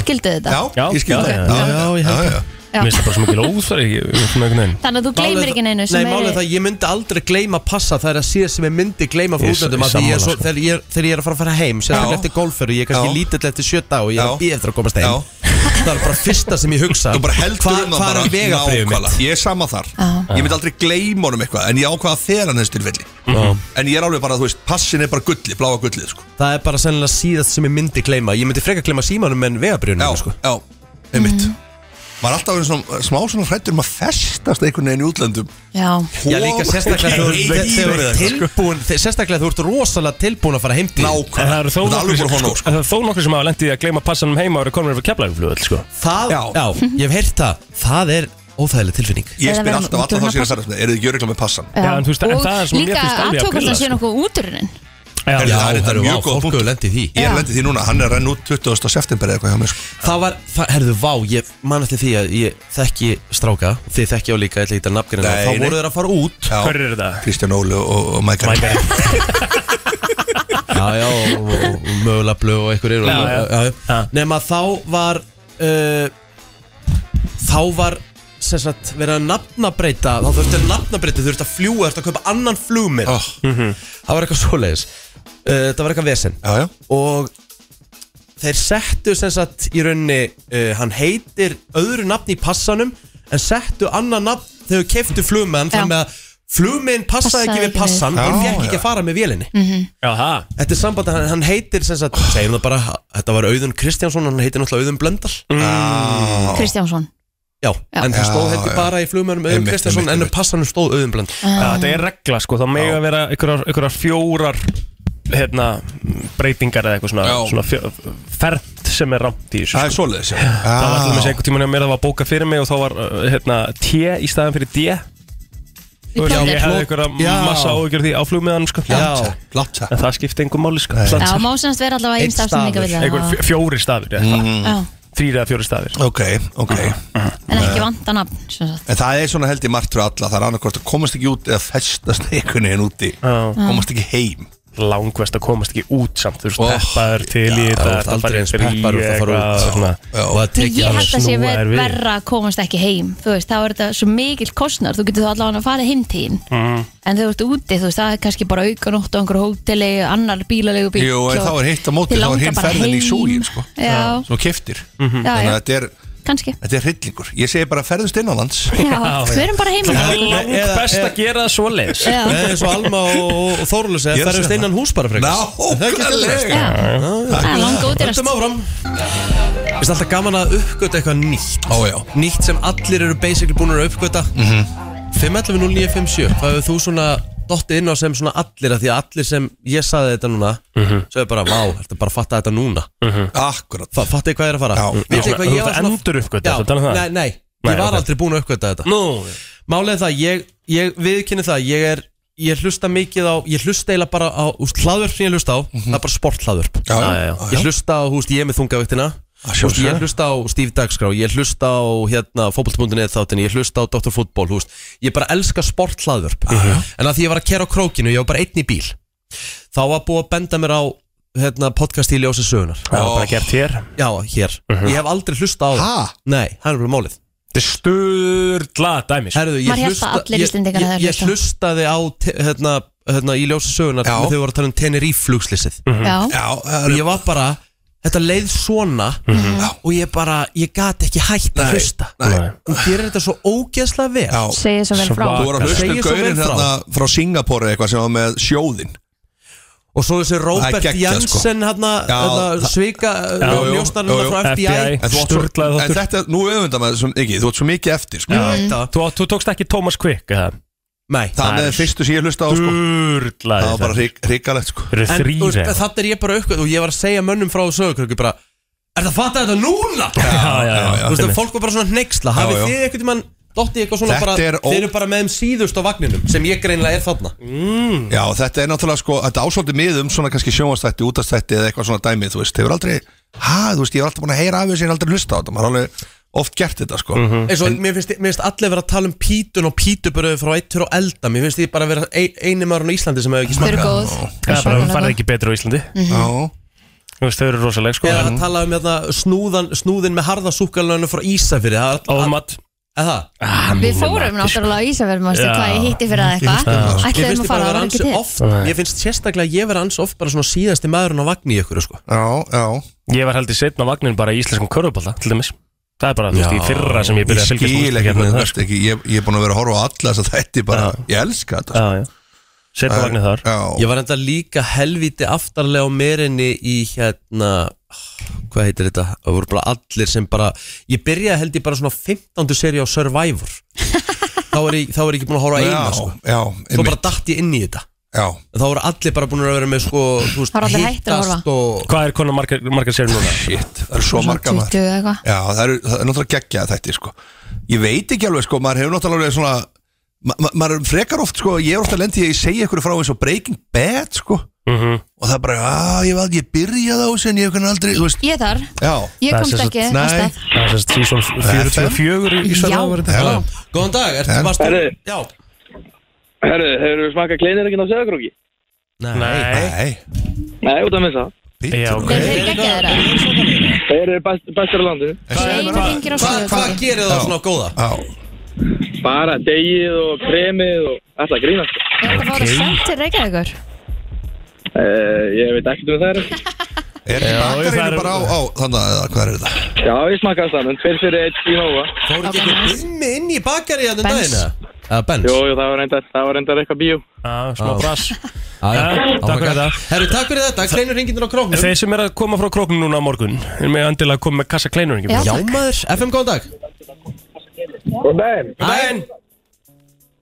Speaker 2: skildu þetta?
Speaker 8: Já,
Speaker 3: Mm. Já,
Speaker 8: ég skil
Speaker 3: já,
Speaker 8: það
Speaker 3: já,
Speaker 1: já, já,
Speaker 8: já, já.
Speaker 2: Já.
Speaker 3: Mér finnst það bara svo mikil óþverð, ég, ég, svona einhvern veginn
Speaker 2: Þannig að þú gleymir ekki neinu
Speaker 1: Nei,
Speaker 2: sem
Speaker 1: málið er
Speaker 2: er
Speaker 1: það, ég myndi aldrei gleyma passa Það er að síðast sem ég myndi gleyma frá
Speaker 3: Ég er
Speaker 1: útlöndum
Speaker 3: s-
Speaker 1: af því ég er
Speaker 3: sammála,
Speaker 1: svo-
Speaker 3: sko.
Speaker 1: Þegar ég er- þegar ég er að fara að fara heim Sérstaklega
Speaker 8: Já.
Speaker 1: eftir golfferð og Ég er kannski
Speaker 8: Já.
Speaker 1: lítill eftir sjö dag Og ég er
Speaker 8: Já.
Speaker 1: að býða eftir að komast
Speaker 8: Já.
Speaker 1: heim Það er bara fyrsta sem ég hugsa
Speaker 8: Þú bara heldur
Speaker 1: Hva-
Speaker 8: um það
Speaker 1: hvað er
Speaker 8: bara
Speaker 1: vegabriðum mitt?
Speaker 8: nákvæmlega. Ég er sama þar Ég myndi aldrei gleyma honum eitthvað En ég ákvaða þegar hann þessu tilfelli
Speaker 1: Mhm.
Speaker 8: En ég er alveg bara, þú veist, passin er bara gulli Bláa gullið, sko
Speaker 1: Það er bara sennilega síðast sem ég myndi gleyma Ég myndi freka gleyma símanum en
Speaker 8: Já,
Speaker 1: vegabriðunum sko.
Speaker 8: já, einmitt Maður er alltaf verið svona, smá svona hrættur um að festast einhvern veginn í útlöndum
Speaker 2: Já,
Speaker 1: Já, líka sérstaklega þú-
Speaker 8: Ég- sko.
Speaker 1: þegar
Speaker 8: ég-
Speaker 1: þegar þú
Speaker 8: ég-
Speaker 1: ert tilbúin þegar- Sérstaklega þú ert rosalega tilbúin að fara heim til
Speaker 3: En það eru þó
Speaker 8: Það er
Speaker 3: nokkri
Speaker 8: alveg
Speaker 3: sem,
Speaker 8: bara honum, sko
Speaker 3: það eru þó nokkri sem hafa lendið að gleyma passanum heima og eru komin fyrir keflæguflugöld, sko
Speaker 1: Það,
Speaker 8: Já.
Speaker 1: já, ég hef heyrt það Það er óþægileg tilfinning
Speaker 8: Ég
Speaker 2: Eða
Speaker 8: spyr
Speaker 2: vera-
Speaker 8: alltaf alla
Speaker 2: þú
Speaker 8: þá
Speaker 2: ert
Speaker 8: sem ég er
Speaker 2: að
Speaker 8: að ferðast með Eru þið ekki öruglega með passan?
Speaker 3: Já, en þú veist, en
Speaker 2: og
Speaker 3: það er svona- mér
Speaker 2: líka
Speaker 3: finnst alveg að
Speaker 2: aðtókast
Speaker 3: grilla,
Speaker 2: að sé
Speaker 3: sko.
Speaker 2: nokkuð úturunin
Speaker 3: Já,
Speaker 8: Já, það er þetta
Speaker 1: herru,
Speaker 8: mjög
Speaker 1: vá,
Speaker 8: góð
Speaker 1: Fólk
Speaker 8: punktur.
Speaker 1: hefur lendið í því
Speaker 8: Ég er lendið því núna, hann er renn út 20. september eða eitthvað hjá mér sko.
Speaker 1: Það var, það, herðu, vá, ég man eftir því að ég þekki stráka, þið þekki á líka, ég ætla ekki að nafngrina,
Speaker 8: Nei,
Speaker 1: þá
Speaker 8: nei.
Speaker 1: voru þeir að fara út.
Speaker 8: Já.
Speaker 3: Hver eru þetta?
Speaker 8: Kristján Óli og, og Mækari
Speaker 1: Já, já, og, og, og mögulega blöð og einhver eru.
Speaker 3: Já, já. Já.
Speaker 1: Nefn að þá var, uh, þá var, sem sagt, verið að nafnabreita, þá þurfti að nafnabreita, þú þurfti að fljúa, þú þurfti að kaupa annan flugmið.
Speaker 8: oh.
Speaker 1: Það var eitthvað svoleiðis. Uh, það var eitthvað vesen.
Speaker 8: Já, já
Speaker 1: og þeir settu sem sagt í rauninni uh, hann heitir öðru nafn í passanum en settu annan nafn þegar þau keftu flugmenn
Speaker 2: Já.
Speaker 1: þannig að flugmenn passaði
Speaker 2: Passaði
Speaker 1: ekki við
Speaker 2: ekki við.
Speaker 1: passan
Speaker 8: Já,
Speaker 1: og fekk ekki
Speaker 8: já.
Speaker 1: að fara með vélinni
Speaker 3: Já, það
Speaker 1: Þetta er samband að hann, hann heitir sem sagt, segjum það bara, þetta var Auðun Kristjánsson hann heitir náttúrulega Auðun Blöndal
Speaker 2: Kristjánsson
Speaker 1: Já,
Speaker 2: Já.
Speaker 1: en það
Speaker 8: Já,
Speaker 1: stóð heldur
Speaker 8: já.
Speaker 1: bara í flugmennum Auðun
Speaker 8: Einmitt,
Speaker 1: Kristjánsson
Speaker 8: einmitt,
Speaker 1: en
Speaker 8: einmitt.
Speaker 1: passanum stóð Auðun Blöndal
Speaker 3: Já, þetta er regla sko, það mega vera einhverjar, einhverjar fjórar hérna, breytingar eða eitthvað svona,
Speaker 8: Já.
Speaker 3: svona fjó, fernt sem er rámt í þessu
Speaker 8: Það
Speaker 3: sko.
Speaker 8: er svoleiðis já.
Speaker 3: Það var alltaf með
Speaker 8: Já.
Speaker 3: einhvern tímann að mér það var bókað fyrir mig og þá var uh, hérna, T í staðan fyrir D
Speaker 2: Í
Speaker 3: Þú veist,
Speaker 2: plóter.
Speaker 3: Ég hefði einhverja
Speaker 1: Já.
Speaker 3: massa áhugjörði á flugmiðanum sko.
Speaker 1: Já.
Speaker 8: Plata
Speaker 3: En það skipti engum máli sko.
Speaker 2: Já,
Speaker 3: Plata.
Speaker 2: má semst vera allavega
Speaker 1: Einn
Speaker 2: einn staf sem
Speaker 1: stafur.
Speaker 2: líka vilja
Speaker 3: Einhver
Speaker 2: það.
Speaker 3: fj- fjórir stafir
Speaker 1: Mhm.
Speaker 3: mm.
Speaker 2: Já,
Speaker 3: Þrýr eða fjórir stafir
Speaker 8: Ok, ok
Speaker 2: En ekki vanta nafn sem sagt.
Speaker 8: En það er svona held í margt fyrir alla Það er annarkvort að komast ekki út eða festast einhvern veginn úti
Speaker 3: Já.
Speaker 8: Komast ekki heim
Speaker 3: Langvest að komast ekki út samt Þú veist,
Speaker 8: Oh.
Speaker 3: peppaður til
Speaker 1: þú
Speaker 3: í þetta
Speaker 1: ert
Speaker 3: ertu að
Speaker 1: aldrei
Speaker 3: fara í
Speaker 1: eins peppaður út að fara
Speaker 3: eitthvað
Speaker 1: út.
Speaker 3: svona.
Speaker 1: og að
Speaker 2: Ég
Speaker 1: tryggja
Speaker 2: held að
Speaker 1: hann
Speaker 2: það sé
Speaker 3: snúa
Speaker 2: ver,
Speaker 3: þér við.
Speaker 2: verra að komast ekki heim Þú veist, þá er þetta svo mikill kostnar Þú getur þá allavega að fara heim tíðin mm. En þegar þú ert úti, þú veist, það er kannski bara aukanótt á einhverju hóteli, annar bílalegu bíl
Speaker 8: Jú, en
Speaker 2: og-
Speaker 8: þá er hitt á móti, þá
Speaker 2: Þig
Speaker 8: er
Speaker 2: langar
Speaker 8: hin
Speaker 2: bara
Speaker 8: ferðin í
Speaker 2: heim.
Speaker 8: súginn, sko.
Speaker 2: Já,
Speaker 8: Svo keftir
Speaker 2: Já,
Speaker 3: Mhm.
Speaker 8: Þannig að
Speaker 2: já,
Speaker 8: þetta er,
Speaker 2: kannski
Speaker 8: þetta er hryllingur Ég segi bara ferðust innanlands
Speaker 2: Já, við erum bara heim
Speaker 3: Það er
Speaker 2: Já,
Speaker 3: langbest
Speaker 1: eða-
Speaker 3: að gera það svo leiðis
Speaker 1: Það er svo Alma og, og Þorlus
Speaker 8: Ég er
Speaker 1: eða
Speaker 8: að
Speaker 1: ferðast
Speaker 8: segja
Speaker 1: innan hús bara frekar
Speaker 8: Nákvæmlega
Speaker 2: Já. það er langa útirast
Speaker 1: Höldum áfram Vist alltaf gaman að uppgöta eitthvað nýtt
Speaker 8: Ó, já.
Speaker 1: Nýtt sem allir eru basically búin að uppgöta mm -hmm.
Speaker 3: Mhm.
Speaker 1: 5.11.09.57 Hvað hefur þú svona dottið inn á sem svona allir að Því að allir sem ég saði þetta núna
Speaker 3: Mhm.
Speaker 1: Svo er bara, vá, þetta er bara að fatta þetta núna
Speaker 8: Akkurat
Speaker 1: Fa- Fattið hvað ég er að fara?
Speaker 8: Já.
Speaker 1: Vitið hvað
Speaker 3: Já, þú
Speaker 1: ég
Speaker 3: ert
Speaker 1: var
Speaker 3: að
Speaker 1: svona
Speaker 3: enduruppgöta,
Speaker 1: Já,
Speaker 3: ertu að tala um það?
Speaker 1: Nei, nei,
Speaker 3: Nei,
Speaker 1: ég var
Speaker 3: ok.
Speaker 1: aldrei búin að uppgöta þetta
Speaker 3: Nú
Speaker 1: Málið er það, ég, ég viðkynni það Ég er, ég hlusta mikið á Ég hlusta eiginlega bara á, úst, hlaðvörp sem ég hlusta á
Speaker 3: Mhm.
Speaker 1: Það er bara sporthlaðvörp
Speaker 8: Já, já,
Speaker 3: já.
Speaker 8: já.
Speaker 1: Ég hlusta á, húst, ég er með þungavíktina
Speaker 8: Að
Speaker 1: Húst,
Speaker 8: sjálfsögðu.
Speaker 1: ég hlusta á Steve Dagskrá Ég hlusta á, hérna, fótbolt.net þáttin Ég hlusta á Dr. Fútbol, húst Ég bara elska sporthlaðvörp En að því ég var að kera á krókinu, ég var bara einn í bíl Þá var búið að benda mér á hérna, podcast í ljósi sögunar
Speaker 3: Það var bara gert hér
Speaker 1: Já, hér Ég hef aldrei hlusta á það
Speaker 8: Ha?
Speaker 1: Nei, það er bara málið
Speaker 3: Þetta er sturla dæmis
Speaker 1: Herðu, ég,
Speaker 2: Maður hélt að
Speaker 1: hlusta,
Speaker 2: allir
Speaker 1: ég,
Speaker 2: Íslendingar
Speaker 1: ég,
Speaker 2: hefðu
Speaker 1: ég
Speaker 2: hlustað.
Speaker 1: hlustaði á te- hérna, hérna, í ljósa sögunar
Speaker 8: Já. Mhm.
Speaker 1: þegar þau voru að tala um Tenerife flugslissið
Speaker 2: Já,
Speaker 8: Já, það
Speaker 1: og
Speaker 8: eru-
Speaker 1: ég var bara, þetta leið svona
Speaker 8: Mhm. Mm.
Speaker 1: og ég bara, ég gat ekki hætt að
Speaker 8: Nei,
Speaker 1: hlusta
Speaker 8: nei.
Speaker 1: hún gerir þetta svo ógeðslega vel
Speaker 8: já
Speaker 2: segja svo vel frá
Speaker 3: Svar.
Speaker 8: Þú voru að hlusta
Speaker 1: Segir
Speaker 8: um
Speaker 1: svo vel
Speaker 8: gaurinn
Speaker 1: frá.
Speaker 8: hérna frá Singapore eitthvað sem var með sjóðinn
Speaker 1: og svo þessi Robert
Speaker 8: geggjað, sko.
Speaker 1: Jensen hérna,
Speaker 8: Já,
Speaker 1: hérna,
Speaker 8: það-
Speaker 1: svika
Speaker 8: jú, jú,
Speaker 1: njóstarinn
Speaker 8: jú, jú,
Speaker 1: frá FBI,
Speaker 3: FBI.
Speaker 8: En, þú átt svo, en
Speaker 3: Sturlaður þáttur.
Speaker 8: þetta, nú öfunda maður svo, ekki, þú átt svo mikið eftir sko.
Speaker 1: Ég veit það.
Speaker 3: Þú, þú tókst ekki Thomas Quick eða?
Speaker 1: Nei,
Speaker 8: Það með þeim fyrstu sem ég hlusta á sko.
Speaker 3: Sturla
Speaker 8: Það var bara hrik- hrikalegt sko.
Speaker 3: Þeir
Speaker 1: en
Speaker 3: eru
Speaker 1: þú
Speaker 3: þrýr
Speaker 1: veist,
Speaker 3: eða?
Speaker 1: þetta er ég bara aukvöld og ég var að segja mönnum frá sögurkröku bara, er það fatta þetta núna?
Speaker 3: Já, já, já
Speaker 1: Þú veist, en fólk var bara svona hneiksla Hafið
Speaker 8: já.
Speaker 1: þið einhvern tímann Dotti eitthvað svona
Speaker 8: Þetta
Speaker 1: bara
Speaker 8: er ó- Mm.
Speaker 1: Þeir eru bara með þeim síðust á vagninum Sem ég greinlega er þarna
Speaker 8: Já, þetta er náttúrulega sko, þetta ásóldi mið um svona kannski sjónvastætti, útastætti eða eitthvað svona dæmi, þú veist, hefur aldrei, ha, þú veist, ég hef alltaf búin að heyra af þessu en aldrei hlusta á þetta, maður har alveg oft gert þetta sko.
Speaker 1: Eins og mér finnst, mér finnst allir vera að tala um pítun og pítubröðu frá eittur og elda Mér finnst því bara að vera ein, eini maðurinn á Íslandi sem hefur ekki
Speaker 2: Þau
Speaker 1: smakað
Speaker 2: eru góð
Speaker 3: Það er bara, það farið ekki betur á Íslandi
Speaker 8: Já,
Speaker 3: Þú veist, Þau eru rosaleg sko
Speaker 1: Eða Mm. að tala um hérna, snúðan, snúðin með harðasúkarlönu frá Ísafyrði Það er all-
Speaker 3: Ómat
Speaker 1: eða það
Speaker 2: Við fórum náttúrulega á Ísafjörn Mástu
Speaker 3: Já.
Speaker 2: hvað ég hitti fyrir það eitthvað
Speaker 1: Ég
Speaker 2: Ætlaðum
Speaker 1: finnst
Speaker 2: að
Speaker 1: ég bara
Speaker 2: fara
Speaker 1: að
Speaker 2: það
Speaker 1: vera
Speaker 2: var ekki
Speaker 1: ansi
Speaker 2: til
Speaker 1: oft Ég finnst sérstaklega að ég vera ansi oft bara svona síðasti maðurinn á vagn í ykkur sko.
Speaker 8: já, já.
Speaker 3: Ég var heldur setna á vagnin bara í íslenskum körfubólta Til dæmis Það er bara, þú veist, í fyrra sem ég
Speaker 8: Ég
Speaker 3: byrjaði
Speaker 8: skil
Speaker 3: að fylgjast úrslitum
Speaker 8: ekki,
Speaker 3: hérna
Speaker 8: þú
Speaker 3: þar,
Speaker 8: veist ekki, ég, ég er búin að vera að horfa á alla þess að þetta er bara, ég elska þetta. sko.
Speaker 3: Já, já Setna á vagnin þar
Speaker 1: Ég
Speaker 8: Já,
Speaker 1: var enda líka helvíti aftarlega á merinni í hérna hvað heitir þetta, það voru bara allir sem bara, ég byrjaði held ég bara svona 15. seri á Survivor þá er ég, þá er ég ekki búin að horfa
Speaker 8: já,
Speaker 1: á eina sko.
Speaker 8: já,
Speaker 1: svo
Speaker 8: einmitt,
Speaker 1: bara datt ég inn í þetta
Speaker 8: já.
Speaker 1: En þá voru allir bara búin að vera með sko, þú veist,
Speaker 2: Það voru allir hættir að
Speaker 1: hittast og
Speaker 3: Hvað er konar margar, margar sér núna?
Speaker 8: Shit, það er svo marga maður.
Speaker 2: 20 eða eitthvað
Speaker 8: Já, það er, það er náttúrulega geggjað þetta sko. Ég veit ekki alveg, sko, maður hefur náttúrulega alveg svona ma ma maður frekar oft, sko, ég er ofta lendi í að ég segja ykkur frá eins og Breaking Bad, sko
Speaker 3: Mhm.
Speaker 8: og það er bara, að ég vald, ég byrjaði á þessu en ég hef aldrei, þú veist,
Speaker 2: Ég þar,
Speaker 8: já
Speaker 2: ég
Speaker 3: Það er
Speaker 2: komst
Speaker 3: sem sagt-
Speaker 2: ekki af
Speaker 8: nei.
Speaker 2: stað.
Speaker 3: Það er sérst sísón 44 í
Speaker 2: Já,
Speaker 3: Íslandi
Speaker 2: já.
Speaker 8: Já.
Speaker 1: Góðan dag, ertu varstu?
Speaker 6: Herðu.
Speaker 1: Já,
Speaker 6: Herru, hefur við smakað kleinir ekki á sögurkróki?
Speaker 3: Nei
Speaker 8: Nei,
Speaker 6: Nei, út af með það.
Speaker 8: býttu
Speaker 3: Já,
Speaker 8: nú.
Speaker 3: ok.
Speaker 2: Þeir eru ekki að þeirra
Speaker 6: Þeir eru best, bestir á landinu.
Speaker 2: Einu hringir á
Speaker 1: Hvað- hvað
Speaker 2: sögurkróki
Speaker 1: gerir það svona góða?
Speaker 8: Já,
Speaker 6: Bara degið og kremið og alltaf grínast.
Speaker 2: Er þetta bara sent til Reykjavíkur?
Speaker 6: Eh, Uh, ég veit ekkert um það er.
Speaker 8: Er ekki
Speaker 3: Já, það
Speaker 8: bakarínu
Speaker 3: er-
Speaker 8: bara á, á þannig að eða hvað er þetta?
Speaker 6: Já, ég smakkaði það, en fyrir fyrir eitt í nóga.
Speaker 1: Fór ekki
Speaker 2: Ok,
Speaker 1: einhver
Speaker 2: nice.
Speaker 1: bimmi inn í bakari hann um
Speaker 2: Benz.
Speaker 1: dagina? Uh, Benz
Speaker 6: Jó, jú, það var reyndar, það var reyndar eitthvað bíó.
Speaker 3: Já, smá
Speaker 1: Já.
Speaker 3: brass
Speaker 1: Já, já.
Speaker 3: Já,
Speaker 1: Oh my
Speaker 3: takk fyrir
Speaker 1: God.
Speaker 3: það.
Speaker 1: Herru, takk fyrir þetta, kleinur ringindur á króknum
Speaker 3: Þeir sem er að koma frá króknum núna á morgun er með endilega að koma með kassa kleinur
Speaker 2: Já.
Speaker 1: Já maður, FM góðan dag
Speaker 9: Góðan daginn,
Speaker 1: Hæn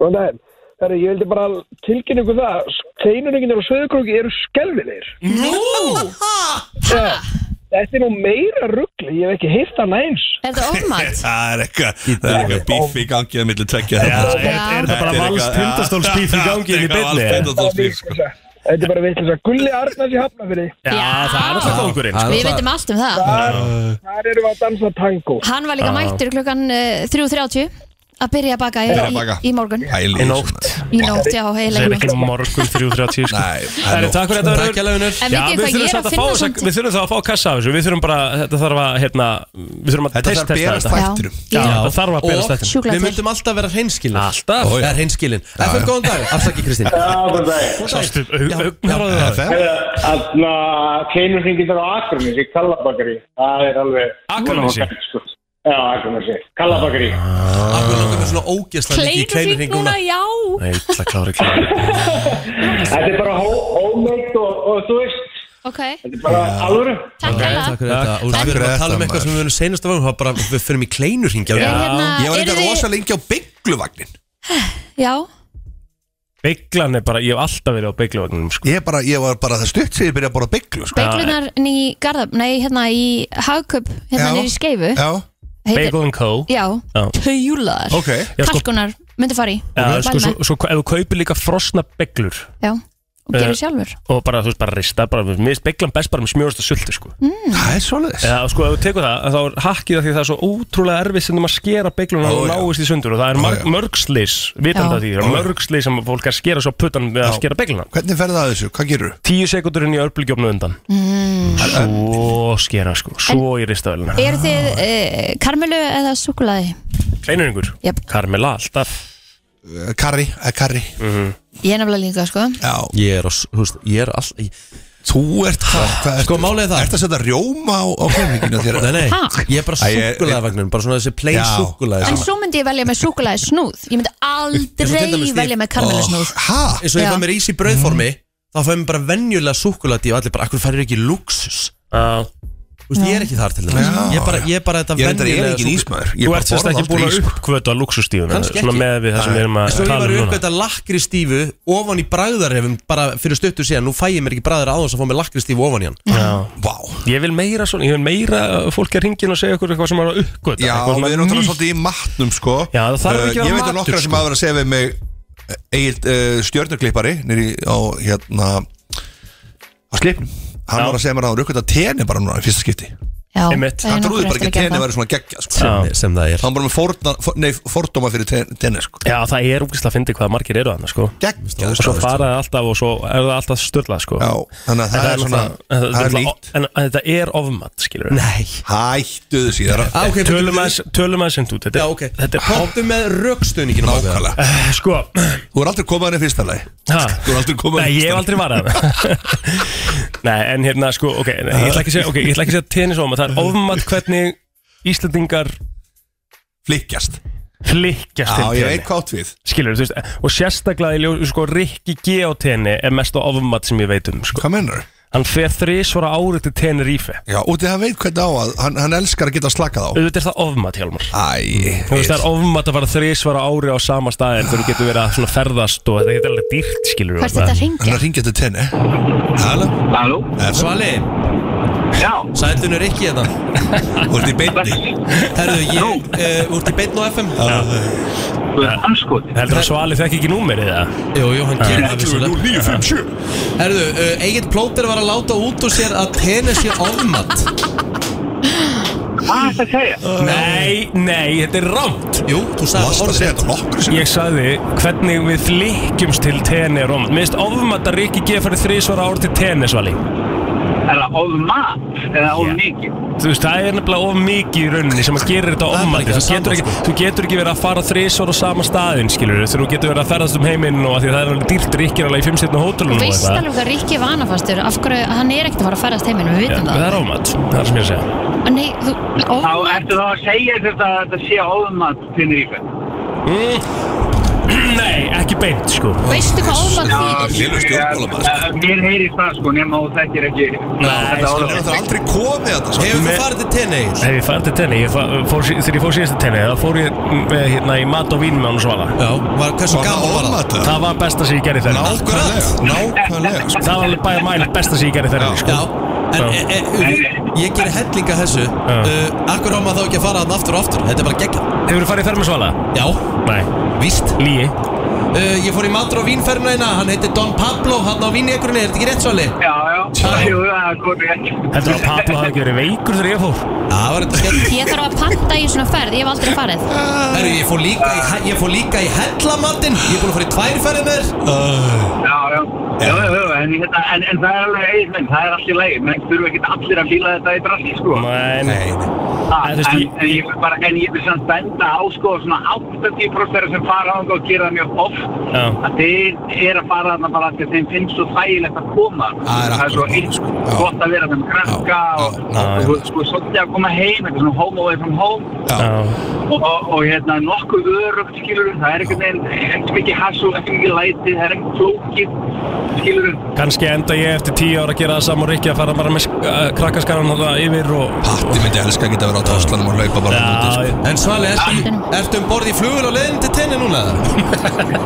Speaker 9: góðan daginn. Herri, ég vildi bara tilkynna ykkur það, kleinuringinir og söðurkróki eru skelvilegir.
Speaker 1: Nú
Speaker 9: Þetta er nú meira ruggli, ég hef ekki heyrt það næns.
Speaker 2: Er þetta ofmat?
Speaker 8: Það er eitthvað, það er eitthvað bíf í gangi að milli tekja
Speaker 3: Já,
Speaker 8: þetta.
Speaker 3: er, er þetta bara vals tindastólsbíf í gangi inn í byrni? Já,
Speaker 8: byrni?
Speaker 9: Þetta er bara veitlisa, Gulli Arnars í Hafnafyrði,
Speaker 3: það er alltaf kóngurinn sko.
Speaker 2: Við veitum allt um það
Speaker 9: þar erum við að dansa tango.
Speaker 2: Hann var líka mættur klukkan eh, 3.30 að byrja að baka í,
Speaker 8: Byrja að
Speaker 2: í,
Speaker 8: baka.
Speaker 2: í morgun
Speaker 3: Í nótt
Speaker 2: Í nótt, já,
Speaker 3: Það er
Speaker 2: heilegur
Speaker 3: ekki morgun 3.30 sko.
Speaker 8: Nei, það er
Speaker 3: Herri,
Speaker 8: nótt.
Speaker 3: Takk fyrir þetta
Speaker 1: Takk
Speaker 3: Örn.
Speaker 1: hjá launar
Speaker 2: En
Speaker 3: Já,
Speaker 2: mikið
Speaker 3: við
Speaker 2: hvað
Speaker 3: þurfum
Speaker 2: ég er
Speaker 3: samt
Speaker 2: að
Speaker 3: að fá
Speaker 2: finna
Speaker 3: þessa-
Speaker 2: samt
Speaker 3: Við þurfum það að fá kassa af þessu Við þurfum bara, þetta þarf að hérna, Við þurfum að
Speaker 8: Þetta þarf að
Speaker 3: testa
Speaker 8: berast
Speaker 3: þetta.
Speaker 8: þættinum.
Speaker 3: Já,
Speaker 2: Já.
Speaker 3: þetta þarf að berast
Speaker 1: Og
Speaker 3: þetta
Speaker 2: Sjúklega
Speaker 1: við
Speaker 2: til.
Speaker 1: myndum alltaf vera hreinskilin
Speaker 3: Alltaf.
Speaker 1: Það er hreinskilin FM góðan dag, afsaki Kristín
Speaker 6: góðan dag.
Speaker 3: Sástu,
Speaker 1: Já,
Speaker 3: augnaráðið
Speaker 8: Já,
Speaker 3: á þér.
Speaker 8: það-
Speaker 6: Þannig að kleinur hringir á Akranis í Kallabakari. Það er alveg...
Speaker 3: Akranesi?
Speaker 6: Já, Akranesi. Kallabakari.
Speaker 1: Akkur langar með svona ógeðslega mikið í kleinur
Speaker 2: Kleinurring núna, já
Speaker 3: Nei, illa klári klári
Speaker 6: Þetta er bara hómeitt og, og þú veist,
Speaker 2: Ok,
Speaker 6: þetta er bara alvöru.
Speaker 2: takk
Speaker 1: Nei,
Speaker 2: hella
Speaker 1: Takk fyrir þetta
Speaker 8: Takk
Speaker 1: Og við erum
Speaker 8: fyrir
Speaker 1: að tala um
Speaker 8: þetta,
Speaker 1: eitthvað sem
Speaker 8: maður.
Speaker 1: við verðum seinast af árum bara við fyrir í kleinur hringja
Speaker 2: Er hérna,
Speaker 8: Ég var
Speaker 2: eru
Speaker 8: eitthvað rosa
Speaker 2: þið,
Speaker 8: lengi á byggluvagnin
Speaker 2: já,
Speaker 3: Bygglan er bara, ég hef alltaf verið á byggluvagninum sko.
Speaker 8: Ég, bara, ég var bara það stutt sem ég byrjaði að bora bygglu sko.
Speaker 2: beiglunar í Garðab, nei, hérna í Hagköp, hérna
Speaker 8: Já.
Speaker 2: niður í Skeifu
Speaker 8: Já,
Speaker 2: heitir-
Speaker 3: Bagel and Co
Speaker 2: Já,
Speaker 3: Já.
Speaker 2: tjólaðar
Speaker 8: ok
Speaker 3: Já, sko,
Speaker 2: Kalkunar, myndi fara í
Speaker 3: já,
Speaker 2: Mæli
Speaker 3: sko,
Speaker 2: með.
Speaker 3: svo, svo ef þú kaupir líka frosna bygglur
Speaker 2: Já, og
Speaker 3: Eh,
Speaker 2: gerir sjálfur
Speaker 3: og bara, þú veist, bara rista bara, mér finnst bygglan best bara með smjórasta sulti sko.
Speaker 8: Það er svoleiðis
Speaker 3: Já, sko, ef þú tekur það, þá er hakkið að því það er svo ótrúlega erfið sem þú maður skera beigluna
Speaker 8: Ó,
Speaker 3: og
Speaker 8: já.
Speaker 3: náist í sundur og það er
Speaker 8: já.
Speaker 3: marg, mörg slis,
Speaker 2: Já.
Speaker 3: vitandi að því, það
Speaker 8: Ó, já.
Speaker 3: er mörg slis sem fólk er að skera svo puttan við að skera beigluna.
Speaker 8: Hvernig ferði það að þessu? Hvað gerur?
Speaker 3: Tíu sekundur inn í örbulgjófnu undan. Mm. Svo skera, sko, svo í ristavelina.
Speaker 2: Eru þið
Speaker 3: Ah.
Speaker 2: uh, karmelu eða súkulaði?
Speaker 3: Kleinuringur,
Speaker 2: Jöp.
Speaker 3: Carmela, alltaf.
Speaker 8: Karri, eh, karri
Speaker 3: Mm.
Speaker 2: Ég er nefnilega líka, sko
Speaker 8: Já,
Speaker 1: Ég er, á s- þú veist, ég er all
Speaker 8: þú ert hvað? hvað
Speaker 1: Sko, málið er það.
Speaker 8: Ert að setja rjóma á, á klemmingina þér?
Speaker 1: Nei, nei,
Speaker 2: Ha?
Speaker 1: ég er bara
Speaker 8: Æ, ég-
Speaker 1: súkulaðvagnum Bara svona þessi plain
Speaker 8: Já.
Speaker 1: súkulaði
Speaker 2: En svo myndi ég velja með súkulaði snúð Ég myndi
Speaker 1: til dæmis
Speaker 2: aldrei
Speaker 1: því-
Speaker 2: velja með karmelu
Speaker 3: Oh.
Speaker 2: snúð
Speaker 8: Hæ?
Speaker 1: eins og ég
Speaker 2: Já.
Speaker 1: fæ mér ís í brauðformi þá fæ mér bara venjulega súkulati og allir bara, akkur færir ekki luxus
Speaker 3: Uh,
Speaker 1: Þú veist, ég er ekki þar til þess
Speaker 8: Já,
Speaker 1: ég er bara, ég er bara þetta
Speaker 8: Ég reyndar er
Speaker 1: venjulega
Speaker 8: ekki
Speaker 1: súkkulaði.
Speaker 8: nýsmaður
Speaker 3: þú ert sérst ekki búin að uppkvöta luxustífuna,
Speaker 1: Kannski
Speaker 3: svona
Speaker 1: ekki.
Speaker 3: með við það sem við erum
Speaker 1: En
Speaker 3: að
Speaker 1: svo ég
Speaker 3: tala
Speaker 1: var
Speaker 3: um núna.
Speaker 1: uppgöta lakkri stífu ofan í bragðarhefum bara fyrir stuttu síðan, nú fæ ég mér ekki bragðar áðans að fá mér lakkri stífu ofan í hann
Speaker 3: Já.
Speaker 8: Vá
Speaker 3: Ég vil meira svona, ég vil meira að fólk er hringin og segja okkur eitthvað sem er að uppgöta.
Speaker 8: Já,
Speaker 3: eitthvað sem
Speaker 8: við
Speaker 3: er
Speaker 8: erum náttúrulega
Speaker 3: nýtt.
Speaker 8: svolítið í matnum sko
Speaker 3: Já, það þarf
Speaker 8: Eh,
Speaker 3: ekki að
Speaker 8: Ég
Speaker 3: vera
Speaker 8: veit að
Speaker 3: matur,
Speaker 8: nokkra sem
Speaker 3: sko.
Speaker 8: hafa verið að segja við mig Egil uh, stjörnuklippari Nýri á hérna Á slipnum Hann
Speaker 3: Já.
Speaker 8: var að segja mér að hann rukkaði að tenni bara núna í fyrsta skipti
Speaker 2: Já,
Speaker 3: Einmitt.
Speaker 2: það er
Speaker 8: Hann
Speaker 2: nokkur
Speaker 8: trúði bara
Speaker 2: eftir
Speaker 8: ekki að
Speaker 2: að gera
Speaker 8: tenni
Speaker 2: það.
Speaker 8: væri svona geggja sko
Speaker 3: Já.
Speaker 1: sem það er
Speaker 8: Hann bara með fórna, for, nei, fordóma fyrir ten- tenni sko
Speaker 3: Já, það er úkvæmst að fyndi hvað margir eru þannig, sko.
Speaker 8: Geggja
Speaker 3: og svo faraði alltaf og svo er það alltaf störla sko.
Speaker 8: Já, þannig að
Speaker 3: En
Speaker 8: það er svona
Speaker 3: en
Speaker 8: Það er
Speaker 3: náttúrulega-
Speaker 8: nýtt
Speaker 3: en en þetta er ofmat skilur við
Speaker 1: Nei
Speaker 8: Hættuðu síðar
Speaker 1: ah, okay,
Speaker 3: tölum aðeins tölum aðeins sem þú þetta,
Speaker 1: Já, ok
Speaker 3: þetta er
Speaker 1: Hoppum með rökstöðningin
Speaker 8: Nákvæmlega
Speaker 3: Eh, sko
Speaker 8: Þú er aldrei komað hann í fyrsta lagi
Speaker 3: ha.
Speaker 8: Þú er aldrei komað
Speaker 3: Nei, ég hef aldrei varað Nei, en hérna sko ok, nei, ég ætla ekki að segja, okay, ég ætla ekki að segja tennis ofmat það er ofmat hvernig Íslandingar
Speaker 8: Flikkjast
Speaker 3: flikkjast
Speaker 8: Já, ég
Speaker 3: til tenni.
Speaker 8: veit hvað átt við
Speaker 3: skilur þú veist eh, og sérstaklega í ljós sko Rikki G á tenni er mest á ofmat sem ég veit um sko.
Speaker 8: Hvað mennur?
Speaker 3: hann fer þrísvara árið til tenni rífi
Speaker 8: Já, út í það veit hvernig á að hann, hann elskar að geta slakað á
Speaker 3: auðvitað er það ofmat Hjálmar
Speaker 8: Æ,
Speaker 3: Þú veist, það er ofmat að fara þrísvara ári á sama staðin þegar þú getur verið að svona ferðast og þetta getur alveg dýrt, skilur
Speaker 2: Hvert þetta
Speaker 8: hann er
Speaker 2: hringir?
Speaker 8: að ringja til tenni Halló,
Speaker 6: Halló?
Speaker 8: FM,
Speaker 1: Svali
Speaker 6: Já.
Speaker 1: Sælunur ekki
Speaker 3: hérna.
Speaker 1: þetta
Speaker 8: þú ert í beinni
Speaker 1: Herðu, ég
Speaker 3: eh,
Speaker 1: uh, Úrt í beinn og FM
Speaker 6: Þú er anskotið.
Speaker 3: Heldur að Svali þekki ekki númerið það?
Speaker 1: Jú, jú, hann gerir það vissulega
Speaker 8: 0957
Speaker 1: Herðu, uh, Egil Plóter var að láta út úr sér að tennis sé ofmat
Speaker 6: Hvað er þetta að segja?
Speaker 3: Nei, nei, þetta er rámt
Speaker 1: Jú, þú
Speaker 8: Þú
Speaker 1: sagði
Speaker 8: varst að
Speaker 1: orðið
Speaker 8: segja þetta nokkur sem
Speaker 3: Ég sagði hvernig við flikkjumst til tenni er ofmat Mér finnst ofmat að Rikki G farið þrísvara ári til tenni, Svali
Speaker 6: Er það of mat eða of
Speaker 3: Já.
Speaker 6: mikið?
Speaker 3: Þú veist, það er nefnilega of mikið í rauninni sem að
Speaker 1: er
Speaker 3: gerir þetta
Speaker 1: sko. bara
Speaker 3: ofmæli
Speaker 1: ekki það
Speaker 3: þú, getur
Speaker 1: sama,
Speaker 3: ekki- þú getur ekki verið að fara þrísvar á sama staðinn, skilur við Þú getur verið að ferðast um heiminn og af því að það er alveg dýrt ríkir alveg í fimm setna
Speaker 2: Þú
Speaker 3: hótelunum og
Speaker 2: veist
Speaker 3: eitthvað
Speaker 2: alveg hvað Rikki er vanafastur af hverju hann er ekkert að fara að færast heiminn við
Speaker 3: Já,
Speaker 2: vitum
Speaker 3: Það er ofmætt, það er sem ég er að segja
Speaker 2: það Nei, þú, ó,
Speaker 6: Þá ertu þá að segja þetta að þetta sé of mat til ríkvæð.
Speaker 3: Mm. Nei, ekki beint, sko
Speaker 2: veistu hvað ofmat þýðir
Speaker 8: Lillur stjórnmálamaður sko.
Speaker 6: Mér heyrir það sko nema þú þekkir ekki.
Speaker 3: Nei,
Speaker 6: þetta
Speaker 8: Það
Speaker 3: sko.
Speaker 8: er
Speaker 6: orðið.
Speaker 8: náttúrulega aldrei komið þetta sko.
Speaker 1: Hefur þú farið til tenni?
Speaker 3: Hef ég farið til tenni, ég fa- fór, sí- þegar ég fór síðast til tenni þá fór ég mm, eh, hérna, í mat og vín með hann og svala
Speaker 1: Já, var, hversu
Speaker 8: Var
Speaker 1: gaman var
Speaker 8: það
Speaker 1: það?
Speaker 8: ómata?
Speaker 3: Það var besta sem ég gerði þegar
Speaker 8: Nákvæmlega Nákvæmlega sko.
Speaker 3: Það var alveg bæja mæli besta sem ég gerði þegar sko.
Speaker 1: Já, en e, e, e, ég ger hellinga þessu uh, Akkur á maður þá ekki að fara hann aftur og aftur Þetta er bara geggjað
Speaker 3: Hefur þú farið í ferð með svala?
Speaker 1: Já,
Speaker 3: Nei,
Speaker 1: víst
Speaker 3: líi
Speaker 1: uh, Ég fór í matur á vínferðina Hann heitir Don Pablo, hann á vínegrunni Er þetta ekki rétt svali?
Speaker 6: Já, já. Jú, það er komið ekki.
Speaker 3: Heldur að Pablo hafði ekki verið veikur þegar ég fór?
Speaker 8: Sko,
Speaker 1: Það var þetta skemmt
Speaker 2: Ég þarf að panta í svona ferð, ég hef aldrei farið
Speaker 1: Herru, ég fór líka í, he- ég fór líka í hellamatinn Ég er búin að fara í tvær ferðir með þér
Speaker 6: Já, já. Jú, jú, en, hérna, en, en það er alveg eigin minn, það er allt í lagi. Menn þurfa ekki allir að fíla þetta í drasli sko.
Speaker 3: Nei, nei
Speaker 6: Ah,
Speaker 3: En
Speaker 6: En,
Speaker 3: þú veist,
Speaker 6: en,
Speaker 3: ég-
Speaker 6: ég vil bara, en ég vil samt benda á sko svona 80% þeirra sem fara á þangað og gera það mjög oft
Speaker 3: Já.
Speaker 6: að þeir eru að fara þarna bara af því að þeim finnst svo þægilegt að koma
Speaker 8: Það er
Speaker 6: svo
Speaker 8: akkurat
Speaker 6: eitt
Speaker 8: málið, sko. Já.
Speaker 6: gott að vera þeim krakka
Speaker 8: Já, já,
Speaker 6: og,
Speaker 8: nákvæmlega.
Speaker 6: og, og sko svolítið að koma heim eitthvað svona home away from home
Speaker 8: Já,
Speaker 3: Já,
Speaker 6: og, og, og hérna nokkuð örugt skilur það er ekkert neginn, ekki mikið hassú, ekki mikið læti, það er ekkert flókið skilur
Speaker 3: kannski enda ég eftir tíu ára að gera það saman og Rikki að fara bara með sk- eh, krakkaskaran þarna yfir og
Speaker 8: Patti myndi elska að geta verið á táslanum og hlaupa bara út í, sko.
Speaker 3: Já,
Speaker 1: En svali, ertu, ertu um borð í flugul og leiðin til tenni núna?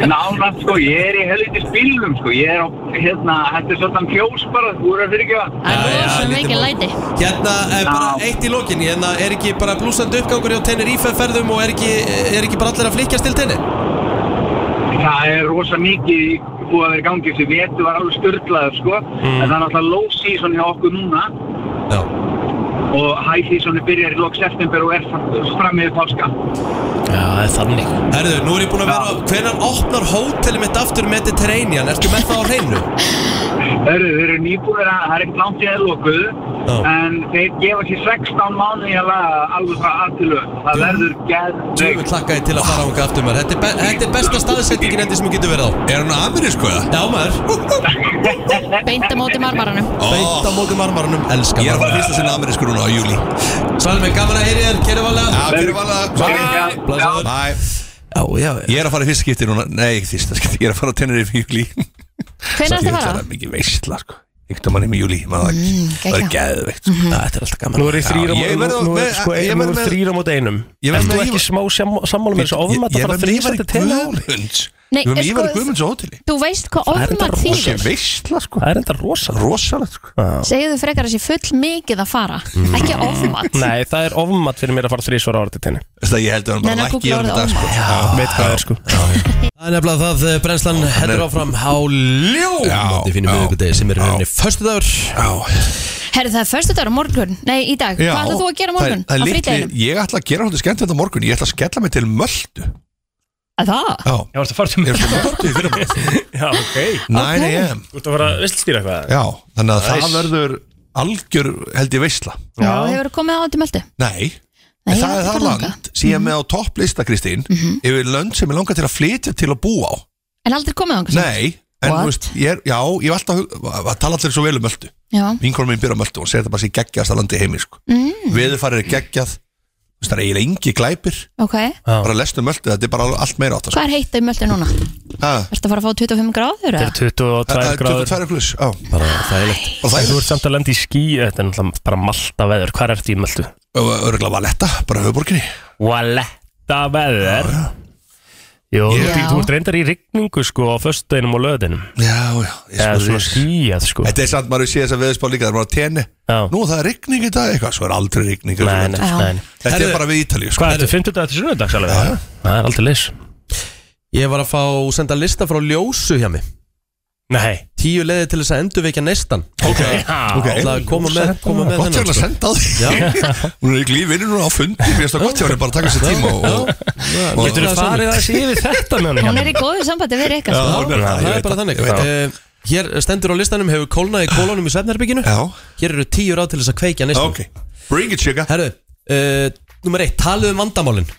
Speaker 6: nánast sko, ég er í helviti spilnum sko, ég er á, hérna, þetta er svolítið fjós bara, þú eru að fyrirgefa
Speaker 1: Já,
Speaker 2: Það
Speaker 1: já,
Speaker 2: er rosa
Speaker 1: lítið
Speaker 2: mikið
Speaker 1: mál.
Speaker 2: læti
Speaker 1: Hérna, eh, bara
Speaker 6: Já.
Speaker 1: eitt í lokin Hérna, er ekki bara blúsandi uppgangur hjá tenni ríferferðum og er ekki, er ekki bara allir að flikjast til tenni?
Speaker 6: Það er rosa mikið í- búið að vera í gangi sem vetu var alveg störtlaður sko en það er náttúrulega low season hjá okkur núna
Speaker 1: Já
Speaker 6: og high seasoni byrjar í lok september og er fram- fram yfir páska
Speaker 3: það er þannig
Speaker 1: Herðu, nú er ég búin að vera, hvenær opnar hótelið mitt aftur Mediterranean? Ertu með það á hreinu?
Speaker 6: Hörru, þeir eru nýbúðir að það er ekkert langt í aðlokuð
Speaker 1: Já.
Speaker 6: en þeir gefa sér 16 mánuði að laga alveg frá aðtilu það verður
Speaker 1: Tjöfum
Speaker 6: geðveikt.
Speaker 1: klakkaði til að fara ánga aftur maður Þetta er, be þetta er besta staðsettingin endi sem þú getur verið á
Speaker 8: Er hann amerísk eða?
Speaker 1: Já maður,
Speaker 2: Beint á móti marmaranum
Speaker 8: Ó,
Speaker 1: beint á móti marmaranum, elska
Speaker 8: Ég er að fara
Speaker 1: marmar
Speaker 8: fyrst að sinna amerískur núna á júli
Speaker 1: Svalmi, gaman að heyri þér, kæri valega
Speaker 8: Já, fyrir vala
Speaker 6: Já.
Speaker 1: Blessaður.
Speaker 8: Bye
Speaker 1: Já, já, já
Speaker 8: Ég er að fara í fyrsta skipti núna Nei, ekki fyrsta skipti Ég er að fara á Tenerife í júli
Speaker 2: Hvernig ertu að fara?
Speaker 8: Það er mikið veistla sko Ykta manni með júli Man það ekki Það er
Speaker 2: Mm, geggjað. Mhm.
Speaker 8: geðveikt sko
Speaker 1: Þetta er alltaf gaman
Speaker 3: Nú sko, er ég þrýra
Speaker 8: Já, ég verð- með- ég verð með-
Speaker 3: þrýra mot einum
Speaker 8: Ég verð
Speaker 3: Erst þú
Speaker 8: með
Speaker 3: ekki
Speaker 8: Ívar.
Speaker 3: smá sam- sammála með þessu ofum að það fara þrýsandi til tenni?
Speaker 8: Guðmunds
Speaker 2: Nei,
Speaker 8: Ég var með
Speaker 2: sko,
Speaker 8: Ívar Guðmunds á hóteli
Speaker 2: Þú veist hvað
Speaker 3: er enda
Speaker 2: ofmat
Speaker 3: rosa
Speaker 2: þýðir
Speaker 8: Veistla sko
Speaker 3: Það er enda rosa
Speaker 8: Rosalegt sko
Speaker 2: Segðu frekar að sé full mikið að fara Ekki ofmat
Speaker 3: Nei, það er ofmat fyrir mér að fara þrísvar ára til tenni
Speaker 8: Það ég held að hann
Speaker 2: Nei,
Speaker 8: bara
Speaker 2: nei,
Speaker 8: lækki
Speaker 2: Google
Speaker 8: hann í
Speaker 2: orðið
Speaker 8: dag sko
Speaker 3: Veit hvað er sko
Speaker 1: Það er nefnilega það, eh, brennslan heldur áfram á ljó
Speaker 8: Já,
Speaker 1: Mátti finnum
Speaker 8: já,
Speaker 1: við ykkur sem er í rauninni Föstudagur
Speaker 8: Já
Speaker 2: Herru það er förstu dagur á morgun Nei í dag,
Speaker 8: Já,
Speaker 2: hvað ætlað þú að gera á morgun?
Speaker 8: Það,
Speaker 2: Á
Speaker 8: það er
Speaker 2: frídeginum?
Speaker 8: litli, ég ætla að gera hóttu skemmt þetta morgun Ég ætla að skella mig til möldu
Speaker 2: Að Það?
Speaker 8: Já,
Speaker 3: Ég varst að fara til
Speaker 8: ég er
Speaker 3: mér
Speaker 8: svo möldu í fyrir mig
Speaker 3: Já, ok
Speaker 8: 9 a.m.
Speaker 3: Þú ert að fara að viststýra eitthvað
Speaker 8: Já, þannig að
Speaker 3: Nice.
Speaker 8: það verður algjör held ég veistla
Speaker 2: Já, hefur komið á þetta möldu?
Speaker 8: Nei,
Speaker 2: Nei,
Speaker 8: en
Speaker 2: ég
Speaker 8: það
Speaker 2: veit
Speaker 8: er það
Speaker 2: ekki Mhm. hvað
Speaker 8: land sem ég er með á topplista Kristín
Speaker 2: Mhm.
Speaker 8: yfir lönd sem ég langar til að flytja til að búa á
Speaker 2: En aldrei komið á einhvers
Speaker 8: Nei, en
Speaker 2: What?
Speaker 8: þú veist, ég er, já, ég var alltaf að hug- að að tala allir svo vel um öllu
Speaker 2: Já,
Speaker 8: Vinkonum mín byrja á öllu og segir þetta bara sé geggjast að landi í heimi sko. mm. Veðurfarið er geggjað þú veist, Það er eiginlega engi glæpir
Speaker 2: ok
Speaker 8: bara lestu um öllu, þetta er bara allt meira átt sko.
Speaker 2: Hvað er heitt á möldu núna?
Speaker 8: Ha,
Speaker 2: Ertu að fara að fá 25 gráður? eða?
Speaker 8: Það
Speaker 3: 22
Speaker 8: er
Speaker 3: gráður
Speaker 8: 22 pluss á.
Speaker 1: Bara þægilegt
Speaker 8: og það
Speaker 3: En
Speaker 8: er
Speaker 3: þú ert samt að lenda í skí, þetta er náttúrulega bara malta veður, hvað ertu í meldu?
Speaker 8: örgulega valetta, bara höfuborginni
Speaker 3: Valetta veður Jó, þú
Speaker 2: Ég-
Speaker 3: ert í- þú ert reyndar í rigningu sko á föstudeginum og löðinum
Speaker 8: Já, já, ég
Speaker 3: Eða
Speaker 8: spurði
Speaker 3: svona
Speaker 8: þig.
Speaker 3: skíjað sko
Speaker 8: Þetta er samt, maður hefur séð þess að veðurspá líka, það er bara tenni
Speaker 3: Já.
Speaker 8: Nú það er rigning í dag, eitthvað, svo er aldrei rigning
Speaker 3: Nei, nei,
Speaker 2: Já.
Speaker 3: nei, nei.
Speaker 8: Þetta
Speaker 1: Herðu-
Speaker 8: er bara við Ítalíu sko.
Speaker 3: Hvað ertu, 50 dagar til sunnudags alveg?
Speaker 8: Já, já.
Speaker 3: Það er aldrei leys
Speaker 1: Ég var að fá senda lista frá ljósu hjá mig
Speaker 3: Nei
Speaker 1: Tíu leiði til þess að endurveikja neistan Ok,
Speaker 3: Já,
Speaker 8: ok.
Speaker 1: Það koma með, koma með
Speaker 8: Gott hjá hann að
Speaker 1: sko.
Speaker 8: senda á því
Speaker 1: Já.
Speaker 8: Hún er ekki lífinu núna á fundi Mér finnst það gott hjá hann bara að taka sér tíma og, og, og,
Speaker 3: Getur þú farið að sé yfir þetta með hann?
Speaker 2: Hún er í góðu sambandi við Rikka
Speaker 8: Já,
Speaker 2: sko.
Speaker 8: hún er-
Speaker 1: Það
Speaker 8: ég
Speaker 1: er
Speaker 8: veit
Speaker 1: bara
Speaker 8: það,
Speaker 1: þannig
Speaker 8: ég veit
Speaker 1: Eh, Hér stendur á listanum hefur kólnað í kólunum í svefnherbygginu
Speaker 8: Já.
Speaker 1: Hér eru tíu ráð til þess að kveikja neyslu
Speaker 8: Ok, bring it sugar
Speaker 1: Herru, uh, nummer eitt, talið um vandamálin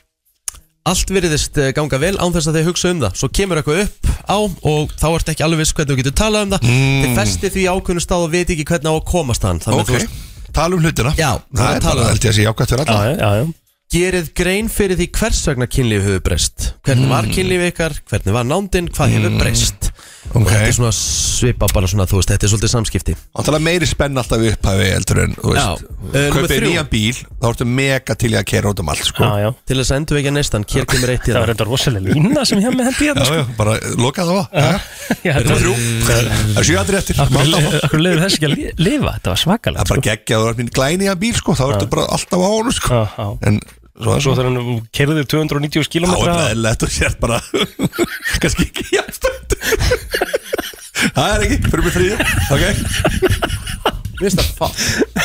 Speaker 1: Allt veriðist eh, ganga vel án þess að þið hugsa um það Svo kemur eitthvað upp á og þá ertu ekki alveg viss hvernig þú getur talað um það mm. Þið festi því ákveðnu stað og veit ekki hvernig á að komast hann
Speaker 8: Ok,
Speaker 1: Þannig að þú veist,
Speaker 8: tala um hlutina
Speaker 1: Já,
Speaker 8: það er
Speaker 1: tala um
Speaker 8: bara,
Speaker 1: það.
Speaker 8: held ég að sé jákvæmt fyrir alla
Speaker 3: já, já, já.
Speaker 1: gerið grein fyrir því hvers vegna kynlífi hefur breyst Hvernig
Speaker 8: Hmm.
Speaker 1: var kynlífi ykkar, hvernig var nándin, hvað hefur breyst
Speaker 8: Ok,
Speaker 1: Þetta er svona svipa bara svona, þú veist, þetta er svolítið samskipti
Speaker 8: og tala meiri spenn alltaf í upphafi eldur en, þú veist
Speaker 1: Já, eh, númer
Speaker 8: Kaupið
Speaker 1: þrjú.
Speaker 8: nýjan bíl, þá ertu mega til í að kera út um allt, sko
Speaker 3: já, já.
Speaker 1: Til þess að endur ekki neistan, hér kemur eitt í
Speaker 3: Það var
Speaker 1: það
Speaker 3: reynda rosalega lína sem hjá með hendi hérna
Speaker 8: Já,
Speaker 3: sko.
Speaker 8: já, bara loka það á Já.
Speaker 3: Já, þetta var-
Speaker 1: Eh,
Speaker 8: Það er sjöandri eftir
Speaker 3: Akkur
Speaker 8: Máta á.
Speaker 3: li- akkur leiður þess ekki að li- lifa Þetta
Speaker 8: Það
Speaker 3: var
Speaker 8: er
Speaker 3: svakalegt
Speaker 8: bara
Speaker 3: sko.
Speaker 8: geggja, þú er minn glæni að bíl sko Þá ertu bara alltaf á honum sko
Speaker 3: Já, já.
Speaker 8: En svo
Speaker 3: Svo þegar hann kerði 290
Speaker 8: Þá
Speaker 3: km
Speaker 8: er það eðlilegt og sért bara kannski ekki jafnstönd Það er ekki, fyrir mig þrýð Ok,
Speaker 1: Mér finnst það fá-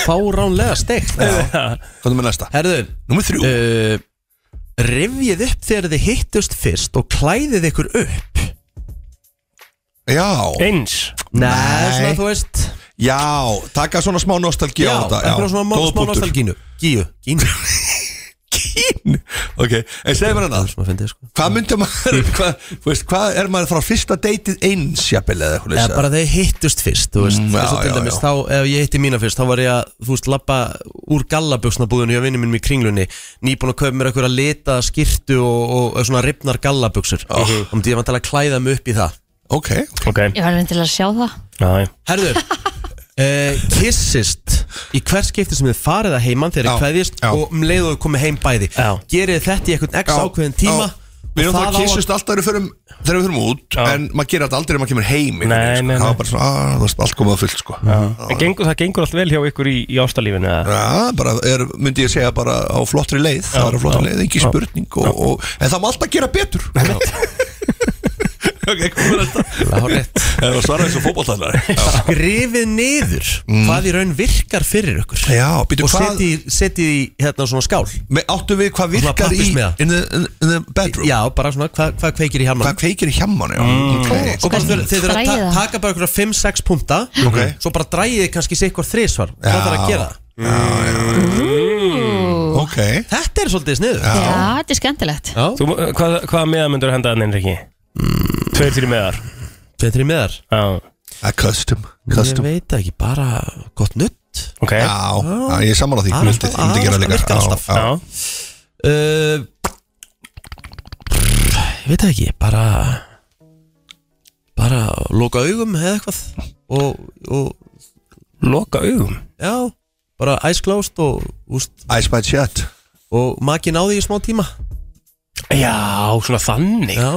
Speaker 1: fáránlega steikt
Speaker 8: hvað er með næsta?
Speaker 1: Herðu,
Speaker 8: Númer þrjú
Speaker 1: uh, Rifjið upp þegar þið hittust fyrst og klæðið ykkur upp Eh,
Speaker 8: Já,
Speaker 3: Eins
Speaker 1: Nei,
Speaker 8: Nei.
Speaker 1: svona þú veist
Speaker 8: já, taka svona smá nostalgí á þetta
Speaker 1: eitthvað svona má-
Speaker 8: góð
Speaker 1: smá
Speaker 8: punktur.
Speaker 1: nostalgínu Gíu, gínu
Speaker 8: Kín Ok, en segðu mér annað
Speaker 1: Svona fyndið sko
Speaker 8: Hvað myndum maður, hvað, þú veist, hvað er maður frá fyrsta deytið eins, jafnvel eða eitthvað
Speaker 1: Eða
Speaker 8: leysa?
Speaker 1: bara þeir hittust fyrst, þú veist
Speaker 8: Mm, já,
Speaker 1: Þess að til
Speaker 8: já,
Speaker 1: dæmis,
Speaker 8: já.
Speaker 1: þá, ef ég hitti mína fyrst Þá var ég að, þú veist, labba úr gallabuxnabúðinu Ég vinni minnum í kringlunni Nýbúin að kaupa mér eitthvað að lita skirtu Og, og, og svona ripnar gallabuxur oh.
Speaker 8: Ah.
Speaker 1: Þá myndi ég vantilega að klæða mig upp í það
Speaker 8: Ok,
Speaker 3: Ok
Speaker 2: Ég var reynd til að sjá það
Speaker 3: Já, já.
Speaker 1: Herðu Uh, kissist í hvers skipti sem þið farið að heiman þegar
Speaker 8: Já,
Speaker 1: þið kveðist
Speaker 8: já.
Speaker 1: og um leið og þið komið heim bæði
Speaker 3: Já.
Speaker 1: gerið þetta í eitthvað x
Speaker 8: Já,
Speaker 1: ákveðin tíma
Speaker 8: já. Við erum
Speaker 1: og
Speaker 8: það að
Speaker 1: á
Speaker 8: kyssast alltaf þegar við förum, þegar við förum út
Speaker 3: Já.
Speaker 8: En maður gerir þetta aldrei ef maður kemur heim einhvern
Speaker 3: Nei,
Speaker 8: veginn, sko. Það
Speaker 3: nei, nei.
Speaker 8: var bara svona, að, þú veist, allt komað fullt sko
Speaker 3: En gengur, það gengur allt vel hjá ykkur í, í ástalífinu eða?
Speaker 8: Já, bara er, myndi ég segja bara á flottri leið Það er á flottri leið, ekki spurning og, og, En það má alltaf gera betur Ok, komum við þetta
Speaker 1: hárrétt.
Speaker 8: Það var svarað eins og fótballtallari Já, Mm.
Speaker 1: skrifið niður hvað í raun virkar fyrir ykkur
Speaker 8: Já býtu
Speaker 1: og
Speaker 8: hvað
Speaker 1: setjið setji í hérna svona skál
Speaker 8: me- Áttu við hvað virkar í
Speaker 1: pappírsmiða.
Speaker 8: in the, in, in the bedroom
Speaker 1: já, bara svona hvað hva kveikir í
Speaker 8: Hvað
Speaker 1: hjálman
Speaker 8: kveikir í hjemman mm. okay.
Speaker 1: og bara þurfið- þið þurfum að
Speaker 2: Dragið
Speaker 1: ta
Speaker 2: það.
Speaker 1: taka bara ykkur 5-6 punta
Speaker 8: Ok.
Speaker 1: svo bara drægið þið kannski sikkur þrísvar
Speaker 8: Já.
Speaker 1: hvað þarf að gera sko.
Speaker 8: ok
Speaker 1: þetta er svolítið sniður
Speaker 2: Já, þetta er skemmtilegt
Speaker 3: Þú, eh, hvað, hvaða meða myndur henda hann inn, Riki? Tveir, þrjir meðar
Speaker 1: betri með þar
Speaker 3: Já,
Speaker 8: A custom,
Speaker 1: ég
Speaker 8: custom.
Speaker 1: veit það ekki, bara gott nutt
Speaker 3: ok
Speaker 8: Já,
Speaker 3: Já,
Speaker 8: já, ég er sammála því
Speaker 1: Það er
Speaker 8: Myndi-
Speaker 1: alltaf-
Speaker 8: myndi gera
Speaker 1: það
Speaker 8: líka.
Speaker 1: virkar
Speaker 8: Já,
Speaker 1: alltaf.
Speaker 8: já.
Speaker 1: Uh, ég veit það ekki, bara bara loka augum eða eitthvað og, og
Speaker 3: Loka augum
Speaker 1: já, bara eyes closed og, úst,
Speaker 8: Ice by chat
Speaker 1: og makin á því í smá tíma
Speaker 3: Já, svona þannig
Speaker 1: já,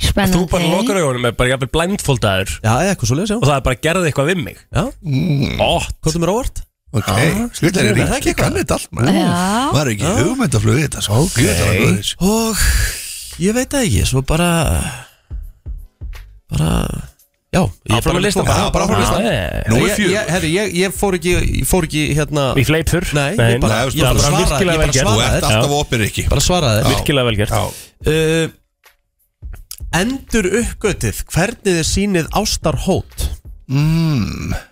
Speaker 2: Spennandi
Speaker 3: Þú bara lokar augunum með bara jafnvel blindfoldaður
Speaker 1: já eða eitthvað svo leið
Speaker 3: og það er bara gerði eitthvað við mig
Speaker 1: já,
Speaker 3: Ótt
Speaker 1: hvað þú mér óvart?
Speaker 8: Ok, skvitað er
Speaker 1: það er
Speaker 8: ríkki,
Speaker 1: ekki
Speaker 8: kann þetta allt maður
Speaker 2: Já.
Speaker 8: Maður er ekki hugmyndaflug í þetta svo gjöðar að góðis
Speaker 1: og ég veit það ekki, svo bara bara já, ég
Speaker 3: Áfram með listan
Speaker 8: bara. Já, bara áfram með listan.
Speaker 3: listan
Speaker 8: Nú er
Speaker 1: ég, ég,
Speaker 8: fjögur.
Speaker 1: herri, ég, ég fór ekki, ég fór ekki hérna
Speaker 3: Í fleipur
Speaker 1: Nei, ég bara,
Speaker 8: Nei,
Speaker 1: ég
Speaker 8: það er
Speaker 1: bara
Speaker 3: bara
Speaker 1: svaraði
Speaker 3: virkilega
Speaker 1: Ég bara
Speaker 3: vel
Speaker 8: Þú ert
Speaker 1: svaraði
Speaker 3: gert.
Speaker 1: þér.
Speaker 8: alltaf opið ríkki
Speaker 1: Bara svaraði þér.
Speaker 3: Virkilega vel gert
Speaker 8: Já,
Speaker 1: Uh, Endur uppgötið Hvernig þið sýnið ástarhót mm.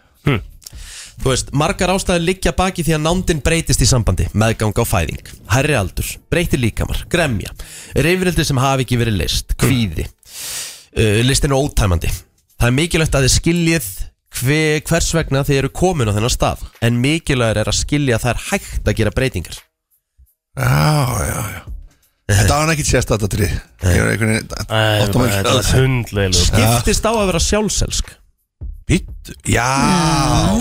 Speaker 1: Þú veist, margar ástæður liggja baki því að nándin breytist í sambandi meðgang á fæðing, herri aldur breytir líkamar, gremja reyfrildi sem hafi ekki verið list, kvíði uh, listin er ótæmandi það er mikilvægt að þið skiljið hve, hvers vegna þið eru komin á þennan stað en mikilvægur er að skilja að það er hægt að gera breytingar
Speaker 8: já, já, já Þetta var ekki sérst þetta trið Ég er einhvern veginn
Speaker 3: Það er
Speaker 8: Óttum
Speaker 3: hundleilu
Speaker 1: skiptist á að vera sjálfselsk
Speaker 8: Pitt Já,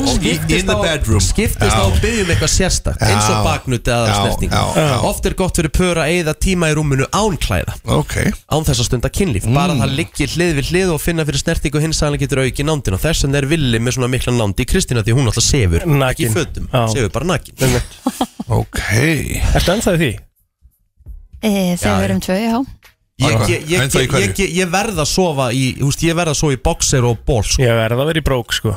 Speaker 8: og í- in the
Speaker 1: á-
Speaker 8: bedroom
Speaker 1: skiptist á að byggja um eitthvað sérstakt
Speaker 8: Já.
Speaker 1: eins og baknuti
Speaker 8: Já,
Speaker 1: aðra snerting
Speaker 8: já, já.
Speaker 1: oft er gott fyrir pör að eigða tíma í rúminu án klæða
Speaker 8: Ok,
Speaker 1: án þess að stunda kynlíf
Speaker 8: Mm.
Speaker 1: bara að það liggi hlið við hlið og finna fyrir snertingu hins aðlega getur auki nándin og þess vegna er villi með svona mikla nándi í Kristina því hún alltaf sefur ekki í
Speaker 3: Nakin.
Speaker 1: fötum,
Speaker 3: Já.
Speaker 1: sefur bara nakin
Speaker 8: ok
Speaker 3: Ertu ennþá í því?
Speaker 2: E, Þegar við erum tvö, já
Speaker 1: ég,
Speaker 8: Ok,
Speaker 1: ég, ég,
Speaker 8: en þá í
Speaker 1: ég,
Speaker 8: hverju?
Speaker 1: ég, ég verð að sofa í húst, ég verð að sofa í boxer og ból sko.
Speaker 3: Ég verði að vera í brók sko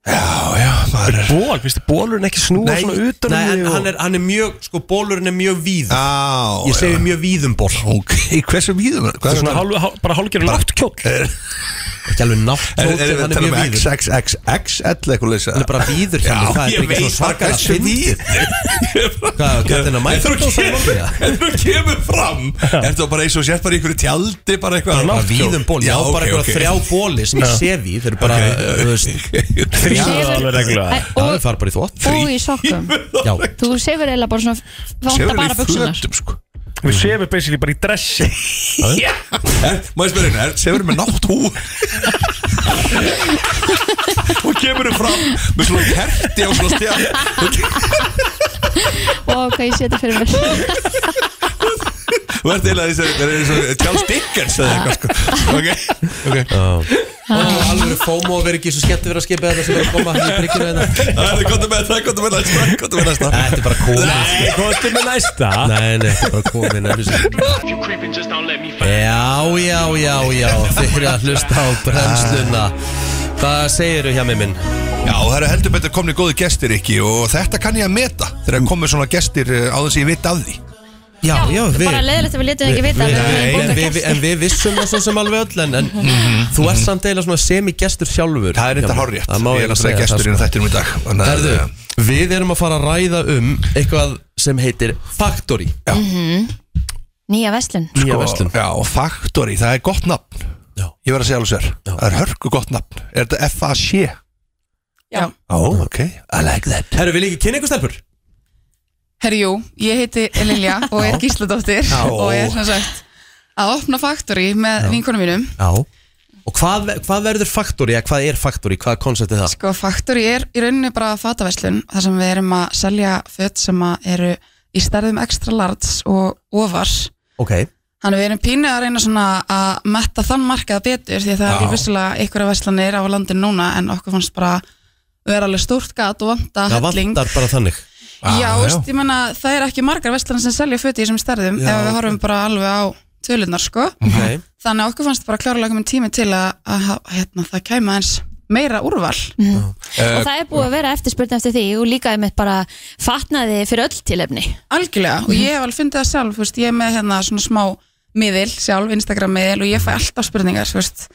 Speaker 8: Já, já, maður er
Speaker 3: Ból, finnst þið bólurinn ekki snúa
Speaker 1: nei,
Speaker 3: svona
Speaker 8: um
Speaker 3: utan um
Speaker 1: nei, en hann er, hann er mjög sko, bólurinn er mjög víð
Speaker 8: Já,
Speaker 1: ég segi mjög víðum ból
Speaker 8: ok Hversu víðum
Speaker 3: Svona hálf, hálf, bara hálfgerður náttkjól
Speaker 8: Er-
Speaker 1: Ekki alveg
Speaker 8: Er er-
Speaker 1: nátt
Speaker 8: er
Speaker 1: hann
Speaker 8: það
Speaker 1: er
Speaker 8: tala um
Speaker 1: mjög
Speaker 8: með
Speaker 1: víður
Speaker 8: XXXX ellu eitthvað leysa
Speaker 1: Hann er bara víður hjá mér,
Speaker 8: Já,
Speaker 1: það er
Speaker 8: ég
Speaker 1: bara ekki
Speaker 8: veit bara
Speaker 1: svo svakalega
Speaker 8: hversu
Speaker 1: fyndið.
Speaker 8: víður
Speaker 1: Hvað, hérna,
Speaker 8: En þú
Speaker 1: Katina Mækdósa
Speaker 8: kemur, en þú kemur fram Er það bara eins og sér bara í einhverju tjaldi Bara eitthvað
Speaker 1: Bara víðum ból, já, bara okay, þrjá bóli sem ég sé því Þeir eru bara, þú veist
Speaker 8: okay.
Speaker 3: Já,
Speaker 2: Sefur-
Speaker 3: alveg
Speaker 2: Æ,
Speaker 3: reglulega.
Speaker 1: Það er
Speaker 2: og,
Speaker 1: fara bara í þvott
Speaker 2: og í sokkum
Speaker 1: Já,
Speaker 2: Þú sefur eiginlega bara svona Vanda bara buksunar
Speaker 8: sko.
Speaker 3: Við séum basically bara í dressi
Speaker 8: Er- Má ég spyrja hérna, sefur með nátt hú Og kemur fram Með svona kerti á svona stjá
Speaker 2: Og hvað ég seti fyrir mér
Speaker 8: Þú ert eiginlega eins og- það er eins og Charles Dickens eða eitthvað sko Ok, ok
Speaker 1: og alveg fómo að vera ekki svo skemmt að vera að skipa þetta sem er að koma hérna í prikkinu þetta
Speaker 8: Það er gott með það, gott með næsta Gott með næsta
Speaker 1: Þetta er bara komið
Speaker 3: Nei, hvað er með næsta?
Speaker 1: Nei, nei, þetta er bara komið nefnir sér Eh, Já, já, já, já Þeir eru að hlusta á brennsluna Hvað segiru hjá mig minn?
Speaker 8: Já, það eru heldur betur komni góði gestir ekki og þetta kann ég að meta þegar
Speaker 1: Mm.
Speaker 8: komið svona gestir eh, á þess að ég veit af því
Speaker 1: Já, já, við
Speaker 2: Bara leðilegt að við letum ekki vita að við erum
Speaker 1: Nei, en
Speaker 2: bókað
Speaker 1: við,
Speaker 2: gesti.
Speaker 1: en við vissum það svo sem alveg öll En, en
Speaker 10: Mhm.
Speaker 1: þú ert samt eiginlega svona semi-gestur sjálfur
Speaker 8: Það er
Speaker 1: hjá
Speaker 8: þetta
Speaker 1: mér.
Speaker 8: hárrétt,
Speaker 1: Það
Speaker 8: ég
Speaker 1: má
Speaker 8: er
Speaker 1: eiginlega
Speaker 8: náttúrulega
Speaker 1: segja
Speaker 8: gestur
Speaker 1: það,
Speaker 8: í
Speaker 1: sko.
Speaker 8: þættinum í dag þannig að,
Speaker 1: Herðu,
Speaker 8: eh,
Speaker 1: við erum að fara að ræða um eitthvað sem heitir Factory
Speaker 2: Nýja vestlun
Speaker 1: Mhm. Nýja
Speaker 8: sko,
Speaker 1: verslun
Speaker 8: Já, og Factory, það er gott nafn
Speaker 1: Já.
Speaker 8: Ég verð að segja alveg sér, það er hörku gott nafn Er þetta F.A.C.?
Speaker 10: Já.
Speaker 8: Ó, ok, I like that
Speaker 1: Herru, vil ég ekki kynna einhver stelpur?
Speaker 10: Herjú, ég heiti Lilja og er gísladóttir
Speaker 8: Já.
Speaker 10: og er svona sagt að opna faktori með vinkunum mínum
Speaker 1: Já Og hvað, hvað verður Factory, eða hvað er Factory, hvað er konceptið það?
Speaker 10: Sko, faktori er í rauninni bara fataverslun þar sem við erum að selja fött sem að eru í stærðum extra large og ofar
Speaker 1: Ok
Speaker 10: Þannig að við erum pínu að reyna svona að metta þann markað betur því að það
Speaker 8: Já.
Speaker 10: er alveg vissulega einhverja verslanir á landin núna en okkur fannst bara vera alveg stórt gat og vanta
Speaker 1: Það
Speaker 10: helling
Speaker 1: vantar bara þannig
Speaker 10: Já,
Speaker 8: Ah,
Speaker 10: veist, ég menna, það er ekki margar verslanir sem selja föt í þessum stærðum
Speaker 1: Já, Mm.
Speaker 10: ef við horfum bara alveg á tölunar sko.
Speaker 8: Mhm.
Speaker 1: okay.
Speaker 10: þannig að okkur fannst bara klárlega komin tími til að, að ha- hérna, það kæma eins meira úrval
Speaker 2: Og það er búið að vera eftirspurn eftir því og líka einmitt bara fatnaði fyrir öll tilefni
Speaker 10: algjörlega og ég hef alveg fundið það sjálf þú veist, ég er með hérna svona smá miðil sjálf, Instagram miðil og ég fæ alltaf spurningar þú veist,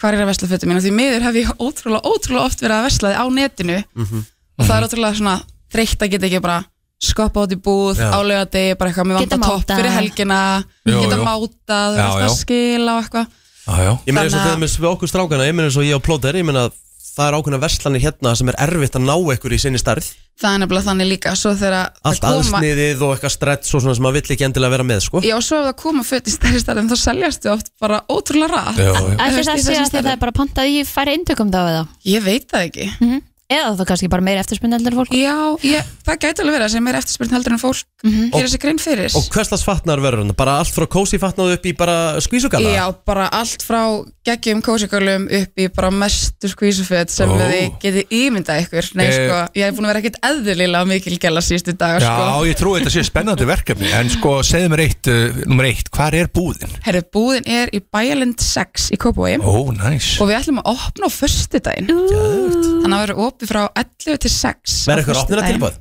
Speaker 10: hvað er að vesla fötum mín og því miður hef ég ótrúlega, ótrúlega oft verið að vesla því á netinu
Speaker 8: Mhm.
Speaker 10: og það er ótrúlega svona þreytt að geta ekki bara skoppa út í búð,
Speaker 1: Já.
Speaker 10: álega degi bara eitthvað, mér
Speaker 2: Geta
Speaker 10: vantar topp
Speaker 2: mátað.
Speaker 10: fyrir helgina
Speaker 8: Jú,
Speaker 10: geta
Speaker 8: jú.
Speaker 10: mátað, þú
Speaker 8: Já,
Speaker 10: veist, að
Speaker 8: já.
Speaker 10: skila og eitthvað
Speaker 8: Já, já
Speaker 1: Ég meina eins og
Speaker 10: Þannig að-
Speaker 1: þegar með við okkur strákana, ég meina eins og ég á plóter, ég meina það er ákveðna verslanir hérna sem er erfitt að ná ekkur í sinni starð
Speaker 10: það er nefnilega þannig líka svo þegar það
Speaker 1: Allt aðsniðið og eitthvað stretch og svona sem maður vill ekki endilega vera með, sko
Speaker 10: já, svo ef það koma föt í stærri stærðum þá seljastu oft bara ótrúlega rætt
Speaker 8: Já, já.
Speaker 2: Ætli
Speaker 10: veist,
Speaker 2: það
Speaker 10: í
Speaker 2: sé
Speaker 10: þessum
Speaker 2: að það
Speaker 10: stærðum.
Speaker 2: er bara pantað í færi eintökum þá eða
Speaker 10: ég veit það ekki
Speaker 2: Eða það kannski bara meira eftirspurn heldur en fólk
Speaker 10: já, ég, það gæti alveg verið að sem er eftirspurn heldur en fólk
Speaker 8: Mhm.
Speaker 10: gera sér grein fyrir
Speaker 1: Og hvers slags fatnar verður hann? Bara allt frá kósi fatnaðu upp í bara skvísugala?
Speaker 10: já, bara allt frá geggjum kósikölum upp í bara mestu skvísuföt sem
Speaker 8: Ó.
Speaker 10: þið getið ímyndað ykkur nei,
Speaker 8: Eh.
Speaker 10: sko, ég hef búin að vera ekkit eðlilega mikil gæla sístu dagar,
Speaker 8: Já,
Speaker 10: sko
Speaker 8: ég trúi þetta sé spennandi verkefni En sko, segðu mér eitt, uh, nummer eitt Hvar er búðin?
Speaker 10: herru, búðin er í Bæjalind 6 í Kópavogi
Speaker 8: Ó, næs
Speaker 10: og við ætlum að opna á föstudaginn þannig að verður opið frá 11 til 6 á
Speaker 1: Verður eitthvað opnina
Speaker 10: föstudaginn.
Speaker 1: tilbúð?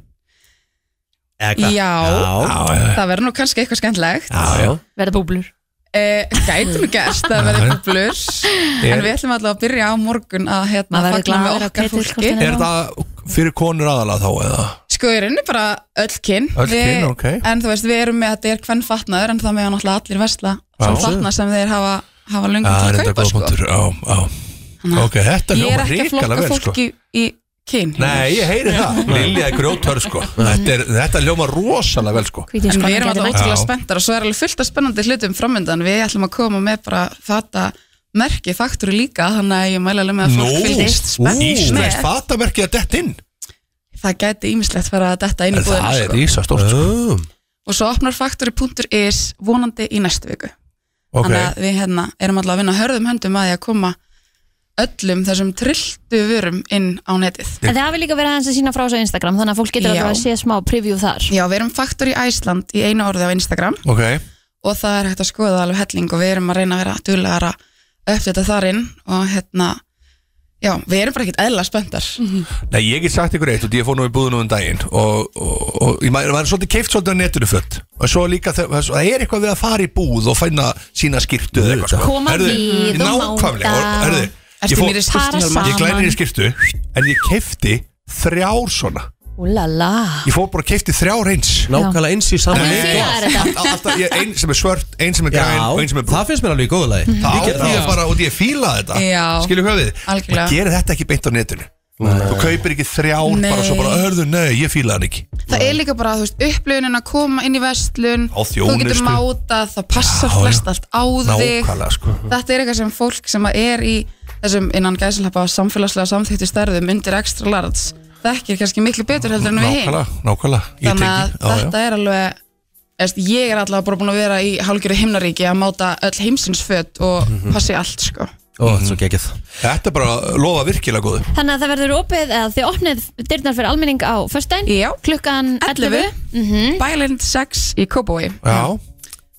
Speaker 10: Já,
Speaker 1: Já
Speaker 8: Já, já,
Speaker 10: það verður nú kannski eitthvað skemmtlegt
Speaker 8: já, já.
Speaker 2: Verða búblur
Speaker 10: eh, Gætum gerst að verða eitthvað blurs En við ætlum allavega að byrja á morgun að hérna
Speaker 2: Maður verður
Speaker 10: fagna
Speaker 2: glaður
Speaker 10: með
Speaker 2: á
Speaker 10: okkar fólki
Speaker 2: Ketilkortinu.
Speaker 8: Er það fyrir konur aðalega þá eða?
Speaker 10: Sko, ég raunir bara öll kyn
Speaker 8: Öll
Speaker 10: Við-
Speaker 8: kyn, ok.
Speaker 10: En þú veist, við erum með að þetta er hvern fatnaður En það með náttúrulega allir vesla Svo
Speaker 8: Já.
Speaker 10: fatnað sem þeir hafa, hafa löngum
Speaker 8: Það er
Speaker 10: til að
Speaker 8: þetta
Speaker 10: kaupa
Speaker 8: góð
Speaker 10: sko.
Speaker 8: punktur Já, já
Speaker 10: Þannig að
Speaker 8: Ok, þetta
Speaker 10: Ég er
Speaker 8: hljóma
Speaker 10: ekki að
Speaker 8: hrikalega
Speaker 10: flokka
Speaker 8: vel sko
Speaker 10: fólki í, í kyn
Speaker 8: Nei, ég heyri það Lilja er grjótör sko Þetta, er, þetta hljóma rosalega vel sko
Speaker 2: Hvítið
Speaker 10: En við
Speaker 2: skoðan getur
Speaker 10: erum alltaf
Speaker 2: nætt
Speaker 10: ótrúlega
Speaker 8: Já.
Speaker 10: spenntar og svo er alveg fullt af spennandi hlutum framöndan Við ætlum að koma með bara þetta merki faktúri líka Þannig að ég mæla alveg með að
Speaker 8: Nú,
Speaker 10: fólk fylgist spennt
Speaker 8: Íslands
Speaker 10: með
Speaker 8: fatamerki að dett inn
Speaker 10: Það gæti ímislegt fyrir að detta inn í búðina
Speaker 8: Það er
Speaker 10: sko.
Speaker 8: ísa stórt sko
Speaker 1: Um,
Speaker 10: Og svo opnar faktúri.is vonandi í næstu viku
Speaker 8: Ok,
Speaker 10: Þannig að við hérna, erum alltaf að vinna hörðum höndum að því að koma öllum þessum trilltu vörum inn á netið
Speaker 2: En það hafi líka verið aðeins að sína frá þessu á Instagram þannig að fólk getur
Speaker 10: Já.
Speaker 2: alltaf að sé smá preview þar
Speaker 10: Já, við erum Faktor í Æsland í einu orði á Instagram
Speaker 8: ok
Speaker 10: og það er hægt að skoða alveg helling og við erum að reyna að vera duglegar að öftu þetta þar inn og hérna Já, við erum bara ekkert eðla spöntar
Speaker 8: Nei, ég get sagt ykkur eitt og ég fór nú í búðunum um daginn og, og, og ég maður maður er svolítið keift svolítið á netinu föld og svo líka þau- það er eitthvað við að fara í búð og fæna sína skýrtu eða eitthvað sko
Speaker 2: Koma
Speaker 8: Herðu,
Speaker 2: við og
Speaker 8: nákvæmlega,
Speaker 2: máta.
Speaker 8: og- herðu,
Speaker 10: Ertu
Speaker 8: fór-
Speaker 10: mér í skyrtu, Hjálmar?
Speaker 8: Ég glæði mér í skirtu En ég kefti þrjár svona
Speaker 2: Úlala
Speaker 8: Ég fór bara að kefti þrjár eins
Speaker 1: Nákvæmlega eins í sama
Speaker 8: Nei,
Speaker 1: lit.
Speaker 2: Félagar þetta.
Speaker 8: all- all- alltaf ég- Ein sem er svört, ein sem er græn og ein sem er brún
Speaker 1: það finnst mér alveg í góðu lagi
Speaker 8: Það
Speaker 1: Ég get
Speaker 8: átti ég
Speaker 1: það.
Speaker 8: bara og ég fílaði þetta
Speaker 10: Já.
Speaker 8: Skilju höfið
Speaker 10: Algjörlega.
Speaker 8: Og gerir þetta ekki beint á netinu Þú kaupir ekki þrjár
Speaker 10: Nei.
Speaker 8: bara svo bara Hörðu, nei, ég fílaði hann ekki
Speaker 10: Það er líka bara, þú veist, upplifunin að koma inn í vestlun
Speaker 8: Á
Speaker 10: Þú getur
Speaker 8: þjónustu.
Speaker 10: mátað, það passar
Speaker 8: Já, já.
Speaker 10: flest allt á þig
Speaker 8: Nákvæmlega, sko
Speaker 10: Þetta er eitthvað sem fólk sem að er í þessum innan gæslappa samfélagslega samþýttu stærðum undir extra large þekkir kannski miklu betur heldur en við hinn
Speaker 8: Nákvæmlega, nákvæmlega Ég
Speaker 10: Þannig að
Speaker 8: tengi, já, já.
Speaker 10: þetta er alveg Eðst, ég er allavega bara búin að vera í hálgjöru himnaríki að máta öll heimsins föt og
Speaker 8: Mhm.
Speaker 10: passi allt sko
Speaker 1: Ó, þetta er svo gekkið
Speaker 8: Þetta er bara lofa virkilega góðu
Speaker 2: Þannig að það verður opið eða þið opnið dyrnar fyrir almenning á föstudaginn
Speaker 10: Já.
Speaker 2: klukkan Mhm. 11,
Speaker 10: 11 mm -hmm. Bælind 6 í Kóbói
Speaker 8: Já,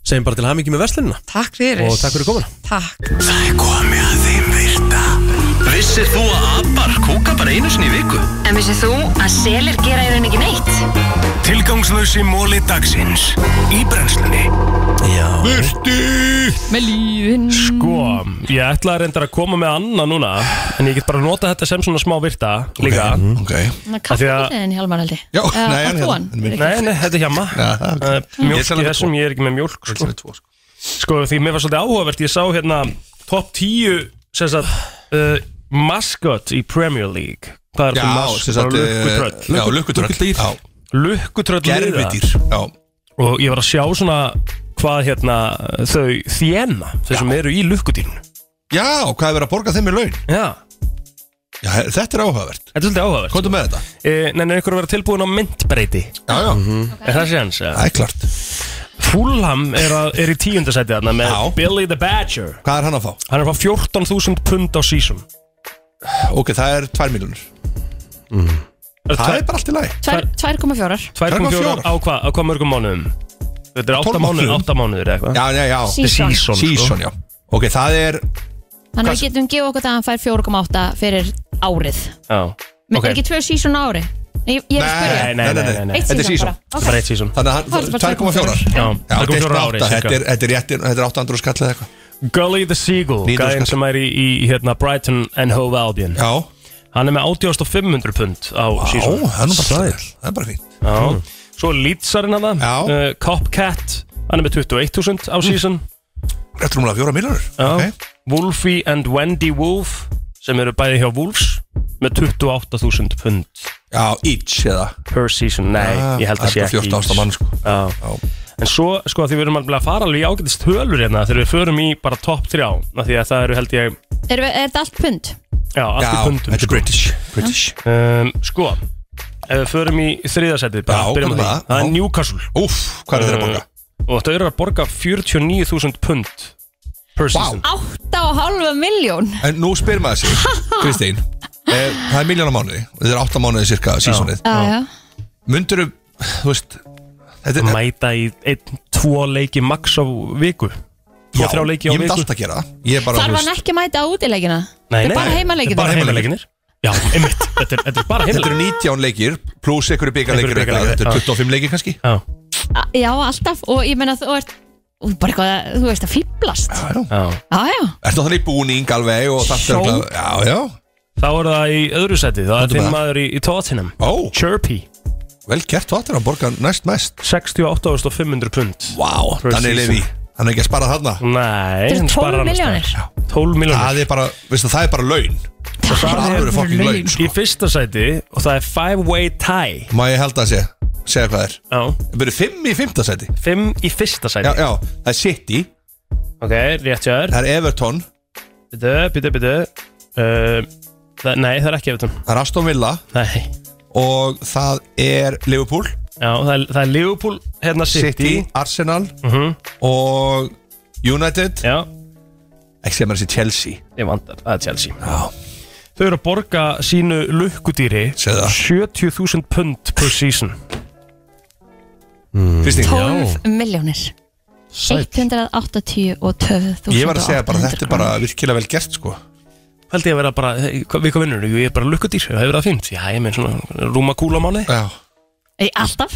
Speaker 1: Segjum bara til hamingi með verslunina
Speaker 10: Takk fyrir
Speaker 1: Og takk fyrir komuna
Speaker 10: Takk
Speaker 4: Það er komið að þeim virta Vissir þú að abar kúka bara einu sinni í viku?
Speaker 11: En vissið þú að selir gera í raun ekki neitt?
Speaker 4: Tilgangslösi móli dagsins Í brennslunni
Speaker 1: Já
Speaker 8: Burtu
Speaker 2: Með lífin
Speaker 3: Sko, ég ætla að reynda að koma með annað núna En ég get bara að nota þetta sem svona smá virta líka
Speaker 8: Ok
Speaker 3: Af því að-
Speaker 2: Kaffeðin Hjálmar held ég
Speaker 8: Já,
Speaker 2: Eða
Speaker 8: nei,
Speaker 2: átt
Speaker 8: hann
Speaker 2: þú hann?
Speaker 8: hérna, minn.
Speaker 3: Nei, nei, þetta er hjá maður
Speaker 8: Já, það er ok. Ég
Speaker 3: Mjólk
Speaker 8: sel
Speaker 3: í
Speaker 8: alveg
Speaker 3: þessum,
Speaker 8: tvo.
Speaker 3: ég er ekki með mjólk
Speaker 8: Þetta
Speaker 3: sko.
Speaker 8: er tvo, sko.
Speaker 3: sko, því mér var svolítið áhugavert Ég sá hérna top 10 sem sagt, uh, maskot í Premier League Hvað er
Speaker 8: Já,
Speaker 3: það maskot?
Speaker 8: sem sagt,
Speaker 3: Bara
Speaker 8: eh,
Speaker 3: Lukkutröll
Speaker 8: já, lukkutröll
Speaker 1: Lukkudýr.
Speaker 8: Já,
Speaker 3: Lukkutröll liða.
Speaker 8: Gerfidýr Já,
Speaker 3: Og ég var að sjá svona hvað hérna þau þjena Þau sem eru í lukkudýrinu
Speaker 8: já hvað er verið að borga þeim í laun?
Speaker 3: Já,
Speaker 8: Já, þetta er áhugavert
Speaker 3: þetta er svolítið áhugavert
Speaker 8: Komdu með þetta
Speaker 3: Eh, Nei, er einhver að vera tilbúin á myndbreyti
Speaker 8: Já, já,
Speaker 3: Er það sé hans?
Speaker 8: það er klart
Speaker 3: Fulham er, að, er í tíundasæti þarna með
Speaker 8: Já.
Speaker 3: Billy the Badger
Speaker 8: Hvað er hann að fá?
Speaker 3: Hann er að fá 14.000 pund á season
Speaker 8: Ok, það er 2 miljonur Það er bara allt í lagi
Speaker 2: 2,4
Speaker 3: 2.4 á hvað á hvað mörgum mánuðum? Þetta er 8
Speaker 8: 12
Speaker 3: mánuður,
Speaker 8: mánuðum.
Speaker 3: 8 mánuður eða eitthvað
Speaker 8: Já, já, já
Speaker 2: Sí. Season.
Speaker 3: Ah. Season,
Speaker 8: Season,
Speaker 3: sko.
Speaker 8: já Ok, það er
Speaker 2: Þannig að
Speaker 8: Hvað-
Speaker 2: við getum gefa okkur það að hann fær 4,8 fyrir árið
Speaker 3: Já
Speaker 2: Menn
Speaker 3: Ok.
Speaker 2: okay. ekki tvö sísun ári Ég, ég er að spyrja
Speaker 3: Nei, nei, nei, nei, nei.
Speaker 8: Þetta er
Speaker 2: Eitt season
Speaker 8: season
Speaker 2: bara. Ok.
Speaker 3: Bara eitt season
Speaker 8: Þannig
Speaker 2: Það
Speaker 8: að
Speaker 2: er
Speaker 8: hann-
Speaker 2: bara
Speaker 8: 2,4
Speaker 2: 2,4
Speaker 3: Já,
Speaker 8: Já, þetta er
Speaker 3: 2,4 ári
Speaker 8: 8 Þetta
Speaker 3: cirka.
Speaker 8: er- þetta er réttinn- þetta er 800 skall eða eitthvað
Speaker 3: Gully the Seagull
Speaker 8: Nýtur skall.
Speaker 3: Gæðin sem er í, í hérna, Brighton and Hove Albion
Speaker 8: Já
Speaker 3: Hann er með 8500 pund á
Speaker 8: Já,
Speaker 3: season
Speaker 8: það er nú bara Það er bara fínt
Speaker 3: Já. Svo Leedsarinn hann
Speaker 8: Já. Mm.
Speaker 3: það uh, Copcat Hann er með 21.000 á season
Speaker 8: Rétt rúmlega 4 miljonur
Speaker 3: Já. Wolfie and Wendy Wolf sem eru bæði hjá Wolves með 28.000 pund
Speaker 8: Já, each eða
Speaker 3: per season, nei,
Speaker 8: Ah,
Speaker 3: ég held að
Speaker 8: það
Speaker 3: sé
Speaker 8: er bara
Speaker 3: ekki
Speaker 8: 14.000 mann, sko.
Speaker 3: Já. En svo, sko, því við erum alveg að fara alveg í ágætist hölur hérna þegar við förum í bara topp 3 af því að það eru held ég,
Speaker 2: Er, er þetta allt pund?
Speaker 3: já, allt í sko.
Speaker 8: Já,
Speaker 3: pundum
Speaker 8: þetta er British British
Speaker 3: um, Sko, ef við förum í þriðasætið bara,
Speaker 8: Já,
Speaker 3: byrjum
Speaker 8: hvað er
Speaker 3: á því
Speaker 8: það?
Speaker 3: Það er
Speaker 8: Já.
Speaker 3: Newcastle
Speaker 8: Úff, hvað er þeirra að borga?
Speaker 3: og þau eru að borga 49.000 pund per season
Speaker 2: 8,5 miljón
Speaker 8: En nú spyr maður sig, Kristín eh, Það er miljónar mánuði og Þetta er 8 mánuði cirka sísonið
Speaker 2: Já, já
Speaker 8: Mundur þú veist Þetta er
Speaker 3: Mæta í einn, tvo leiki max á viku Tvo, þrjá leiki
Speaker 8: Ég
Speaker 3: á
Speaker 8: myndi
Speaker 3: viku
Speaker 8: alltaf að gera það. Ég er bara
Speaker 2: Þarf
Speaker 8: þú
Speaker 2: hann
Speaker 8: veist,
Speaker 2: ekki að mæta á útileikina?
Speaker 3: Nei,
Speaker 2: Þetta
Speaker 3: nei,
Speaker 2: er bara
Speaker 3: nei,
Speaker 2: heimaleikir.
Speaker 3: Þetta er bara
Speaker 8: heimaleikir.
Speaker 3: heimaleikir Já, einmitt, þetta er, þetta er bara
Speaker 8: Þetta eru
Speaker 3: heimaleikir
Speaker 8: 19 leikir pluss einhverju byggarleikir eitthvað
Speaker 3: Einhverjir bikarleikir,
Speaker 8: Þetta
Speaker 3: já.
Speaker 8: eru 25 leikir kannski
Speaker 3: Já,
Speaker 2: A- Já, alltaf Og ég meina þú ert Þú bara eitthvað að- Þú veist að fýblast
Speaker 8: Já, já
Speaker 3: já
Speaker 2: Já, já
Speaker 8: Ertu þannig í búning alveg og það
Speaker 3: Sjó.
Speaker 8: Já, já
Speaker 3: Þá er það í öðru seti, það er
Speaker 8: Komdu með
Speaker 3: þinn
Speaker 8: það.
Speaker 3: maður í, í Tottenham
Speaker 8: Ó,
Speaker 3: Chirpy,
Speaker 8: vel gert Tottenham borga næst mest
Speaker 3: 68.500 pund
Speaker 8: Vá,
Speaker 3: Per
Speaker 8: Daniel
Speaker 3: season.
Speaker 8: Levy Hann er ekki að spara þarna
Speaker 3: Nei,
Speaker 2: Þetta eru
Speaker 3: hann
Speaker 2: 12
Speaker 3: sparar annars
Speaker 2: milljónir.
Speaker 3: staðar. 12
Speaker 8: Það
Speaker 3: miljónir
Speaker 8: er bara, veistu, það er bara laun Það er alveg fokkin laun
Speaker 3: sko.
Speaker 8: sko.
Speaker 3: Í fyrsta seti og það er 5-way tie
Speaker 8: Má ég held að sé, segja hvað er
Speaker 3: Já,
Speaker 8: Það byrju 5 í 5. seti
Speaker 3: 5 í fyrsta seti
Speaker 8: Já, já, það er City,
Speaker 3: Ok, rétt hjá þér
Speaker 8: það er Everton
Speaker 3: Bitu, bitu, bitu uh, það, Nei, það er ekki eftir
Speaker 8: Það er Aston Villa
Speaker 3: Nei,
Speaker 8: Og það er Liverpool
Speaker 3: já, það er, það er Liverpool hérna
Speaker 8: City,
Speaker 3: City
Speaker 8: Arsenal
Speaker 3: Mhm.
Speaker 8: Og United
Speaker 3: Já,
Speaker 8: Ekki sem er þessi Chelsea
Speaker 3: ég vandar, það er Chelsea Já Þau eru að borga sínu lukkudýri
Speaker 8: Segðu það.
Speaker 3: 70.000 pund per season
Speaker 8: Kristín,
Speaker 2: 12 miljónir 182 og 2.000
Speaker 8: ég var að segja bara Þetta er bara virkilega vel gert sko
Speaker 3: held ég að vera bara, hey, hvað- við hvað vinnur, ég er bara lukkudýr, það hefur það fínt, já ég meina svona rúma kúla máli,
Speaker 8: Já,
Speaker 2: Alltaf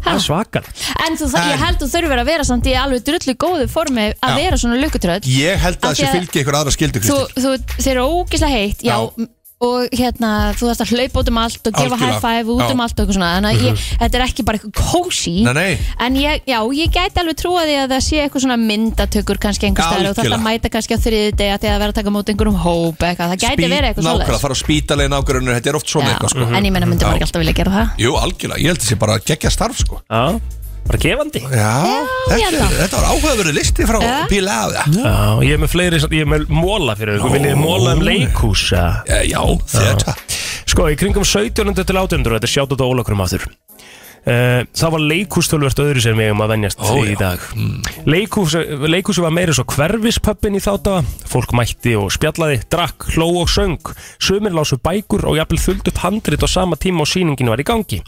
Speaker 3: Það er svakar
Speaker 2: En þú, það, ég held þú þurfir að vera samt í alveg drullu góðu formi að
Speaker 8: Já.
Speaker 2: vera svona lukkutröð
Speaker 8: Ég held að
Speaker 2: Af
Speaker 8: það
Speaker 2: því
Speaker 8: sé
Speaker 2: að-
Speaker 8: fylgi ykkur aðra skildu,
Speaker 2: þú,
Speaker 8: Kristi
Speaker 2: þú, þeir eru ógislega heitt já,
Speaker 8: Já.
Speaker 2: og hérna, þú þarft að hlaupa út um allt og gefa
Speaker 8: Algjörlega.
Speaker 2: high five út
Speaker 8: Já. Mhm.
Speaker 2: um allt og eitthvað svona, þannig að ég, þetta er ekki bara eitthvað kósi
Speaker 8: Nei, nei.
Speaker 2: en ég, já, ég gæti alveg trúa því að það sé eitthvað svona myndatökur kannski einhver staðar og þetta
Speaker 8: Algjörlega.
Speaker 2: mæta kannski á þriði deg að því að vera að taka mót einhverjum hóp eitthvað, það gæti verið eitthvað
Speaker 8: Nákvæmlega,
Speaker 2: svoleiðis
Speaker 8: fara á spítalegi nákvæmlega Þetta er oft svona
Speaker 2: Já,
Speaker 8: eitthvað sko.
Speaker 2: en ég meina myndi
Speaker 8: Já.
Speaker 2: bara ekki alltaf vilja gera það
Speaker 8: Jú, algjörlega, ég held að það sé bara að gegja starf sko.
Speaker 3: Já, bara gefandi
Speaker 8: Já,
Speaker 2: ég held
Speaker 8: þetta,
Speaker 2: það.
Speaker 8: þetta var áhugaverið listi frá
Speaker 2: Já.
Speaker 8: Bílaða
Speaker 3: Já, ég er með fleiri, ég er með móla fyrir ykkur, viljið þið móla um leikhús Já,
Speaker 8: já þetta
Speaker 3: Sko, í kringum 17. til 18. þetta er sjátt út á ólokurum aftur Uh, það var leikhús tölvert öðru sem við eigum að venjast
Speaker 8: Ó,
Speaker 3: í
Speaker 8: já. Hmm.
Speaker 3: dag leikhús, leikhúsi var meira svo hverfispöppin í þáttaða fólk mætti og spjallaði, drakk, hló og söng sömur lásu bækur og jafnvel fullt upp handrit á sama tíma og sýningin var í gangi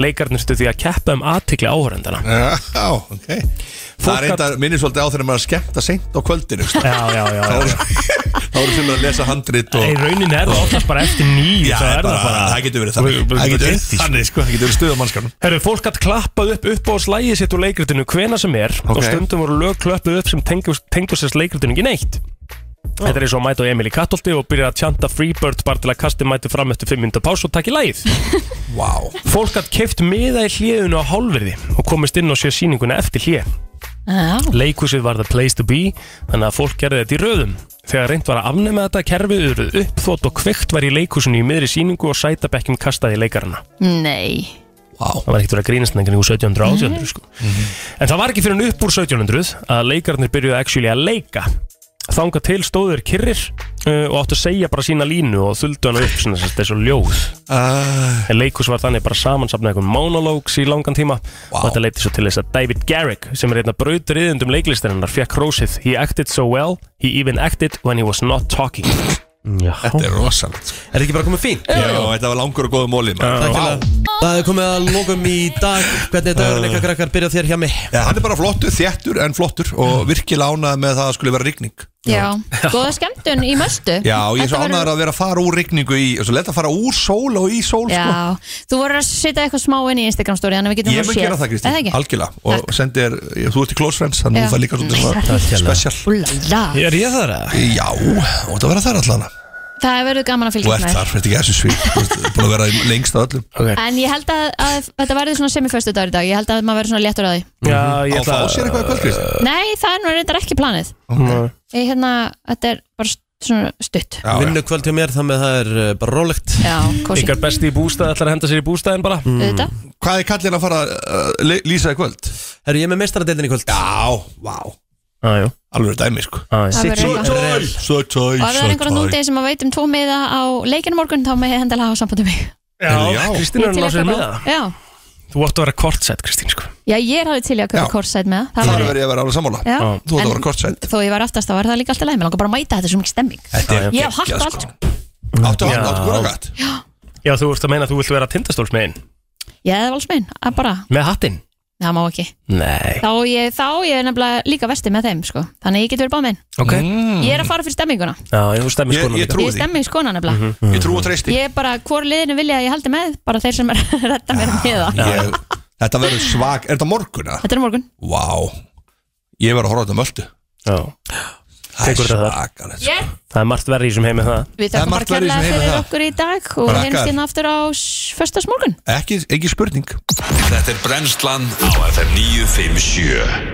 Speaker 3: leikarnir stu því að keppa um aðtikli áhörendana
Speaker 8: Já, ok Það
Speaker 3: Fólk
Speaker 8: reyndar minnir svolítið á þegar maður er skemmt að seint á kvöldinu sko.
Speaker 3: Já, já, já
Speaker 8: Þá eru- þá eru sem að lesa handrit og...
Speaker 3: Í rauninni er það oftast bara eftir nýju
Speaker 8: Já,
Speaker 3: þá er
Speaker 8: það, bara, það getur verið þannig Það getur verið þannig, sko, það getur verið stuð á mannskanum
Speaker 3: Herru, fólk hatt klappað upp upp á slægið sitt úr leikritinu hvena sem er og stundum voru lög klöppuð upp sem tengdust tengdu sérst leikritinu ekki neitt Þetta er eins og að mæta á Emil í Kattolti og byrja að tjanta Freebird bara til að kasti mæti fram eftir 5 minúta pás og takk í lægið
Speaker 8: Vá
Speaker 3: Fólk hatt keift miða í hliðinu á hálfverði og komist inn og sé sýninguna eftir hlið
Speaker 2: Já.
Speaker 3: Leikhúsið var the place to be þannig að fólk gerði þetta í röðum Þegar reynd var að afnema þetta kerfið urðu uppþót og kveikt var í leikhúsinu í miðri sýningu og sætabekkjum kastaði í leikarana
Speaker 2: Nei,
Speaker 8: Wow.
Speaker 3: Það var ekkert verið að grínast nefnir úr 1700 og 1800
Speaker 8: Mhm.
Speaker 3: sko. En það var ekki fyrir en upp úr 1700 að leikarnir byrjuðu actually að leika Þanga til stóður kyrrir uh, og áttu að segja bara sína línu og þuldu hana upp svona þess þessu ljóð
Speaker 8: uh.
Speaker 3: En leikus var þannig bara samansapna eitthvað monologues í langan tíma og þetta leiti svo til þess að David Garrick sem er einna brautriðundum leiklistarinnar fekk rósið He acted so well, he even acted when he was not talking Já. Þetta
Speaker 8: er rosalegt sko.
Speaker 1: Er þetta ekki bara komið fín?
Speaker 8: Já, þetta var langur og góða móli
Speaker 1: Takk fyrir Það er komið að lokum í dag Hvernig er dagurinn eitthvað krakkar? Byrja þér hjá mig
Speaker 8: Já, hann er bara flottur, þéttur en flottur og virkilega ánað með að það skulle vera rigning
Speaker 2: já, góða skemmtun í möstu
Speaker 8: Já, ég er svo
Speaker 2: Þetta verður-
Speaker 8: ánæður að vera að fara úr rigningu í, og svo leta að fara úr sól og í sól sko.
Speaker 2: Já, þú voru að setja eitthvað smá inn í Instagram story Þannig að við getum
Speaker 8: Ég
Speaker 2: þá
Speaker 8: mun
Speaker 2: séð.
Speaker 8: gera það
Speaker 2: Er
Speaker 8: Kristi,
Speaker 2: ekki?
Speaker 8: algjörlega og sendi þér, ég- þú ert í Close Friends þannig
Speaker 2: Já.
Speaker 8: að það er líka svolítið
Speaker 2: Nei,
Speaker 8: svona
Speaker 2: það er
Speaker 8: special
Speaker 2: Úlala.
Speaker 3: Er ég þar að?
Speaker 8: Já, og það verða þar allan
Speaker 2: Það er verið gaman að
Speaker 8: Þú
Speaker 2: fylgja
Speaker 8: ert þar, þetta er ekki þessu svík Þú ert búin að vera í lengst af öllum
Speaker 3: okay.
Speaker 2: En ég held að, að þetta verður svona semiföstu dagur í dag Ég held að maður verður svona léttur að því
Speaker 3: Já, ég
Speaker 8: Á
Speaker 3: ætla
Speaker 8: fá sér eitthvað í kvöld Kristi
Speaker 2: Nei, það er nú reyndar ekki planið
Speaker 3: okay.
Speaker 2: Ég hérna, þetta er bara st- svona stutt
Speaker 1: Vinnu kvöld hjá mér, þannig að það er eh, bara rólegt
Speaker 2: Já, kósi
Speaker 3: Ykkar besti í bústað ætlar að henda sér í bústaðin bara
Speaker 2: Auðvitað.
Speaker 8: Hvað er kallin að fara að uh, lýsa í kvöld?
Speaker 1: Herru, ég er með mestaradeildin í kvöld
Speaker 8: Já, vá
Speaker 3: ah,
Speaker 8: Alveg dæmi sko
Speaker 3: ah,
Speaker 2: Það verður eitthvað.
Speaker 8: Svo tæ,
Speaker 2: Og ef það er einhverjum nútið sem að veit um tvo miða á leikinu morgun þá með hendala á sambandi mig
Speaker 3: Já, Kristín er
Speaker 2: Ég
Speaker 3: að
Speaker 2: til
Speaker 3: ná sér
Speaker 2: eitthvað
Speaker 3: með
Speaker 2: góð.
Speaker 3: það
Speaker 2: Já,
Speaker 3: Þú átt að vera kortsett Kristín sko
Speaker 2: já ég er alveg til í að
Speaker 8: Já.
Speaker 2: köpa korsæt með það
Speaker 8: Það
Speaker 2: Það
Speaker 8: verður ég að vera alveg sammála
Speaker 2: Já.
Speaker 8: Þú ert að
Speaker 2: En-
Speaker 8: vera kort sætt
Speaker 2: var- Þó ég var aftast þá var það líka alltaf leið Mér langar bara að mæta þetta sem ekki stemming
Speaker 8: Þetta er
Speaker 2: Ég hef haft
Speaker 8: geggjað,
Speaker 2: allt sko.
Speaker 8: Áttu
Speaker 3: Já.
Speaker 8: hann, áttu hverja gætt
Speaker 3: Já, þú ert að meina að þú vilt vera tindastólsmiðin
Speaker 2: Ég hef alls minn, að bara,
Speaker 3: Með hattinn?
Speaker 2: það má ekki
Speaker 3: Nei
Speaker 2: Þá ég, þá ég er nefnilega líka vesti með þeim sko. Þannig að ég get verið báð minn
Speaker 3: Ok
Speaker 2: Ég er að fara fyrir stemminguna
Speaker 3: Já, ég þú stemmir
Speaker 8: Ég-
Speaker 3: skólan
Speaker 8: ég trúi
Speaker 2: Ég er
Speaker 8: því.
Speaker 2: stemmingskona nefnilega
Speaker 8: Ég trú og treysti
Speaker 2: Ég er bara, hvort liðinu vilja að ég haldi með Bara þeir sem er að redda mér með það
Speaker 8: Ég- Þetta verður svag, er þetta morgun að?
Speaker 2: Þetta er morgun
Speaker 8: Vá, ég verður að horfa á þetta möldu
Speaker 3: Já
Speaker 8: Það er
Speaker 3: Tekur þetta þar.
Speaker 8: svakalegt sko.
Speaker 2: yeah.
Speaker 3: Það er margt verri í sem heim með það
Speaker 2: Við
Speaker 8: Það er
Speaker 2: þakkum bara
Speaker 8: margt verið sem
Speaker 2: kærlega
Speaker 8: hefur
Speaker 2: fyrir
Speaker 8: það.
Speaker 2: okkur í dag Og
Speaker 8: Brakkar.
Speaker 2: heimst hérna aftur á föstasmorgun
Speaker 8: Ekki, ekki spurning
Speaker 4: Þetta er brennslan á FM 957